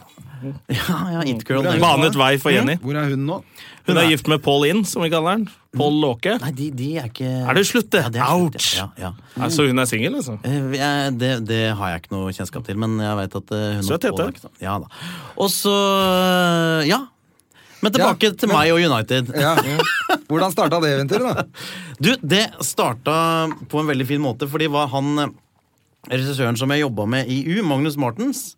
[SPEAKER 3] ja, ja It-girl. den.
[SPEAKER 2] Banet vei for Jenny.
[SPEAKER 1] Hvor er hun nå?
[SPEAKER 2] Hun er gift med Paul Inn, som vi kaller han. Paul Låke.
[SPEAKER 3] Nei, de, de er ikke
[SPEAKER 2] Er det slutt, det?
[SPEAKER 3] Ja, det er slutt,
[SPEAKER 2] Ouch!
[SPEAKER 3] Ja, ja. ja.
[SPEAKER 2] Nei, Så hun er singel, altså?
[SPEAKER 3] Eh, Jeg, det, det har jeg ikke noe kjennskap til, men jeg vet at eh, hun
[SPEAKER 2] Søt
[SPEAKER 3] har
[SPEAKER 2] jente.
[SPEAKER 3] pådrakt seg- Ja da. Og så Ja. Men tilbake
[SPEAKER 1] Ja,
[SPEAKER 3] til meg og United.
[SPEAKER 1] Ja. Hvordan starta det eventyret, da?
[SPEAKER 3] Du, det starta på en veldig fin måte, fordi var han eh, regissøren som jeg jobba med i U, Magnus Martens,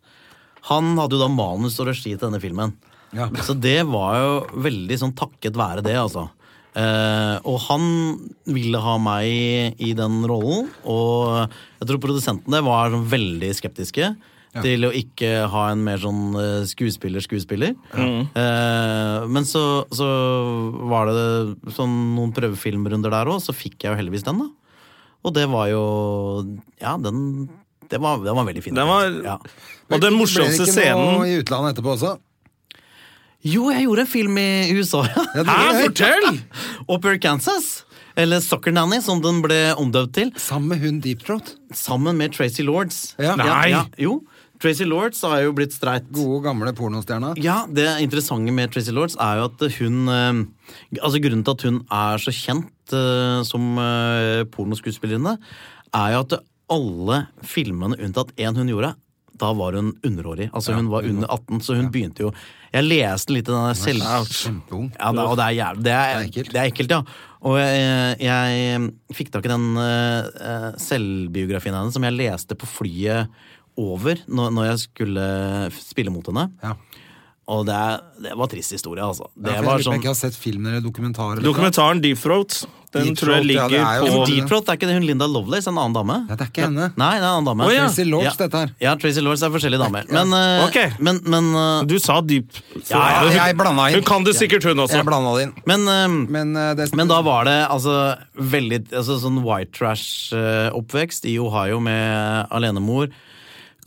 [SPEAKER 3] han hadde jo da manus og regi til denne filmen.
[SPEAKER 1] Ja.
[SPEAKER 3] Så det var jo veldig sånn takket være det, altså. Eh, og han ville ha meg i den rollen, og jeg tror produsentene var sånn veldig skeptiske. Til å ikke ha en mer sånn skuespiller-skuespiller. Eh, men så, så var det sånn noen prøvefilmrunder der òg, så fikk jeg jo heldigvis den, da. Og det var jo Ja, den Det var, den var veldig fin.
[SPEAKER 2] Den var-
[SPEAKER 3] ja.
[SPEAKER 2] Og den
[SPEAKER 1] Ble
[SPEAKER 2] morsomste
[SPEAKER 1] det ikke noe
[SPEAKER 2] scenen
[SPEAKER 1] i utlandet etterpå også?
[SPEAKER 3] Jo, jeg gjorde en film i USA, ja.
[SPEAKER 1] Ja, det-
[SPEAKER 2] Hæ, fortell!
[SPEAKER 3] Opera Kansas. Eller Soccer Nanny, som den ble omdøpt til.
[SPEAKER 1] Sammen med hun Deep Throat.
[SPEAKER 3] Sammen med Tracy Lords.
[SPEAKER 1] Ja.
[SPEAKER 2] Nei.
[SPEAKER 3] jo. Tracy Lords har jo blitt streit.
[SPEAKER 1] Gode, gamle pornostjerna.
[SPEAKER 3] Ja, Det interessante med Tracy Lords er jo at hun eh, Altså Grunnen til at hun er så kjent eh, som eh, pornoskuespillerinne, er jo at alle filmene unntatt én hun gjorde, da var hun underårig. Altså Hun var under 18, så hun begynte jo Jeg leste litt i den der selv...
[SPEAKER 1] Kjempeung.
[SPEAKER 3] Ja, det, og det er jævlig. Det er, det er
[SPEAKER 1] Det er
[SPEAKER 3] ekkelt.
[SPEAKER 1] ekkelt.
[SPEAKER 3] ja. Og jeg, jeg fikk tak i den eh, eh, selvbiografien hennes som jeg leste på flyet over når, når jeg skulle spille mot henne.
[SPEAKER 1] Ja.
[SPEAKER 3] Og det, er, det var trist historie, altså.
[SPEAKER 1] Ja,
[SPEAKER 3] Det
[SPEAKER 1] for
[SPEAKER 3] var
[SPEAKER 1] jeg lurer på om jeg
[SPEAKER 3] sånn
[SPEAKER 1] ikke har sett film eller dokumentar. eller noe.
[SPEAKER 2] Dokumentaren Deep Throat. Den
[SPEAKER 1] Deep
[SPEAKER 2] tror jeg
[SPEAKER 1] Throat, ja,
[SPEAKER 2] ligger
[SPEAKER 1] det er jo-
[SPEAKER 2] på
[SPEAKER 1] Men Deep-
[SPEAKER 3] Deepthroat, er ikke det hun Linda Lovelace? En annen dame?
[SPEAKER 1] Ja, det er ikke henne.
[SPEAKER 3] Nei, det er en annen dame.
[SPEAKER 2] Å, ja.
[SPEAKER 1] Tracy Lords,
[SPEAKER 3] ja.
[SPEAKER 1] dette her.
[SPEAKER 3] Ja, Tracy Lords er forskjellige damer. Men, eh,
[SPEAKER 2] Ok.
[SPEAKER 3] men, men, eh,
[SPEAKER 2] Du sa Deep Throat.
[SPEAKER 3] Ja,
[SPEAKER 1] ja, jeg blanda inn.
[SPEAKER 2] Hun kan det sikkert, hun også.
[SPEAKER 1] Jeg blanda det inn.
[SPEAKER 3] men, eh,
[SPEAKER 1] Men, eh, det,
[SPEAKER 3] Men da var det altså veldig altså, Sånn white trash-oppvekst i Ohio med alenemor.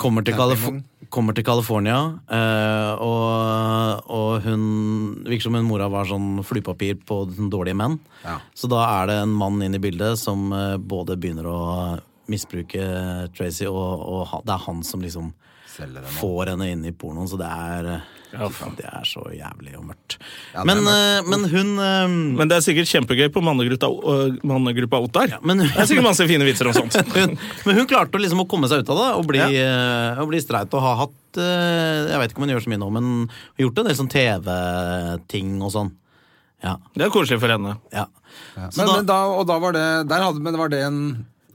[SPEAKER 3] Kommer til, Calif
[SPEAKER 1] Campingvogn.
[SPEAKER 3] kommer til California, eh, og, og hun virker som hun mora var sånn flypapir på sånn dårlige menn.
[SPEAKER 1] Ja.
[SPEAKER 3] Så da er det en mann inn i bildet som eh, både begynner å misbruke Tracy, og, og ha- det er han som liksom
[SPEAKER 1] Selger henne.
[SPEAKER 3] får henne inn i pornoen, så det er eh, Det er så jævlig og mørkt.
[SPEAKER 1] Ja, det er
[SPEAKER 3] men, eh, men hun eh,
[SPEAKER 2] Mm. Men det er sikkert kjempegøy på mannegruppa, øh, mannegruppa Ottar.
[SPEAKER 3] men-
[SPEAKER 2] det er sikkert masse fine vitser om sånt.
[SPEAKER 3] hun, men hun klarte å liksom å komme seg ut av det og bli,
[SPEAKER 2] Ja.
[SPEAKER 3] eh, og bli streit og ha hatt eh, Jeg vet ikke om hun gjør så mye nå, men hun har gjort en del sånn TV-ting og sånn. Ja.
[SPEAKER 2] Det er koselig for henne.
[SPEAKER 3] ja. Så
[SPEAKER 1] men,
[SPEAKER 3] da,
[SPEAKER 1] men da, og da var det der hadde, Men var det en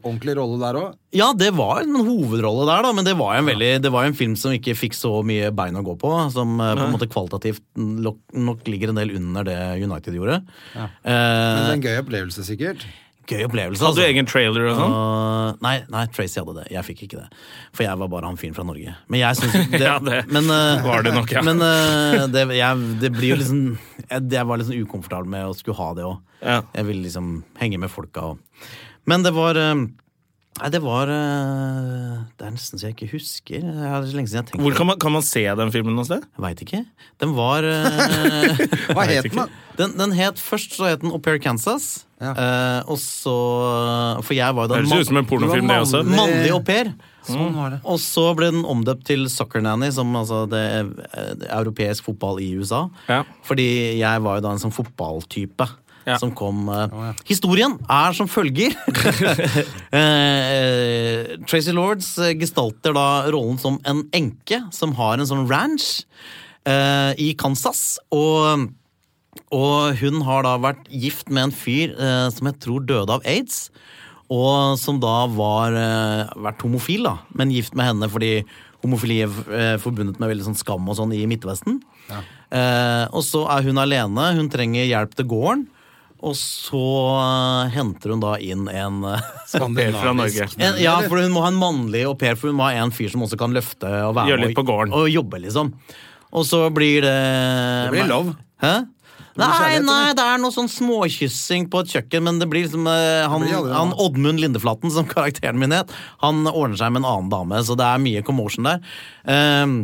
[SPEAKER 1] ordentlig rolle der òg?
[SPEAKER 3] ja, det var en hovedrolle der, da, men det var jo en, veldig, det var jo en film som ikke fikk så mye bein å gå på. Som eh, på en måte kvalitativt nok, nok ligger en del under det United gjorde. Eh,
[SPEAKER 1] En gøy opplevelse, sikkert.
[SPEAKER 3] gøy opplevelse, altså.
[SPEAKER 2] Hadde du egen trailer og sånn?
[SPEAKER 3] Og- nei, nei, Tracy hadde det. Jeg fikk ikke det. For jeg var bare han fyren fra Norge. Men jeg syns det,
[SPEAKER 2] Ja, det
[SPEAKER 3] men, eh,
[SPEAKER 2] var det nok, ja.
[SPEAKER 3] Men eh, det, jeg, det blir jo liksom jeg, jeg var litt sånn ukomfortabel med å skulle ha det òg.
[SPEAKER 2] Ja.
[SPEAKER 3] Jeg ville liksom henge med folka og Men det var eh, Nei, det var eh, Det er nesten så jeg ikke husker. Det er så lenge siden jeg tenkte
[SPEAKER 2] Hvor kan man, kan man se den filmen noe sted?
[SPEAKER 3] Jeg veit ikke. Den var eh,
[SPEAKER 1] Hva het den, da?
[SPEAKER 3] den, den het Først så het den Au Pair Kansas.
[SPEAKER 1] Ja.
[SPEAKER 3] eh, og så For jeg var jo da
[SPEAKER 2] Høres
[SPEAKER 3] mann-
[SPEAKER 2] ut som en pornofilm, det også.
[SPEAKER 1] Du var
[SPEAKER 3] Mannlig au pair.
[SPEAKER 2] Mm.
[SPEAKER 1] Sånn var det.
[SPEAKER 3] Og så ble den omdøpt til Soccer Nanny, som altså det, eh, det europeisk fotball i USA.
[SPEAKER 2] Ja.
[SPEAKER 3] Fordi jeg var jo da en sånn fotballtype.
[SPEAKER 2] Ja.
[SPEAKER 3] Som kom eh, Historien er som følger. Eh, Tracy Lords eh, gestalter da rollen som en enke som har en sånn ranch eh, i Kansas. Og og hun har da vært gift med en fyr eh, som jeg tror døde av aids. Og som da var eh, vært homofil, da, men gift med henne fordi homofili er eh, forbundet med veldig sånn skam og sånn i Midtvesten. Eh, og så er hun alene, hun trenger hjelp til gården. Og så eh, henter hun da inn en, eh,
[SPEAKER 2] Helt fra Norge.
[SPEAKER 3] en Ja, for hun må ha en mannlig au pair, for hun må ha en fyr som også kan løfte og være
[SPEAKER 2] Gjøre
[SPEAKER 3] med
[SPEAKER 2] litt på gården.
[SPEAKER 3] og, og jobbe, liksom. Og så blir det
[SPEAKER 1] Det blir love.
[SPEAKER 3] Hæ? Nei,
[SPEAKER 1] kjærlighet,
[SPEAKER 3] nei,
[SPEAKER 1] eller?
[SPEAKER 3] det er noe sånn småkyssing på et kjøkken, men det blir liksom eh, han,
[SPEAKER 1] Det blir aldri noe.
[SPEAKER 3] han Oddmund Lindeflaten, som karakteren min het, han ordner seg med en annen dame, så det er mye commotion der. Ehm,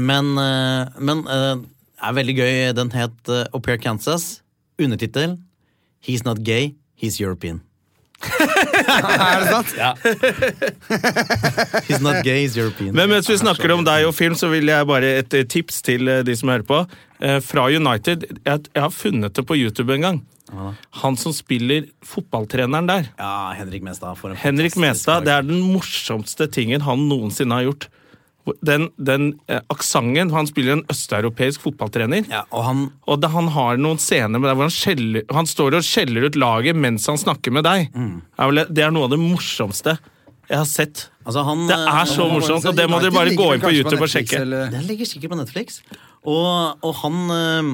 [SPEAKER 3] Men, eh, men eh, er veldig gøy. Den het eh, Au pair Kansas. Undertittel He's not gay, he's European.
[SPEAKER 1] Er det sant?
[SPEAKER 3] He's not gay, he's European.
[SPEAKER 2] Men mens vi snakker om deg og film, så vil jeg bare et eh, tips til eh, de som hører på. Eh, Fra United Jeg, jeg har funnet det på YouTube en gang. Han som spiller fotballtreneren der,
[SPEAKER 3] Ja, Henrik Mestad. For en
[SPEAKER 2] Henrik
[SPEAKER 3] fantastisk
[SPEAKER 2] Mestad, det
[SPEAKER 3] dag.
[SPEAKER 2] er den morsomste tingen han noensinne har gjort. Den, den eh, aksenten Han spiller en østeuropeisk fotballtrener.
[SPEAKER 3] ja, Og han
[SPEAKER 2] Og da han har noen scener med der hvor han, skjeller, han står og skjeller ut laget mens han snakker med deg.
[SPEAKER 3] Mm.
[SPEAKER 2] Er vel- Det er noe av det morsomste jeg har sett.
[SPEAKER 3] Altså, han
[SPEAKER 2] Det er så
[SPEAKER 3] eh,
[SPEAKER 2] morsomt, og det må dere bare gå inn på YouTube og sjekke.
[SPEAKER 3] Den ligger sikkert på Netflix. Og, og han eh,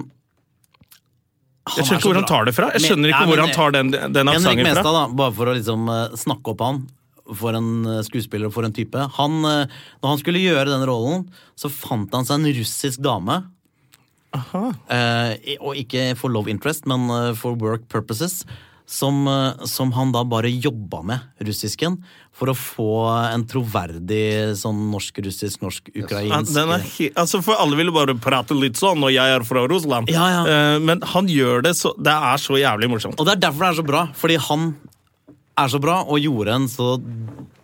[SPEAKER 2] Jeg skjønner ikke hvor han tar det fra. Jeg
[SPEAKER 3] Men-
[SPEAKER 2] skjønner
[SPEAKER 3] Nei,
[SPEAKER 2] ikke
[SPEAKER 3] men
[SPEAKER 2] hvor han
[SPEAKER 3] det-
[SPEAKER 2] tar den, den
[SPEAKER 3] Henrik
[SPEAKER 2] aksenten
[SPEAKER 3] Mestad,
[SPEAKER 2] fra.
[SPEAKER 3] da, bare for å liksom eh, snakke opp han. For en eh, skuespiller og for en type. Han, eh, når han skulle gjøre den rollen, så fant han seg en russisk dame. Eh, i- og ikke for love interest, men eh, for work purposes. Som, eh, som han da bare jobba med, russisken, for å få en troverdig sånn norsk-russisk,
[SPEAKER 2] Ja,
[SPEAKER 3] norsk-ukrainsk
[SPEAKER 2] Den er he altså for Alle ville bare prate litt sånn, og jeg er fra Russland.
[SPEAKER 3] Ja, ja.
[SPEAKER 2] Eh, Men han gjør det så Det er så jævlig morsomt.
[SPEAKER 3] Og det er derfor det er så bra. Fordi han er så bra og gjorde en så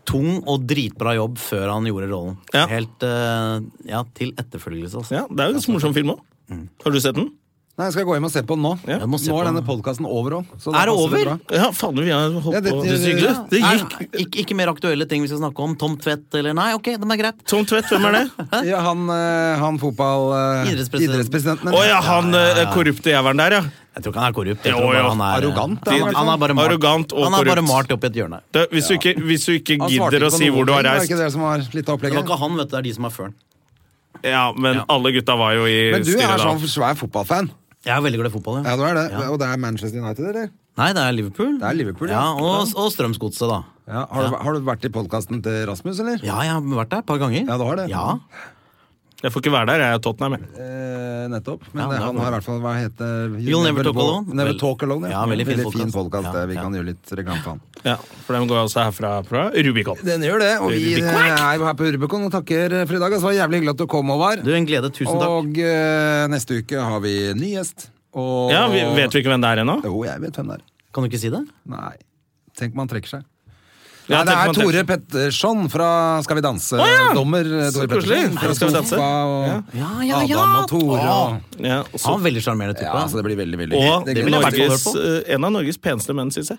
[SPEAKER 3] tung og dritbra jobb før han gjorde rollen.
[SPEAKER 2] Ja.
[SPEAKER 3] Helt eh, ja, til etterfølgelse, altså.
[SPEAKER 2] Ja, Det er jo en ganske morsom film òg.
[SPEAKER 3] Mm.
[SPEAKER 2] Har du sett den?
[SPEAKER 1] Nei, jeg skal gå hjem og se på den nå.
[SPEAKER 2] Ja,
[SPEAKER 3] jeg må se
[SPEAKER 1] nå
[SPEAKER 3] på
[SPEAKER 1] er
[SPEAKER 3] den.
[SPEAKER 1] denne podkasten over òg.
[SPEAKER 3] Er det over?
[SPEAKER 2] Ja, faen, vi har holdt
[SPEAKER 1] Ja, det-
[SPEAKER 2] på
[SPEAKER 1] det-
[SPEAKER 2] Det gikk.
[SPEAKER 1] ja.
[SPEAKER 2] Det
[SPEAKER 3] Er,
[SPEAKER 2] gikk.
[SPEAKER 3] ikke, ikke mer aktuelle ting vi skal snakke om. Tom Tvedt eller Nei, ok, den er greit.
[SPEAKER 2] Tom Tvedt, hvem er det?
[SPEAKER 1] Ja, han, eh, han fotball... eh,
[SPEAKER 3] Idrettspresident.
[SPEAKER 1] idrettspresidenten.
[SPEAKER 2] Å ja, han eh, korrupte jævelen der, ja.
[SPEAKER 3] Jeg tror ikke han er korrupt.
[SPEAKER 2] Jo,
[SPEAKER 3] Jeg tror
[SPEAKER 2] jo.
[SPEAKER 3] bare han er
[SPEAKER 1] Arrogant, da, i
[SPEAKER 3] Han,
[SPEAKER 1] hvert
[SPEAKER 3] er- han er bare malt,
[SPEAKER 2] Arrogant og
[SPEAKER 3] han er bare
[SPEAKER 2] korrupt.
[SPEAKER 3] malt opp i et hjørne.
[SPEAKER 2] Det, hvis, du ikke, hvis du ikke
[SPEAKER 1] Han svarte ikke
[SPEAKER 2] gidder å
[SPEAKER 1] på
[SPEAKER 2] si
[SPEAKER 1] noen
[SPEAKER 2] hvor du har
[SPEAKER 1] ting, Det
[SPEAKER 2] reist
[SPEAKER 1] var ikke det som var litt av
[SPEAKER 3] Det var
[SPEAKER 1] opplegget.
[SPEAKER 3] ikke han, vet du. Det er de som er før han.
[SPEAKER 2] Ja, men alle gutta var jo i
[SPEAKER 1] Men du
[SPEAKER 2] styret
[SPEAKER 1] er
[SPEAKER 2] da.
[SPEAKER 1] sånn svær fotballfan.
[SPEAKER 3] Jeg er veldig glad i fotball.
[SPEAKER 1] Ja,
[SPEAKER 3] Ja.
[SPEAKER 1] du er det. Og det er Manchester United, eller?
[SPEAKER 3] Nei, det er Liverpool.
[SPEAKER 1] Det er Liverpool,
[SPEAKER 3] ja.
[SPEAKER 1] ja.
[SPEAKER 3] og, og Strømsgodset, da.
[SPEAKER 1] Ja, har, Du, har du vært i podkasten til Rasmus, eller?
[SPEAKER 3] Ja, jeg har vært der et par ganger.
[SPEAKER 1] Ja, du har det.
[SPEAKER 3] Ja.
[SPEAKER 2] Jeg får ikke være der, jeg er Tottenham. jeg.
[SPEAKER 1] Eh, nettopp. Men
[SPEAKER 3] Ja,
[SPEAKER 1] eh,
[SPEAKER 3] det er
[SPEAKER 1] han
[SPEAKER 3] bra.
[SPEAKER 1] har i hvert fall hva heter det?
[SPEAKER 3] You'll Never Talk
[SPEAKER 1] Walk-
[SPEAKER 3] Alone.
[SPEAKER 1] Never
[SPEAKER 3] Vel-
[SPEAKER 1] Talk Alone,
[SPEAKER 3] Ja, veldig fin podcast.
[SPEAKER 1] podkast.
[SPEAKER 3] Ja,
[SPEAKER 1] eh, Vi
[SPEAKER 3] ja.
[SPEAKER 1] kan gjøre litt reklame for han.
[SPEAKER 2] Ja, for den går også herfra. Fra Rubicon.
[SPEAKER 1] Den gjør det. Og vi eh,
[SPEAKER 2] Rubicon.
[SPEAKER 1] er jo her på Rubicon og takker for i dag. altså. Det var jævlig hyggelig at du kom, Håvard.
[SPEAKER 3] Du, en glede. Tusen takk.
[SPEAKER 1] Og eh, neste uke har vi ny gjest. Og
[SPEAKER 2] Ja, vi, Vet vi ikke hvem det er ennå?
[SPEAKER 1] Jo, jeg vet hvem det er.
[SPEAKER 3] Kan du ikke si det?
[SPEAKER 1] Nei. Tenk man trekker seg. Nei,
[SPEAKER 2] Ja,
[SPEAKER 1] det er
[SPEAKER 2] tenk på
[SPEAKER 1] Tore
[SPEAKER 2] det.
[SPEAKER 1] Petterson fra Skal vi danse.
[SPEAKER 2] Å, ja!
[SPEAKER 1] Dommer eh,
[SPEAKER 2] Så
[SPEAKER 1] Tore
[SPEAKER 2] koselig.
[SPEAKER 1] Petterson. Fra
[SPEAKER 2] Skal vi danse?
[SPEAKER 1] Sofa og
[SPEAKER 3] Ja, ja, ja.
[SPEAKER 1] Adam og Tore.
[SPEAKER 3] Åh.
[SPEAKER 1] Og...
[SPEAKER 2] Ja, og så-
[SPEAKER 3] Han var veldig sjarmerende type. altså.
[SPEAKER 1] Ja, så det blir veldig, veldig
[SPEAKER 2] Og
[SPEAKER 1] det
[SPEAKER 3] det vil jeg i hvert fall
[SPEAKER 2] Norges,
[SPEAKER 3] høre
[SPEAKER 2] eh, en av Norges peneste menn, syns jeg.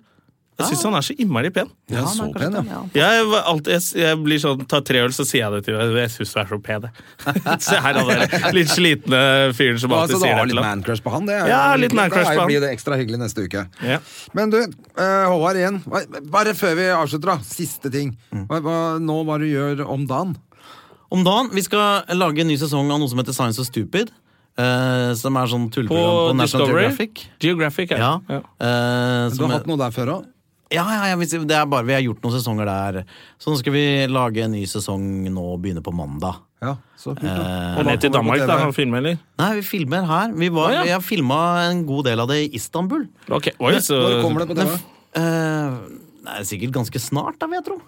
[SPEAKER 2] Jeg
[SPEAKER 1] Ah.
[SPEAKER 2] syns han er så innmari pen.
[SPEAKER 1] Ja,
[SPEAKER 3] Ja,
[SPEAKER 1] så
[SPEAKER 3] men kanskje
[SPEAKER 1] pen,
[SPEAKER 3] den,
[SPEAKER 1] ja.
[SPEAKER 2] Jeg, var alltid, jeg, s- jeg blir sånn, tar tre øl, så sier jeg det til deg. Jeg syns du er så pen, jeg. Se her, han der litt slitne fyren som
[SPEAKER 1] Og
[SPEAKER 2] alltid
[SPEAKER 1] Altså, du
[SPEAKER 2] sier
[SPEAKER 1] har
[SPEAKER 2] det
[SPEAKER 1] litt
[SPEAKER 2] til ham.
[SPEAKER 1] mancrush på han, det. er-
[SPEAKER 2] Ja, litt man crush
[SPEAKER 1] da er-
[SPEAKER 2] på han.
[SPEAKER 1] blir det ekstra hyggelig neste uke.
[SPEAKER 2] Ja.
[SPEAKER 1] Men du, eh, Håvard igjen. Hva- Bare før vi avslutter, da. Siste ting.
[SPEAKER 2] Mm.
[SPEAKER 1] Hva, hva, nå hva du gjør om dagen?
[SPEAKER 3] Om dagen, Vi skal lage en ny sesong av noe som heter Science of Stupid. eh, som er sånn
[SPEAKER 2] På,
[SPEAKER 3] tulleprogram på, National
[SPEAKER 2] Discovery.
[SPEAKER 3] Geographic.
[SPEAKER 2] Geographic ja.
[SPEAKER 3] Ja,
[SPEAKER 2] Ja.
[SPEAKER 3] eh,
[SPEAKER 1] Du
[SPEAKER 3] som,
[SPEAKER 1] har hatt noe der før òg?
[SPEAKER 3] ja, ja, ja, hvis- det er bare vi har gjort noen sesonger der. Så nå skal vi lage en ny sesong nå, begynne på mandag.
[SPEAKER 1] Ja, så kult. da.
[SPEAKER 2] Og ned til
[SPEAKER 1] kommer
[SPEAKER 2] Danmark,
[SPEAKER 1] på
[SPEAKER 2] da,
[SPEAKER 1] TV.
[SPEAKER 2] han filmer,
[SPEAKER 3] Nei, vi filmer her. Vi var,
[SPEAKER 2] Å, ja.
[SPEAKER 3] Jeg filma en god del av det i Istanbul.
[SPEAKER 2] Ok, oi, så
[SPEAKER 1] Når kommer det på TV?
[SPEAKER 3] Eh, nei, Sikkert ganske snart, da, vil jeg tro.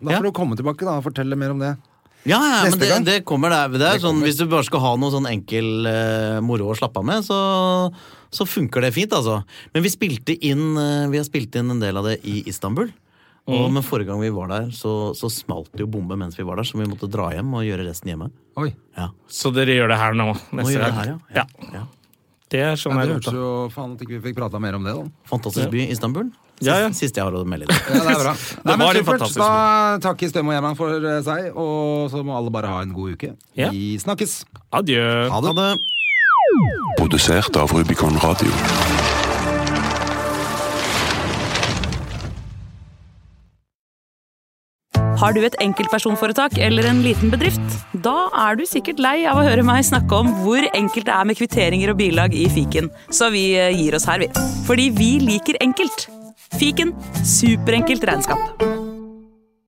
[SPEAKER 1] Da får du komme tilbake da og fortelle mer om det.
[SPEAKER 3] Ja, ja men
[SPEAKER 1] Neste
[SPEAKER 3] det,
[SPEAKER 1] gang.
[SPEAKER 3] det kommer der. Det er sånn, hvis du bare skal ha noe sånn enkel eh, moro å slappe av med, så, så funker det fint, altså. Men vi, spilte inn, eh, vi har spilt inn en del av det i Istanbul. Og, men forrige gang vi var der, så, så smalt det jo bombe mens vi var der, så vi måtte dra hjem og gjøre resten hjemme.
[SPEAKER 1] Oi,
[SPEAKER 3] Ja,
[SPEAKER 2] Så dere gjør det her nå?
[SPEAKER 3] Må
[SPEAKER 2] Neste
[SPEAKER 3] gjøre det
[SPEAKER 2] gang.
[SPEAKER 3] her, ja.
[SPEAKER 2] ja.
[SPEAKER 3] ja.
[SPEAKER 2] Det er sånn
[SPEAKER 1] ja,
[SPEAKER 2] jeg
[SPEAKER 1] Det
[SPEAKER 2] gjør
[SPEAKER 1] hørtes
[SPEAKER 2] det.
[SPEAKER 1] jo faen at ikke vi fikk prata mer om det, da.
[SPEAKER 3] Fantastisk by, Istanbul. Sist,
[SPEAKER 2] Ja, ja.
[SPEAKER 3] Siste jeg har å melde deg.
[SPEAKER 1] Ja, det er bra. Nei,
[SPEAKER 2] var
[SPEAKER 1] men
[SPEAKER 2] en
[SPEAKER 1] supert.
[SPEAKER 2] fantastisk
[SPEAKER 1] Da takker Støm og Gjerman for eh, seg, og så må alle bare ha en god uke.
[SPEAKER 2] Ja.
[SPEAKER 1] Vi snakkes.
[SPEAKER 2] Adjø.
[SPEAKER 1] Ha
[SPEAKER 3] Ha
[SPEAKER 1] det.
[SPEAKER 3] det.
[SPEAKER 4] Produsert av Rubicon Radio.
[SPEAKER 5] Har du et enkeltpersonforetak eller en liten bedrift? Da er du sikkert lei av å høre meg snakke om hvor enkelt det er med kvitteringer og bilag i fiken, så vi eh, gir oss her, vi. Fordi vi liker enkelt. Fiken superenkelt regnskap.